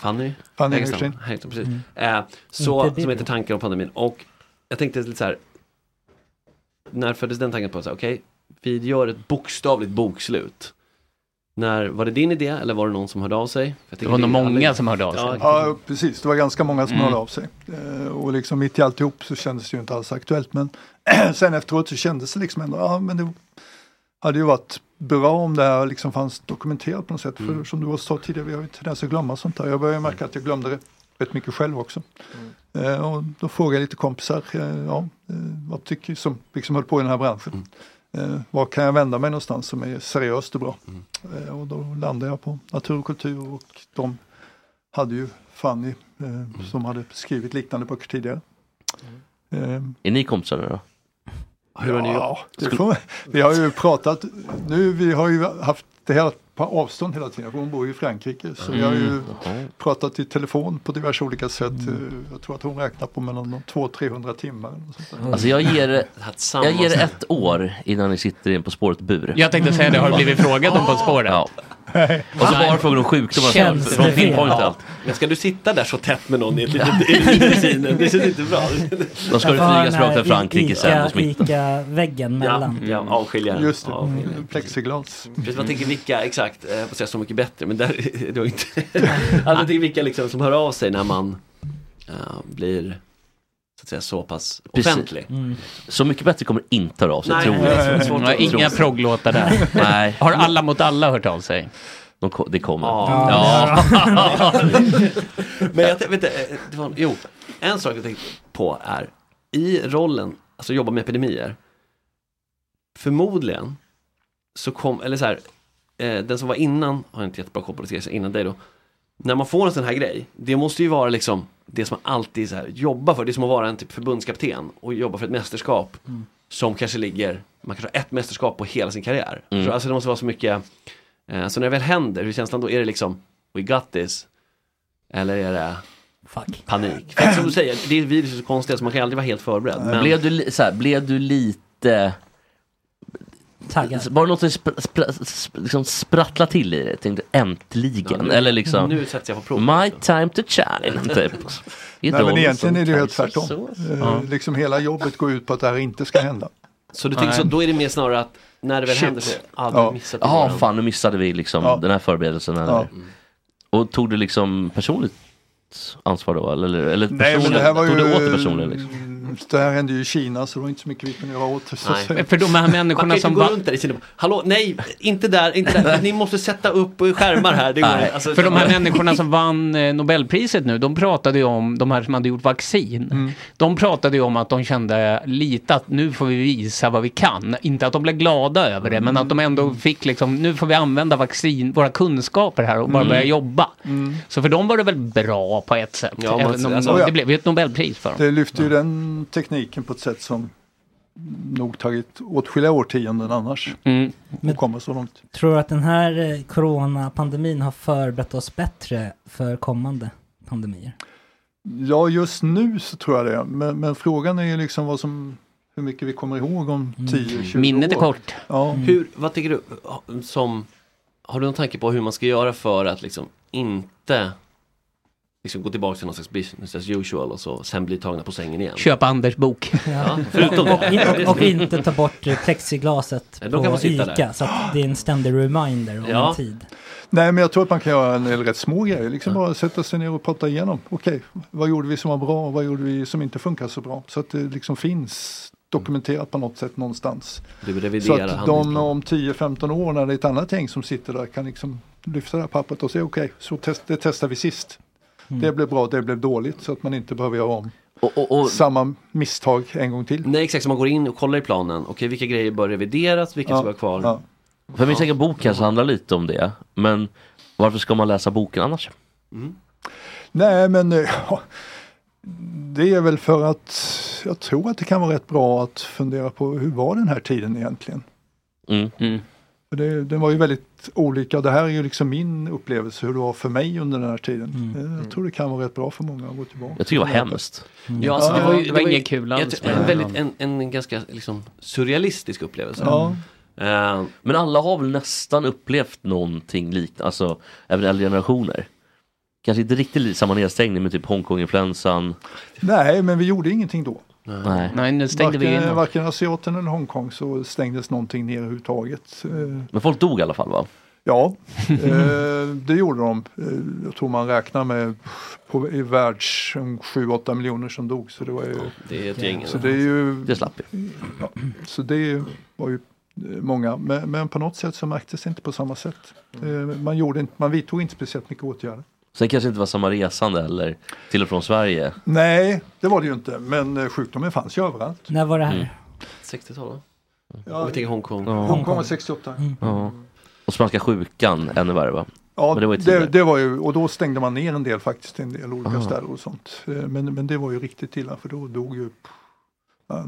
Speaker 2: Fanny Hägerstrand.
Speaker 13: Fanny Hägerstrand.
Speaker 2: Hägerstrand, precis.
Speaker 13: Mm.
Speaker 2: Eh, så,
Speaker 13: Inte det
Speaker 2: som heter
Speaker 13: då.
Speaker 2: Tankar om pandemin. Och jag tänkte lite så här, när föddes den tanken på att säga, okej, vi gör ett bokstavligt bokslut? När, var det din idé eller var det någon som hörde av sig? För jag tänker är alla-
Speaker 13: Ja, precis. Det var ganska många som
Speaker 2: Mm.
Speaker 13: hörde av sig. Eh, Och liksom mitt i alltihop så kändes det ju inte alls aktuellt. Men sen efteråt så kändes det liksom ändå, ja men det hade ju varit bra om det här liksom fanns dokumenterat på något sätt. För som du också sa tidigare, vi har ju tendens att glömma sånt här. Jag började märka att jag glömde det rätt mycket själv också. Eh, och då frågade jag lite kompisar, eh, ja, eh, vad tycker som liksom höll på i den här branschen. Eh, var kan jag vända mig någonstans som är seriöst och bra? Eh, och då landade jag på natur och kultur och de hade ju Fanny eh, som hade skrivit liknande böcker tidigare. Eh,
Speaker 4: Är ni kompisar nu då?
Speaker 13: Hur har ni ja, det får, man- vi har ju pratat, nu vi har ju haft det här på avstånd hela tiden, för hon bor ju i Frankrike. Så vi har ju
Speaker 4: Mm. Jaha.
Speaker 13: pratat i telefon på diverse olika sätt. Eh, Jag tror att hon räknar på mellan 200-300 timmar. eller något sånt där.
Speaker 4: Alltså jag ger, jag
Speaker 13: tillsammans.
Speaker 4: ger ett år innan ni sitter i en På spåret-bur.
Speaker 6: Jag tänkte säga det, har du blivit frågad om På spåret?
Speaker 4: Ja. Och så bara frågor om sjukdomar. Känns Från det fel? pinpoint och allt.
Speaker 2: Men ska du sitta där så tätt med någon i ett litet i ett litet kasino? Det känns inte bra.
Speaker 4: Då ska du
Speaker 5: Jag var
Speaker 4: flygas
Speaker 5: den här
Speaker 4: rakt till Frankrike
Speaker 5: I-
Speaker 4: sen och
Speaker 5: Ica,
Speaker 4: smitta.
Speaker 5: Ica-väggen mellan.
Speaker 2: Ja, avskiljaren.
Speaker 13: Just det,
Speaker 2: Avskiljaren.
Speaker 13: plexiglas.
Speaker 2: Precis,
Speaker 4: Mm.
Speaker 2: man tänker vilka, exakt, eh, jag får säga så mycket bättre men där är det ju inte. alltså jag tänker vilka liksom som hör av sig när man eh, blir så att säga så pass
Speaker 4: Precis.
Speaker 2: offentlig.
Speaker 4: Så mycket bättre kommer inte höra av sig,
Speaker 2: Nej,
Speaker 4: tror
Speaker 2: nej, nej, nej. Svårt
Speaker 4: jag.
Speaker 2: att-
Speaker 4: Tror
Speaker 6: Inga
Speaker 4: jag.
Speaker 6: progglåtar där.
Speaker 4: Nej.
Speaker 6: Har alla mot alla hört av sig?
Speaker 4: De ko- det kommer.
Speaker 2: Ja. Men jag tänkte, vänta, eh, det var, jo, en sak jag tänkte på är i rollen, alltså jobba med epidemier, förmodligen så kom, eller så här, eh, den som var innan, har jag inte jättebra koll på det, ska jag säga, innan dig då, när man får en sån här grej, det måste ju vara liksom det som man alltid så här, jobbar för, det är som att vara en typ förbundskapten och jobba för ett mästerskap
Speaker 4: Mm.
Speaker 2: som kanske ligger, man kanske har ett mästerskap på hela sin karriär.
Speaker 4: Mm.
Speaker 2: Så, alltså det måste vara så mycket, eh, så när det väl händer, hur känns det då? Är det liksom, we got this? Eller är det panik? För att som du säger, det är virus är så konstigt så man kan aldrig vara helt förberedd. Men...
Speaker 4: Blev, du, li- så här, blev du lite... Var det något som sp- spra- sp- liksom sprattlade till i dig? Tänkte äntligen.
Speaker 2: Ja, nu-
Speaker 4: Eller liksom...
Speaker 2: nu sätts jag på prov.
Speaker 4: My time to shine. Typ.
Speaker 13: Nej, men egentligen är det ju helt tvärtom. Eh,
Speaker 2: Ja.
Speaker 13: Liksom hela jobbet går ut på att det här inte ska hända.
Speaker 2: Så du tänker så, då är det mer snarare att när det väl
Speaker 13: Shit.
Speaker 2: händer så, ah, du
Speaker 13: Ja.
Speaker 2: missat
Speaker 4: Ja,
Speaker 2: våran-
Speaker 4: fan nu missade vi liksom den här förberedelsen. Eller?
Speaker 13: Ja.
Speaker 4: Och tog du liksom personligt ansvar då? Eller, eller
Speaker 13: Nej, men
Speaker 4: personligen-
Speaker 13: det här var
Speaker 4: tog du
Speaker 13: ju- mm,
Speaker 4: åt det personligen? Liksom?
Speaker 13: Det här hände ju i Kina så det var inte så mycket vi kunde göra åt det. så att säga.
Speaker 2: Nej. Man kan ju inte gå runt där i Kina. Hallå, nej, inte där, inte där. Ni måste sätta upp skärmar här. Det går, inte. Alltså,
Speaker 6: För de här människorna som vann eh, Nobelpriset nu, de pratade ju om, de här som hade gjort vaccin, de pratade ju om att de kände lite att nu får vi visa vad vi kan. Inte att de blev glada över det, men att de ändå fick liksom, nu får vi använda vaccin, våra kunskaper här och bara
Speaker 13: Mm.
Speaker 6: börja jobba.
Speaker 13: Mm.
Speaker 6: Så för dem var det väl bra på ett sätt.
Speaker 13: Ja, man-
Speaker 6: Även om
Speaker 13: alltså-
Speaker 6: det blev ju ett Nobelpris för dem.
Speaker 13: Det lyfte ju den tekniken på ett sätt som nog tagit åtskilliga årtionden annars
Speaker 6: mm.
Speaker 13: att komma så långt.
Speaker 5: Tror du att den här eh, coronapandemin har förberett oss bättre för kommande pandemier?
Speaker 13: Ja, just nu så tror jag det. Men, men frågan är ju liksom vad som, hur mycket vi kommer ihåg om
Speaker 2: Mm.
Speaker 13: 10-20 Mm. år.
Speaker 6: Mm. Minnet är kort. Mm.
Speaker 13: Ja.
Speaker 2: Hur, vad tänker du eh, som, har du någon tanke på hur man ska göra för att liksom inte liksom gå tillbaka till någon slags business as usual och så sen bli tagna på sängen igen?
Speaker 6: Köp Anders bok.
Speaker 2: Ja, förutom det.
Speaker 5: och, och, och inte ta bort eh, plexiglaset
Speaker 2: Nej, de kan
Speaker 5: på
Speaker 2: få sitta
Speaker 5: Ica.
Speaker 2: där.
Speaker 5: Så att det är en ständig reminder om
Speaker 13: Ja.
Speaker 5: en tid.
Speaker 13: Nej, men jag tror att man kan göra en del rätt små grejer. Liksom bara sätta sig ner och prata igenom. Okej, vad gjorde vi som var bra och vad gjorde vi som inte funkar så bra? Så att det liksom finns dokumenterat på något sätt någonstans.
Speaker 2: Du
Speaker 13: Så
Speaker 2: reviderar
Speaker 13: att de
Speaker 2: handlingsplanen.
Speaker 13: om 10-15 år när det är ett annat gäng som sitter där kan liksom lyfta det här pappret och säga okej, så test, det testar vi sist.
Speaker 2: Mm.
Speaker 13: Det blev bra, det blev dåligt så att man inte behöver göra om
Speaker 2: och-
Speaker 13: samma misstag en gång till.
Speaker 2: Nej exakt, så man går in och kollar i planen. Okej, vilka grejer bör revideras, vilka
Speaker 13: Ja,
Speaker 2: ska vara kvar?
Speaker 13: ja.
Speaker 4: För min egen bok kanske handlar lite om det. Men varför ska man läsa boken annars?
Speaker 13: Nej, men eh, ja, det är väl för att jag tror att det kan vara rätt bra att fundera på hur var den här tiden egentligen?
Speaker 4: Mm.
Speaker 13: För det, den var ju väldigt olika. Det här är ju liksom min upplevelse hur det var för mig under den här tiden. Eh, Jag tror det kan vara rätt bra för många att gå tillbaka.
Speaker 4: Jag tycker det var hemskt.
Speaker 2: Ja, alltså, det var ju, det var ju-
Speaker 6: inget kul
Speaker 2: jag
Speaker 6: alls
Speaker 2: tror-
Speaker 6: med
Speaker 2: En,
Speaker 6: det.
Speaker 2: väldigt, en, en ganska liksom, surrealistisk upplevelse.
Speaker 4: Ja.
Speaker 2: Eh,
Speaker 4: Men alla har väl nästan upplevt någonting liknande, alltså även äldre generationer. Kanske inte riktigt li- samma nedstängning med typ Hongkong-influensan.
Speaker 13: Nej, men vi gjorde ingenting då.
Speaker 4: Nej.
Speaker 13: varken, varken Asiaten eller Hongkong så stängdes någonting ner överhuvudtaget. Eh,
Speaker 4: Men folk dog i alla fall va?
Speaker 13: Ja, eh, det gjorde de. Eh, Jag tror man räknar med på, i världs 7-8 miljoner som dog. Så det var ju...
Speaker 2: det är ett gäng.
Speaker 13: Så det är ju...
Speaker 4: Det slapp
Speaker 13: Ja, så det var ju eh, många. Men, men på något sätt så märktes det inte på samma sätt. Eh, Man, gjorde inte, man vidtog inte speciellt mycket åtgärder.
Speaker 4: Sen kanske inte var samma resande heller till och från Sverige.
Speaker 13: Nej, det var det ju inte. Men eh, sjukdomen fanns ju överallt.
Speaker 5: När var det här?
Speaker 4: Mm.
Speaker 2: 60-tal va?
Speaker 13: Ja.
Speaker 2: Och vi tänker Hongkong.
Speaker 4: Ja.
Speaker 13: Hongkong var 68.
Speaker 4: Ja. Och spanska sjukan ännu värre va?
Speaker 13: Ja,
Speaker 4: Men det var ju
Speaker 13: det,
Speaker 4: tidigare.
Speaker 13: det var ju, och då stängde man ner en del faktiskt, en del olika
Speaker 4: Aha.
Speaker 13: städer och sånt. Eh, Men, men det var ju riktigt illa för då dog ju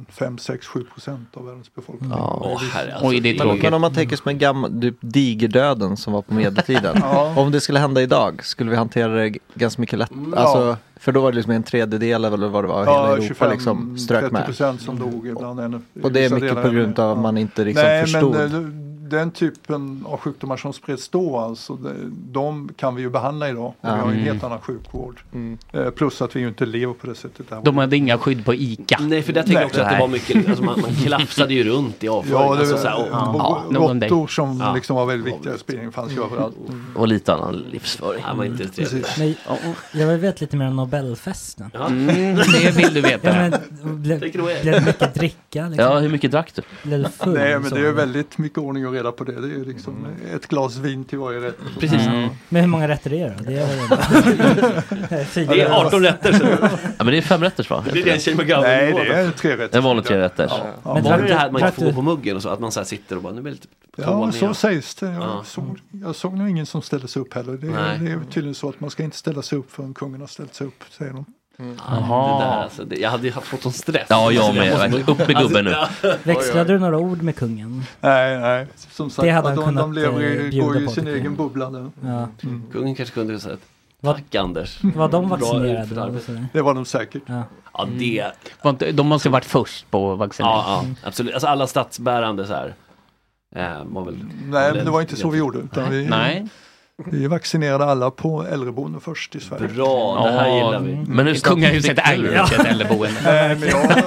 Speaker 13: 5, 6, 7 procent av världens befolkning.
Speaker 10: Ja.
Speaker 2: Åh, herre,
Speaker 10: Oj, Mm. det är men, men om man tänker som en gammal, typ digerdöden som var på medeltiden.
Speaker 13: Ja.
Speaker 10: Om det skulle hända idag, skulle vi hantera det g- ganska mycket lätt? Alltså, för då var det liksom en tredjedel eller vad det var, hela Europa liksom strök
Speaker 13: 30
Speaker 10: med.
Speaker 13: procent som dog ibland ännu.
Speaker 10: Mm. Och det är
Speaker 13: Vissa
Speaker 10: mycket
Speaker 13: delar
Speaker 10: på
Speaker 13: ännu.
Speaker 10: grund av att man inte liksom
Speaker 13: Nej,
Speaker 10: förstod.
Speaker 13: men eh, den typen av sjukdomar som spreds då, alltså, de- de kan vi ju behandla idag. Och
Speaker 10: Ja.
Speaker 13: Vi har ju en
Speaker 10: Mm.
Speaker 13: helt annan sjukvård. Eh, Plus att vi ju inte lever på det sättet. Det här
Speaker 6: De hade inga skydd på Ica.
Speaker 2: Nej, för där tänker jag också att det var mycket, alltså, man, man klafsade ju runt i avföring.
Speaker 13: Ja, det
Speaker 2: alltså,
Speaker 13: var-
Speaker 2: så här, och-
Speaker 13: ja,
Speaker 2: någon
Speaker 13: råttor
Speaker 2: day.
Speaker 13: som
Speaker 2: Ja.
Speaker 13: liksom var väldigt viktiga i spridningen fanns ju överallt.
Speaker 4: Och lite annan livsföring.
Speaker 2: Det var inte trevligt.
Speaker 5: Men jag vill veta lite mer om Nobelfesten.
Speaker 2: Typ. Ja. Mm, det vill du veta.
Speaker 5: Ja, men, blev,
Speaker 2: Tänker du
Speaker 5: blev
Speaker 2: er?
Speaker 5: det mycket dricka? Liksom?
Speaker 4: mycket drack du?
Speaker 5: Blev du full?
Speaker 13: Nej, men
Speaker 5: så?
Speaker 13: det är ju väldigt mycket ordning och reda på det. Det är ju liksom ett glas vin till varje rätt.
Speaker 5: Precis.
Speaker 4: Mm.
Speaker 13: Ja.
Speaker 5: Men hur många rätter är det då? Det är, väl-
Speaker 13: Det är 18 rätter, så-
Speaker 4: ja, men det är fem rätter va?
Speaker 2: Det blir det en tjej med gammal
Speaker 13: Nej, det är tre rätter.
Speaker 4: En vanlig tre rätter.
Speaker 2: Ja.
Speaker 13: Ja.
Speaker 2: Men var
Speaker 13: Men
Speaker 2: det
Speaker 13: drack
Speaker 2: det
Speaker 13: du-
Speaker 2: här att man inte
Speaker 13: drack
Speaker 2: får gå
Speaker 13: du-
Speaker 2: på muggen och så? Att man så här sitter och bara, nu blir det lite
Speaker 13: Ja,
Speaker 2: tårna
Speaker 13: så
Speaker 2: igen.
Speaker 13: sägs det. Jag,
Speaker 2: Ja.
Speaker 13: såg, jag såg nog ingen som ställde sig upp heller. Det,
Speaker 2: Nej.
Speaker 13: är- det är tydligen så att man ska inte ställa sig upp förrän kungen har ställt sig upp, säger de.
Speaker 2: Aha. Mm. Det där, alltså, det, jag hade ju haft fått sån stress. Alltså,
Speaker 4: Ja, jag med.
Speaker 2: måste-
Speaker 4: Verkligen. Upp med gubben nu.
Speaker 2: Alltså, ja.
Speaker 5: Växlade du några ord med kungen?
Speaker 13: Nej, nej. Som sagt,
Speaker 5: det hade han
Speaker 13: de,
Speaker 5: kunnat
Speaker 13: de lever
Speaker 5: eh,
Speaker 13: i,
Speaker 5: bjuda
Speaker 13: går ju i
Speaker 5: på,
Speaker 13: sin
Speaker 5: tycker jag.
Speaker 13: egen bubbla nu.
Speaker 5: Ja.
Speaker 13: Mm.
Speaker 2: Kungen kanske kunde säga
Speaker 5: Vad-
Speaker 2: tack Anders.
Speaker 5: Var de
Speaker 2: Bra
Speaker 5: vaccinerade?
Speaker 2: utfört arbete.
Speaker 13: Det var de säkert.
Speaker 5: Ja. Mm.
Speaker 2: Ja, det.
Speaker 6: Var inte- De måste ju varit först på vaccinering.
Speaker 2: Ja, ja, absolut. Alltså alla statsbärande så här. Eh, var väl,
Speaker 13: Nej, men det var inte så vi gjorde. Utan vi,
Speaker 2: Nej.
Speaker 13: vi vaccinerade alla på äldreboende först i Sverige.
Speaker 2: Bra, det här Ja. gillar
Speaker 6: Mm.
Speaker 2: vi. Men hur snabbt Kungahuset fick du är ju det? ett äldreboende.
Speaker 13: Nej, men jag...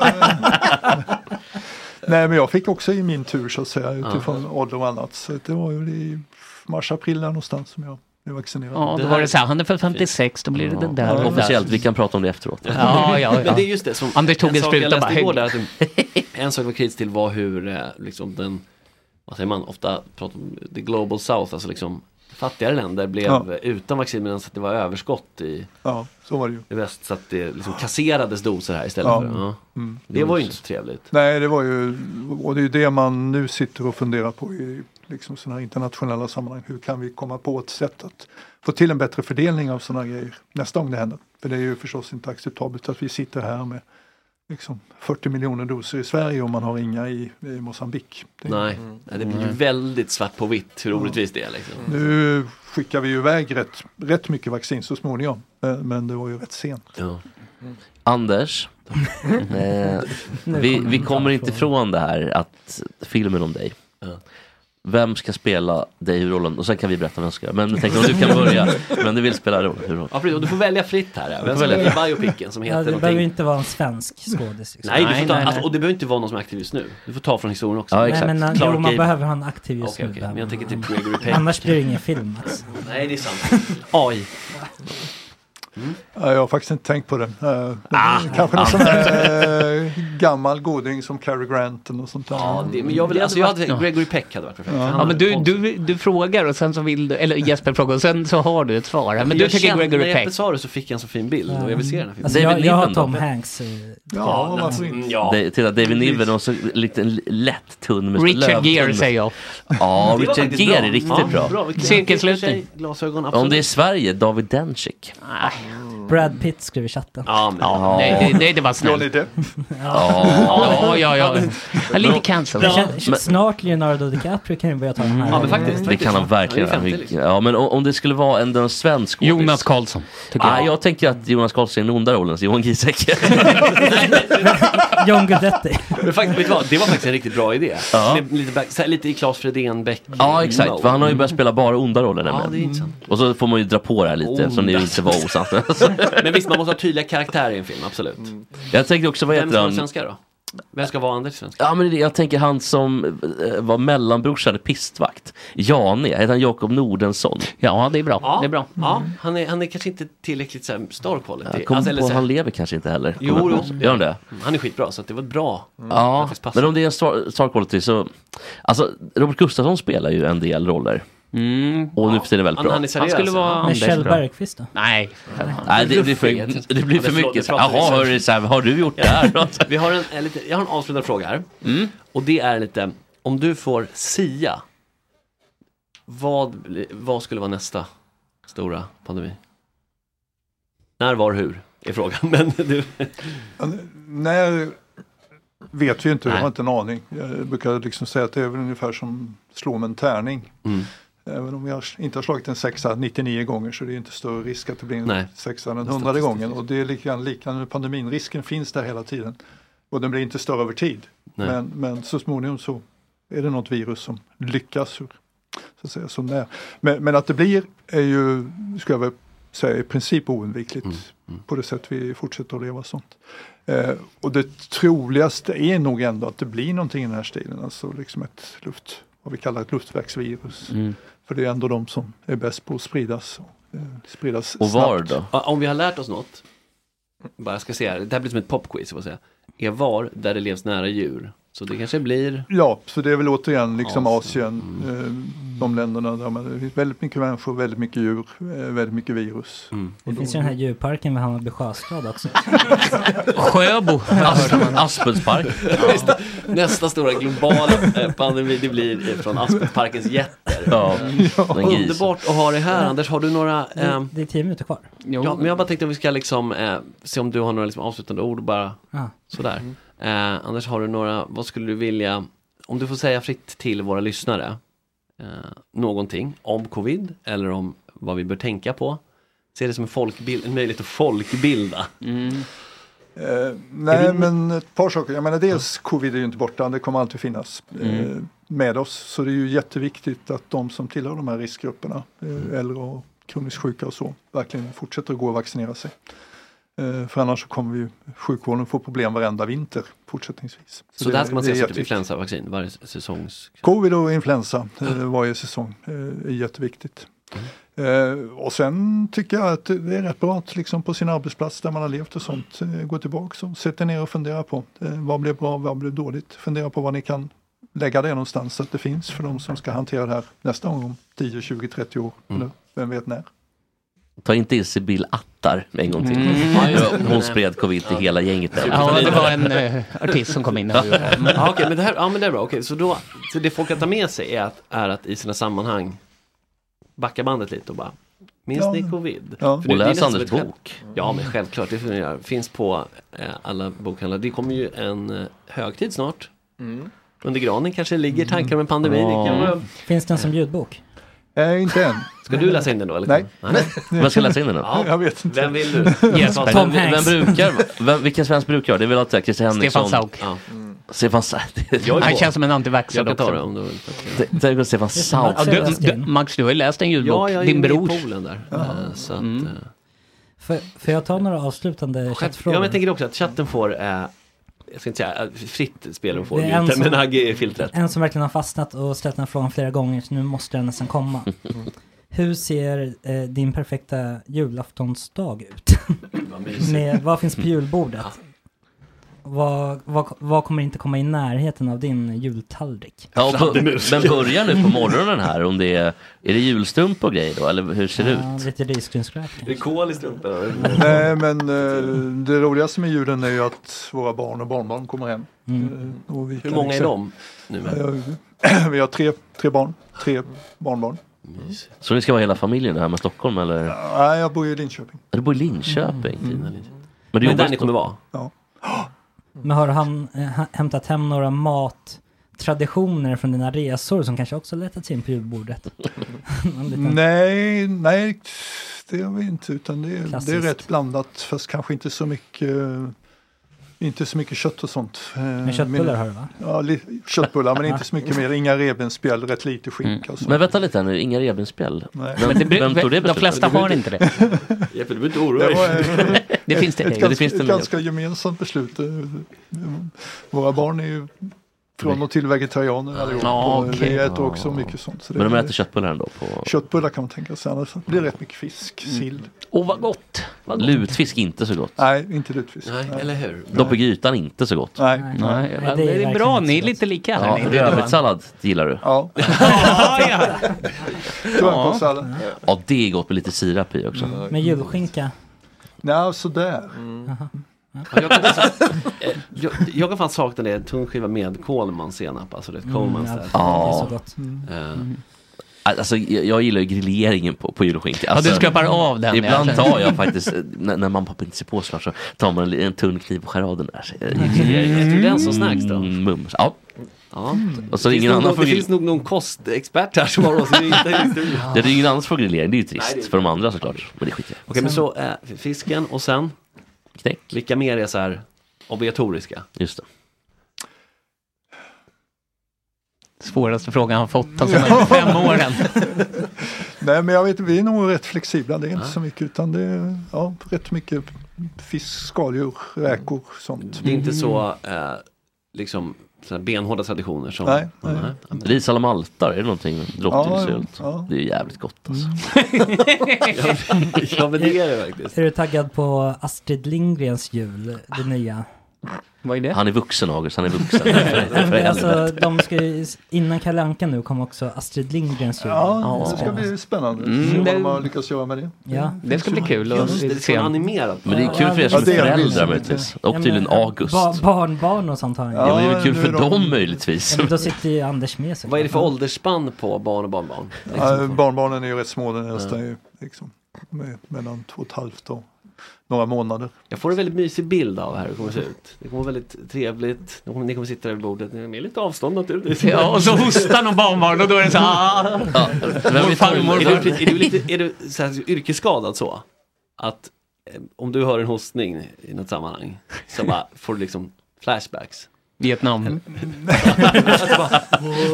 Speaker 13: Nej, men jag fick också i min tur så att säga utifrån ålder och annat. Så det var ju i mars-april där någonstans som jag blev vaccinerad.
Speaker 6: Ja, då var det så här, han är för 56, då blir det den där. och den där.
Speaker 4: Officiellt, vi kan prata om det efteråt.
Speaker 6: Ja, ja, ja.
Speaker 2: Men det är just det som
Speaker 6: Anders tog en
Speaker 2: sak
Speaker 6: spruta
Speaker 2: jag
Speaker 6: och bara,
Speaker 2: läste igår
Speaker 6: "Häng."
Speaker 2: där, att en- En sak jag var kritisk till var hur eh, liksom den, vad säger man, ofta pratar om the global south, alltså liksom fattigare länder blev
Speaker 13: Ja.
Speaker 2: eh, utan vaccin medan att det var överskott i,
Speaker 13: Ja, så var det ju.
Speaker 2: i väst så att det liksom kasserades doser här istället.
Speaker 13: Ja.
Speaker 2: För, ja.
Speaker 13: Mm.
Speaker 2: Det var ju inte så trevligt.
Speaker 13: Nej, det var ju, och det är ju det man nu sitter och funderar på i liksom sådana här internationella sammanhang. Hur kan vi komma på ett sätt att få till en bättre fördelning av sådana grejer nästa gång det händer? För det är ju förstås inte acceptabelt att vi sitter här med liksom 40 miljoner doser i Sverige och man har inga i, i Mosambik. Det- Mm.
Speaker 2: Nej, Nej, det blir ju väldigt svart på vitt hur orättvist det är. Liksom.
Speaker 13: Nu skickar vi ju iväg rätt, rätt mycket vaccin så småningom. eh, Men det var ju rätt sent.
Speaker 4: Anders, eh, vi, vi kommer inte ifrån det här att filmen om dig. Vem ska spela dig i rollen? Och sen kan vi berätta vem som ska göra Men jag tänkte om du kan börja. Men du vill spela rollen. hur roll?
Speaker 2: Ja, precis. Och du får välja fritt här. ja.
Speaker 4: Du
Speaker 2: Vem
Speaker 4: får
Speaker 2: ska
Speaker 4: välja
Speaker 2: välja biopicen som heter
Speaker 5: Ja, det behöver ju
Speaker 2: någonting?
Speaker 5: inte vara en svensk skådis. liksom.
Speaker 2: Nej, du får ta, Alltså, och det behöver inte vara någon som är aktiv just nu. Du får ta från historien också.
Speaker 5: Nej, men han-
Speaker 2: Clark
Speaker 5: jo, man
Speaker 2: Gable.
Speaker 5: behöver ha en aktiv just
Speaker 2: Okej,
Speaker 5: nu.
Speaker 2: okej.
Speaker 5: där.
Speaker 2: Men jag tänker typ
Speaker 5: Mm.
Speaker 2: Gregory Peck.
Speaker 5: Annars blir det ingen film. Alltså.
Speaker 2: Nej, det är sant. Mm. AI.
Speaker 13: Ja, Jag har faktiskt inte tänkt på det. Eh,
Speaker 2: Ah,
Speaker 13: Kanske någon
Speaker 2: ah.
Speaker 13: sån här eh, gammal goding som Cary Grant och något sånt där.
Speaker 2: Ja, det, men jag vill, alltså, jag hade, Gregory Peck hade varit perfekt.
Speaker 13: Ja.
Speaker 2: Han
Speaker 6: Ja, men
Speaker 2: hade
Speaker 6: du, du, du frågar och sen så vill du, eller Jesper frågar och sen så har du ett svar. Men du
Speaker 2: jag
Speaker 6: tycker
Speaker 2: kände-
Speaker 6: Gregory
Speaker 2: När
Speaker 6: Peck.
Speaker 2: Jeppe sa det så fick jag en så fin bild och jag vill se den här filmen.
Speaker 5: Alltså, jag,
Speaker 4: Mm. David
Speaker 5: jag har
Speaker 4: Niven då?
Speaker 5: Tom Hanks. eh,
Speaker 13: Ja,
Speaker 5: kvar.
Speaker 13: varför
Speaker 2: inte?
Speaker 4: Da- titta, David Niven och så lite en lätt tunn med
Speaker 6: Richard Gere säger jag.
Speaker 4: Ja,
Speaker 6: Det var
Speaker 4: Richard
Speaker 6: faktiskt
Speaker 4: Gere
Speaker 6: bra.
Speaker 4: är riktigt
Speaker 6: Ja,
Speaker 4: bra.
Speaker 6: bra. Vilken- Cirkelslutning.
Speaker 2: i och för sig, Glasögon,
Speaker 4: Om det är
Speaker 2: absolut.
Speaker 4: Sverige, David Dencik.
Speaker 5: Brad Pitt skrev i chatten.
Speaker 2: Ja, men-
Speaker 4: Ja.
Speaker 6: Nej, det, Eh, nej, det var snällt.
Speaker 4: Johnny
Speaker 13: Depp.
Speaker 6: Ja, ja, ja. ja. ja lite cancel.
Speaker 5: Det kän- Snart Leonardo DiCaprio kan ju börja ta den här. Mm.
Speaker 4: Det kan han verkligen.
Speaker 5: Ja, det är
Speaker 4: Ja,
Speaker 5: 50 liksom.
Speaker 4: ja, men o- om det skulle vara en, en svensk Jonas
Speaker 6: Karlsson.
Speaker 4: Jag. Ah, jag tänker att Jonas Karlsson är den onda rollen, så Johan Giesecke.
Speaker 5: John Guidetti.
Speaker 2: Men faktiskt, vet du vad? Det var faktiskt en riktigt bra idé.
Speaker 4: Ja.
Speaker 2: Lite- Lite, back, så här, lite i Claes Fredén Beck.
Speaker 4: Ja exakt, för han har ju börjat spela bara onda roller
Speaker 2: Ja, det är
Speaker 4: nämligen.
Speaker 2: intressant.
Speaker 4: Och så får man ju dra på det här lite eftersom det
Speaker 2: Onda.
Speaker 4: inte var osant.
Speaker 2: Men visst, man måste ha tydliga karaktärer i en film, absolut.
Speaker 4: Jag tänkte också, Mm. vad
Speaker 2: Vem
Speaker 4: heter
Speaker 2: ska vara
Speaker 4: han?
Speaker 2: svenska då? Vem ska vara Anders svenska?
Speaker 4: Ja men det- jag tänker han som eh, var mellanbrorsan i pistvakt. Jane, heter han Jakob Nordensson?
Speaker 6: Ja det är bra.
Speaker 2: Ja, det är bra. Ja, han, är, han är kanske inte tillräckligt så här, star quality.
Speaker 4: Jag kom
Speaker 2: Alltså, eller
Speaker 4: på
Speaker 2: så
Speaker 4: att
Speaker 2: här-
Speaker 4: han lever kanske inte heller.
Speaker 2: Jo,
Speaker 4: Kommer jag
Speaker 2: jo.
Speaker 4: på. Gör han det? Mm.
Speaker 2: Mm, Han är skitbra, så att det var ett bra.
Speaker 4: Ja,
Speaker 2: faktiskt passar.
Speaker 4: men om det är en star, star quality så... Alltså, Robert Gustafsson spelar ju en del roller. Och nu för tiden är väldigt
Speaker 2: Mm. Han-
Speaker 4: bra.
Speaker 2: han är seriös, Han skulle vara alltså.
Speaker 5: Med Kjell Bergqvist då?
Speaker 6: Nej.
Speaker 4: Nej, det, blir för, det blir för mycket. så här, Jaha, hörru, så här, vad har du Mm. gjort
Speaker 2: Ja.
Speaker 4: där?
Speaker 2: Vi har en, en, lite, jag har en avslutande fråga här. Och det är lite, om du får sia, vad, bli- vad skulle vara nästa stora pandemi? När, var, hur? Är frågan. Men du...
Speaker 13: När vet vi inte, jag
Speaker 2: Nej.
Speaker 13: har inte en aning. Jag brukar liksom säga att det är väl ungefär som slå med en tärning.
Speaker 2: Mm.
Speaker 13: Även om jag inte har slagit en sexa 99 gånger så det är inte större risk att det blir en
Speaker 2: Nej.
Speaker 13: sexa än den hundrade gången. Och det är lite grann liknande pandemin, risken finns där hela tiden. Och den blir inte större över tid.
Speaker 2: Nej.
Speaker 13: Men, men så småningom så är det något virus som lyckas ur, så att säga, som det är. Men, men att det blir är ju, ska jag väl säga, i princip oundvikligt
Speaker 4: Mm,
Speaker 13: på det sätt vi fortsätter att leva sånt. Eh, och det troligaste är nog ändå att det blir någonting i den här stilen, alltså liksom ett luft, vad vi kallar ett luftvägsvirus.
Speaker 4: Mm.
Speaker 13: För det är ändå de som är bäst på att spridas. eh, spridas
Speaker 4: Och var
Speaker 13: snabbt.
Speaker 4: då?
Speaker 2: Ja, Om vi har lärt oss något, bara jag ska se här, det här blir som ett popquiz, jag får säga. Är var där det levs nära djur. Så det kanske blir
Speaker 13: Ja, så det är väl återigen liksom Asien,
Speaker 2: Mm.
Speaker 13: eh, de länderna där man, det finns väldigt mycket människor, väldigt mycket djur, eh, väldigt mycket virus.
Speaker 2: Mm.
Speaker 5: Det finns ju den här djurparken vid Hammarby sjöstad också.
Speaker 6: Sjöbo.
Speaker 4: Aspenspark.
Speaker 2: nästa stora globala eh, pandemi, det blir eh, från Aspensparkens jätter. Mm.
Speaker 4: Ja. Den grisen.
Speaker 2: Underbart att ha dig här Anders, har du några ehm,
Speaker 5: Det är tio minuter kvar.
Speaker 2: Ja, men jag bara tänkte att vi ska liksom eh, se om du har några liksom, avslutande ord bara
Speaker 5: Ja.
Speaker 2: sådär. Eh, Anders, har du några, vad skulle du vilja, om du får säga fritt till våra lyssnare, eh, någonting om covid eller om vad vi bör tänka på. Se det som en, folkbild, en möjlighet att folkbilda.
Speaker 13: Eh, nej,
Speaker 2: Är det-
Speaker 13: men ett par saker. Jag menar, dels covid är ju inte borta, det kommer alltid finnas eh,
Speaker 2: Mm.
Speaker 13: med oss. Så det är ju jätteviktigt att de som tillhör de här riskgrupperna,
Speaker 2: Mm.
Speaker 13: eh, äldre och kroniskt sjuka och så, verkligen fortsätter att gå och vaccinera sig. Eh, för annars så kommer ju sjukvården få problem varenda vinter fortsättningsvis.
Speaker 2: Så, där ska man
Speaker 13: det är
Speaker 2: se så att
Speaker 13: jätteviktigt.
Speaker 2: influensavaccin varje säsongs...
Speaker 13: Covid och influensa eh, varje säsong eh, är jätteviktigt. Eh, och sen tycker jag att det är rätt bra att liksom på sin arbetsplats där man har levt och sånt eh, gå tillbaka och sätta ner och fundera på eh, vad blev bra, vad blev dåligt. Fundera på var ni kan lägga det någonstans så att det finns för de som ska hantera det här nästa gång om 10, 20, 30 år. Eller vem vet när.
Speaker 4: Ta inte in Sibyl Attar en gång till.
Speaker 6: Mm. Ja, just det.
Speaker 4: Hon spred covid till
Speaker 6: Ja.
Speaker 4: hela gänget. Där.
Speaker 6: Ja, det var en eh, artist som kom in här och gjorde det.
Speaker 2: Ja, Mm, ah, okej, men det här, ja men det är bra, okej, så då, så det folk kan ta med sig är att, är att i sina sammanhang backa bandet lite och bara Minns
Speaker 13: Ja.
Speaker 2: ni covid?
Speaker 13: Ja.
Speaker 2: För det-
Speaker 13: Och
Speaker 2: det är
Speaker 13: läs
Speaker 2: nästan
Speaker 13: Anders
Speaker 2: ett skämt.
Speaker 13: bok.
Speaker 2: Ja men självklart, det får ni göra. Finns på eh, alla bokhandlar. Det kommer ju en eh, högtid snart.
Speaker 16: Mm.
Speaker 2: Under granen kanske ligger tankar om en pandemi. Det kan vara...
Speaker 5: Finns den som ljudbok?
Speaker 13: Nej, inte än.
Speaker 2: Ska du läsa in den då? Eller?
Speaker 13: Nej.
Speaker 4: Vem ska läsa in den då?
Speaker 2: Ja,
Speaker 13: Jag vet inte.
Speaker 2: Vem vill du? Yes,
Speaker 4: Vem,
Speaker 2: Tom
Speaker 4: vem,
Speaker 2: Hanks.
Speaker 4: brukar, vem, vilken svensk brukar det? är väl alltid Christer
Speaker 6: Stefan
Speaker 4: Henriksson?
Speaker 6: Sauk.
Speaker 4: Ja. Stefan Sauk.
Speaker 6: Jag är Han på. känns som en antivaxxare
Speaker 4: Jag kan ta
Speaker 6: också.
Speaker 4: det om du vill. T- Tänk om Stefan Sauk.
Speaker 6: Ja, du, du, Max, du har ju läst en ljudbok.
Speaker 2: Ja, jag är
Speaker 6: Din
Speaker 2: inne i
Speaker 6: bror.
Speaker 2: poolen där.
Speaker 6: Mm.
Speaker 2: Eh, Så att, eh,
Speaker 5: Får, får jag ta några avslutande
Speaker 2: Ja, men
Speaker 5: chattfrågor?
Speaker 2: jag tänker också att chatten får, eh, jag ska inte säga eh, fritt spelrum får
Speaker 5: Det är en
Speaker 2: inte,
Speaker 5: som-
Speaker 2: men Agge är filtret.
Speaker 5: En som verkligen har fastnat och ställt den frågan flera gånger så nu måste den nästan komma. Hur ser eh, din perfekta julaftonsdag ut?
Speaker 2: Vad mysigt.
Speaker 5: Med, vad finns på julbordet? Vad, vad, vad kommer inte komma i närheten av din jultallrik?
Speaker 4: Ja, och på, men börjar nu på morgonen här om det är, är det julstump och grejer då eller hur ser det ut?
Speaker 5: Ja, lite risgrynsgröt.
Speaker 2: Det är kol i strumporna.
Speaker 13: Nej, men eh, det roligaste med julen är ju att våra barn och barnbarn kommer hem.
Speaker 2: Mm.
Speaker 13: Eh, och vi
Speaker 2: Hur
Speaker 13: kan
Speaker 2: många är
Speaker 13: liksom-
Speaker 2: de nu?
Speaker 13: Eh, Vi har tre, tre barn, tre barnbarn.
Speaker 4: Så det ska vara hela familjen här med Stockholm eller?
Speaker 13: Nej, jag bor ju i Linköping.
Speaker 4: Du bor i Linköping?
Speaker 5: Men
Speaker 4: jobbar
Speaker 2: där
Speaker 4: i
Speaker 2: ni kommer vara?
Speaker 13: Ja.
Speaker 5: Men har han eh, ha- hämtat hem några mattraditioner från dina resor som kanske också letat sig in på julbordet? En liten-
Speaker 13: Nej, nej, det har vi inte utan det är, det är
Speaker 5: Klassiskt.
Speaker 13: rätt blandat fast kanske inte så mycket eh, inte så mycket kött och sånt. Men
Speaker 5: köttbullar har du, va?
Speaker 13: Ja, li- köttbullar men inte så mycket mer. Inga revbensspjäll, rätt lite skinka
Speaker 2: Mm.
Speaker 13: och sånt.
Speaker 4: Men vänta lite här nu, inga revbensspjäll?
Speaker 13: Nej.
Speaker 4: Vem,
Speaker 13: Men det bru-
Speaker 4: vem tog det
Speaker 13: de
Speaker 4: beslutet?
Speaker 13: flesta har inte det.
Speaker 2: Jeppe, du behöver inte oroa dig.
Speaker 13: ett
Speaker 4: Ja,
Speaker 13: ganska,
Speaker 4: det finns det
Speaker 13: ett
Speaker 4: med.
Speaker 13: ganska gemensamt beslut. Eh, Våra barn är ju från och till vegetarianer allihop.
Speaker 4: Ja,
Speaker 13: och
Speaker 4: okej.
Speaker 13: Vi äter också mycket sånt. så det-
Speaker 4: Men de äter köttbullar ändå? På...
Speaker 13: Köttbullar kan man tänka sig, annars blir det rätt mycket fisk, sill.
Speaker 6: Åh, vad gott! Vad gott.
Speaker 4: Lutfisk inte så gott?
Speaker 13: Nej, inte lutfisk.
Speaker 2: Nej, eller hur?
Speaker 4: Dopp i grytan inte så gott?
Speaker 13: Nej.
Speaker 4: Nej.
Speaker 6: Ja, det är bra, ni är lite lika.
Speaker 4: Ja,
Speaker 6: här.
Speaker 4: Rödbetssallad gillar du?
Speaker 13: Ja. Grönkålssallad.
Speaker 4: ja, det är gott med lite sirap i också.
Speaker 13: Mm.
Speaker 5: Med julskinka?
Speaker 13: Nej, sådär.
Speaker 5: Jaha.
Speaker 2: Ja, jag, kan, eh, jag, jag kan fan sakna det, en tung skiva med Coleman senap, alltså det
Speaker 5: Mm,
Speaker 2: är Mm. Eh, Colemans
Speaker 4: ja. Ja. Det är så
Speaker 2: där.
Speaker 5: gott. Mm.
Speaker 4: Alltså, jag jag gillar ju grilleringen på, på julskinka.
Speaker 6: Ja,
Speaker 4: Alltså,
Speaker 6: du skrapar av den,
Speaker 4: Ibland
Speaker 6: ja.
Speaker 4: tar jag faktiskt, eh, när, när mamma och pappa inte ser påslag så tar man en, en tunn kniv och skär av den där. eh, i grilleringen.
Speaker 2: Mm. Är det den som snacks då?
Speaker 4: Mm, mums. Ja.
Speaker 2: Ja.
Speaker 5: Mm.
Speaker 4: Och så
Speaker 2: det,
Speaker 4: ingen
Speaker 2: finns
Speaker 4: annan
Speaker 2: nog,
Speaker 4: får
Speaker 2: det
Speaker 4: grill-
Speaker 2: finns nog någon kostexpert här som har oss i historien.
Speaker 4: Det är ju ingen annan som får grillering, det är ju trist
Speaker 2: Nej, det är-
Speaker 4: för de andra såklart. Men det skiter jag i.
Speaker 2: Okej, men så eh, fisken och sen?
Speaker 4: Knäck.
Speaker 2: Vilka mer är så här obligatoriska?
Speaker 4: Just det.
Speaker 6: Svåraste frågan han fått alltså, de fem åren.
Speaker 13: Nej, men jag vet, vi är nog rätt flexibla. Det är inte så mycket utan det är ja, rätt mycket fisk, skaldjur, räkor, sånt.
Speaker 2: Det är inte så eh, liksom så här benhårda traditioner som...
Speaker 13: Nej, nej.
Speaker 4: Ris alla maltar, är det någonting? Drottningsylt.
Speaker 13: Ja, ja.
Speaker 4: Det är ju jävligt gott alltså.
Speaker 5: Mm.
Speaker 2: ja men det är det faktiskt.
Speaker 5: Är du taggad på Astrid Lindgrens jul, det nya?
Speaker 6: Vad är det?
Speaker 4: Han är vuxen August, han är vuxen. För-
Speaker 5: Nej,
Speaker 4: för
Speaker 5: men alltså,
Speaker 4: helvete.
Speaker 5: de ska ju, innan Kalle Anka nu kom också Astrid Lindgrens jul.
Speaker 13: Ja, det ska bli spännande.
Speaker 4: Mm.
Speaker 13: Mm. Se vad de har lyckats göra med det.
Speaker 5: Mm. Ja.
Speaker 6: Det ska bli kul att
Speaker 2: Just det, det ska
Speaker 6: se.
Speaker 2: vara animerat.
Speaker 4: Men det är kul för er
Speaker 13: Ja,
Speaker 4: som
Speaker 13: det är
Speaker 4: föräldrar
Speaker 13: visst.
Speaker 4: möjligtvis.
Speaker 5: Ja,
Speaker 4: Och
Speaker 5: men,
Speaker 4: tydligen August.
Speaker 5: Ba- barnbarn och sånt har han ju.
Speaker 4: Ja, men det är väl kul
Speaker 13: nu
Speaker 4: för
Speaker 13: är de-
Speaker 4: dem möjligtvis.
Speaker 5: Ja, men då sitter ju Anders med sig.
Speaker 2: Vad är det för åldersspann på barn och barnbarn?
Speaker 13: Ja, barnbarnen är ju rätt små, den nästa är ju liksom med, mellan två och ett halvt och några månader.
Speaker 2: Jag får en väldigt mysig bild av här hur det kommer se ut. Det kommer vara väldigt trevligt. Ni kommer, ni kommer sitta där vid bordet ni- med lite avstånd naturligtvis.
Speaker 6: Ja, och så hostar någon barnbarn och då är det så här. ah.
Speaker 4: Ja,
Speaker 6: Morfar,
Speaker 2: Är du,
Speaker 6: morfar.
Speaker 2: är du, lite, är du så här, yrkesskadad så? Att eh, om du hör en hostning i något sammanhang så bara får du liksom flashbacks.
Speaker 6: Vietnam.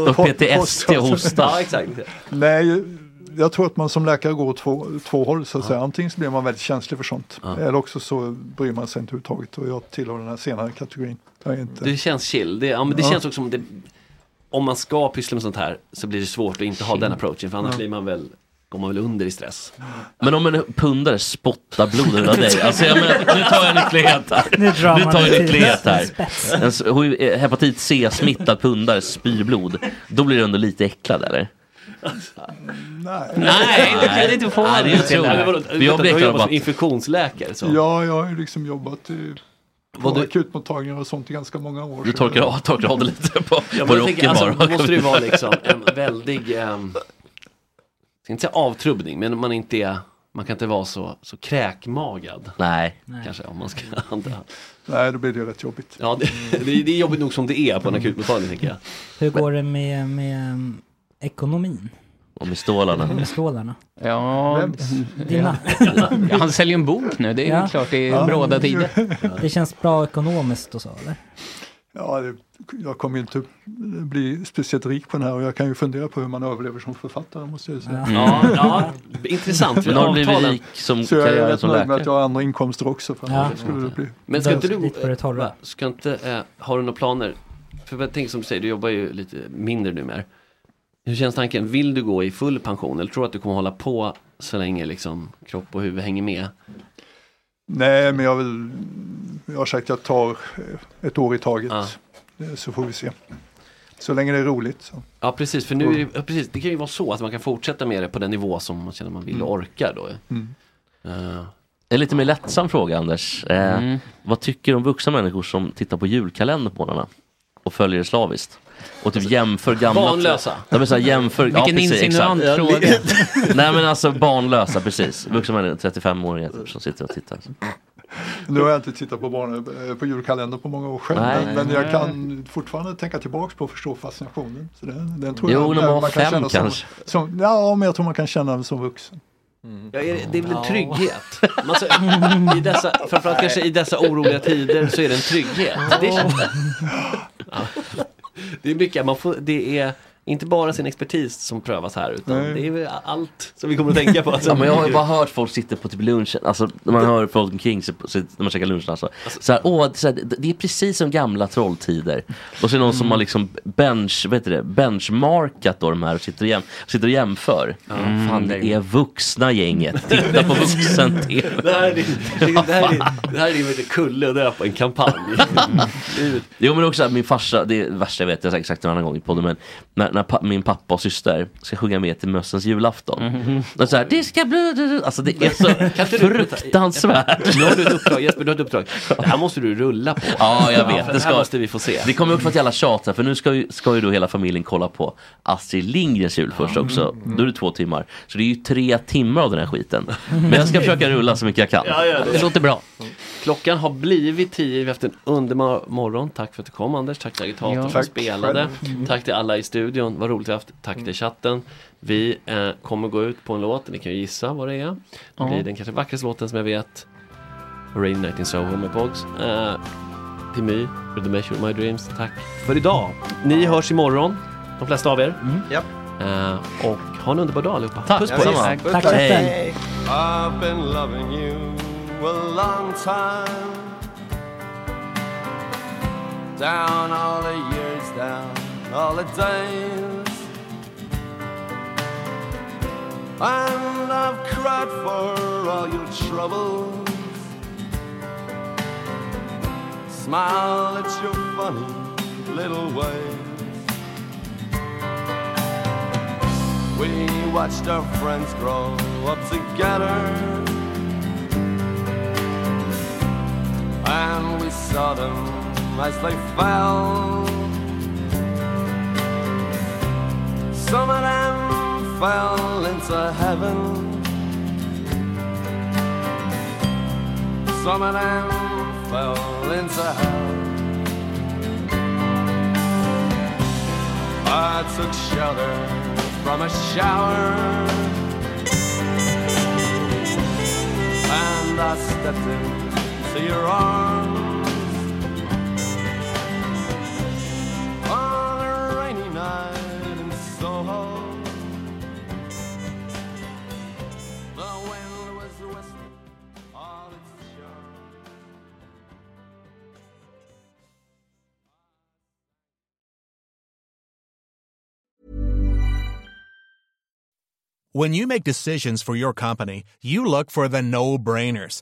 Speaker 4: Och PTSD och hosta.
Speaker 2: Ja exakt.
Speaker 13: Nej, jag tror att man som läkare går åt två, två håll så att säga. Antingen så blir man väldigt känslig för sånt eller också så bryr man sig inte överhuvudtaget och jag tillhör den här senare kategorin. Jag är inte...
Speaker 2: Det känns chill. Det, ja, men det
Speaker 13: Ja.
Speaker 2: känns också som det, om man ska pyssla med sånt här så blir det svårt att inte ha den approachen för annars
Speaker 13: Ja.
Speaker 2: blir man väl, går man väl under i stress.
Speaker 4: Men om en pundare spottar blod ur dig. Alltså jag menar, nu tar jag en ytterlighet här.
Speaker 5: Nu drar
Speaker 4: nu
Speaker 5: man
Speaker 4: tar jag en
Speaker 5: till
Speaker 4: ytterlighet här.
Speaker 5: spets.
Speaker 4: En s- HIV- eh, hepatit C-smittad pundare spyr blod. Då blir du ändå lite äcklad eller?
Speaker 13: Nej,
Speaker 6: Nej, det kan du inte få.
Speaker 4: Nej, det är ju
Speaker 2: Nej, men vadå,
Speaker 4: otroligt. Men Jag
Speaker 2: vänta, du
Speaker 4: blir
Speaker 2: har
Speaker 4: äcklad
Speaker 2: jobbat
Speaker 4: bara
Speaker 2: som infektionsläkare så.
Speaker 13: Ja, jag har ju liksom jobbat i
Speaker 2: Vad
Speaker 13: på
Speaker 2: du-
Speaker 13: akutmottagningar och sånt i ganska många år.
Speaker 4: Du
Speaker 13: så-
Speaker 4: torkar av, torkar av det lite på, på
Speaker 2: Ja, men jag tänker,
Speaker 4: rocken bara.
Speaker 2: alltså, då måste det ju vara liksom en väldig, ehm, jag ska inte säga avtrubbning, men man inte är Man kan inte vara så, så kräkmagad.
Speaker 4: Nej.
Speaker 2: Kanske om man ska anta.
Speaker 13: Nej, då blir det rätt jobbigt.
Speaker 2: Ja, det, det, det är jobbigt nog som det är på en akutmottagning tänker jag.
Speaker 5: Hur går det med, med um, ekonomin?
Speaker 4: Och med stålarna.
Speaker 5: Med stålarna?
Speaker 6: Ja,
Speaker 5: Dina.
Speaker 6: Ja, han säljer en bok nu, det är
Speaker 5: Ja.
Speaker 6: klart det är bråda tider.
Speaker 5: Det känns bra ekonomiskt och så eller?
Speaker 13: Ja, det, jag kommer ju inte bli speciellt rik på den här och jag kan ju fundera på hur man överlever som författare måste jag säga.
Speaker 2: Ja, ja, intressant.
Speaker 4: Men har du blivit rik som
Speaker 13: Så jag är
Speaker 4: karriären
Speaker 13: rätt
Speaker 4: som
Speaker 13: nöjd med
Speaker 4: läkare?
Speaker 13: att jag har andra inkomster också. För annars skulle det bli.
Speaker 2: Men ska inte du, eh, va, ska inte, eh, har du några planer? För jag tänker som du säger, du jobbar ju lite mindre nu mer. Hur känns tanken, vill du gå i full pension eller tror du att du kommer hålla på så länge liksom kropp och huvud hänger med?
Speaker 13: Nej, men jag, vill, jag har sagt att jag tar eh, ett år i taget. Eh, Så får vi se. Så länge det är roligt. Så.
Speaker 2: Ja precis, för nu är det, ja, precis, det kan ju vara så att man kan fortsätta med det på den nivå som man känner man vill och orkar då.
Speaker 13: Mm.
Speaker 2: Eh,
Speaker 4: En lite mer lättsam fråga Anders. Eh,
Speaker 2: Mm.
Speaker 4: Vad tycker du om vuxna människor som tittar på julkalender på morgnarna och följer det slaviskt? Och typ jämför gamla...
Speaker 2: barnlösa.
Speaker 4: Ja, men så här, jämför...
Speaker 6: Vilken
Speaker 4: precis,
Speaker 6: insinuant
Speaker 4: exakt.
Speaker 6: fråga.
Speaker 4: Nej men alltså barnlösa, precis. Vuxna människor, 35-åringar typ, som sitter och tittar.
Speaker 13: Nu har jag inte tittat på, barn, eh, på julkalendern på många år själv.
Speaker 4: Nej.
Speaker 13: men, men jag kan fortfarande tänka tillbaks på att förstå fascinationen. Så den, den tror
Speaker 4: Jo,
Speaker 13: jag,
Speaker 4: när man
Speaker 13: eh,
Speaker 4: var fem
Speaker 13: känna
Speaker 4: kanske.
Speaker 13: Som, som, ja, men jag tror man kan känna den som vuxen.
Speaker 2: Ja, är det, det är väl en
Speaker 13: Ja.
Speaker 2: trygghet. Man så, i dessa, framförallt kanske i dessa oroliga tider så är det en trygghet. Det, är- ja. det är mycket, man får, det är inte bara sin expertis som prövas här utan
Speaker 4: Nej.
Speaker 2: det är väl allt som vi kommer att tänka på. alltså.
Speaker 4: Ja, men jag har ju bara hört folk sitta på typ lunchen, alltså när man hör folk omkring sig, på- sitt- när man käkar lunchen alltså. Så här, åh, så här, det- det är precis som gamla trolltider. Och så är det någon som har
Speaker 2: Mm.
Speaker 4: liksom bench, vet du det, benchmarkat då de här och sitter och, jäm, sitter och jämför. Fan det är vuxna gänget, titta på vuxen-tv.
Speaker 2: Det här är din- det här är din- det här är din, vet du, kulle och döpa en kampanj.
Speaker 4: Jo men också att min farsa, det är det värsta jag vet, jag har sagt det en annan gång i podden men när, när pa, min pappa och syster ska sjunga med till mössens julafton.
Speaker 2: Mm.
Speaker 4: Och så här, det ska bli... Alltså det är så fruktansvärt.
Speaker 2: Nu har du ett uppdrag, Jesper, du har ett uppdrag. Det här måste du rulla på.
Speaker 4: Ja, jag vet.
Speaker 2: för
Speaker 4: Det,
Speaker 2: här
Speaker 4: ska,
Speaker 2: måste vi få se.
Speaker 4: det kommer också vara ett jävla tjat här, för nu ska ju, ska ju då hela familjen kolla på Astrid Lindgrens jul först också.
Speaker 2: Mm.
Speaker 4: Då är det två timmar. Så det är ju tre timmar av den här skiten. Men jag ska försöka rulla så mycket jag kan.
Speaker 2: Ja, ja,
Speaker 4: det låter bra.
Speaker 2: Klockan har blivit tio, vi har haft en underbar morgon. Tack för att du kom Anders, tack till agitatorn
Speaker 4: Ja.
Speaker 2: som
Speaker 4: Tack
Speaker 2: spelade.
Speaker 4: själv. Mm.
Speaker 2: Tack till alla i studion, vad roligt vi har haft. Tack till chatten. Vi eh, kommer gå ut på en låt, ni kan ju gissa vad det är. Det
Speaker 6: Ja.
Speaker 2: blir den kanske vackraste låten som jag vet. Rain Night in Soho med Boggs. Eh, till My, för The Measure of My Dreams. Tack för idag. Ni hörs imorgon, de flesta av er. Eh, och ha en underbar dag allihopa.
Speaker 4: Mm. Tack.
Speaker 2: Puss på
Speaker 4: Detsamma.
Speaker 2: er.
Speaker 4: Tack, Tack. Hej.
Speaker 7: I've been loving you a long time. Down all the years, down all the days. And I've cried for all your troubles. Smile at your funny little ways. We watched our friends grow up together. And we saw them as they fell. Some of them fell into heaven. Some of them fell into hell. I took shelter from a shower. And I stepped into your arms. On a rainy night in Soho. The wind was whistling all its charm.
Speaker 17: When you make decisions for your company, you look for the no brainers.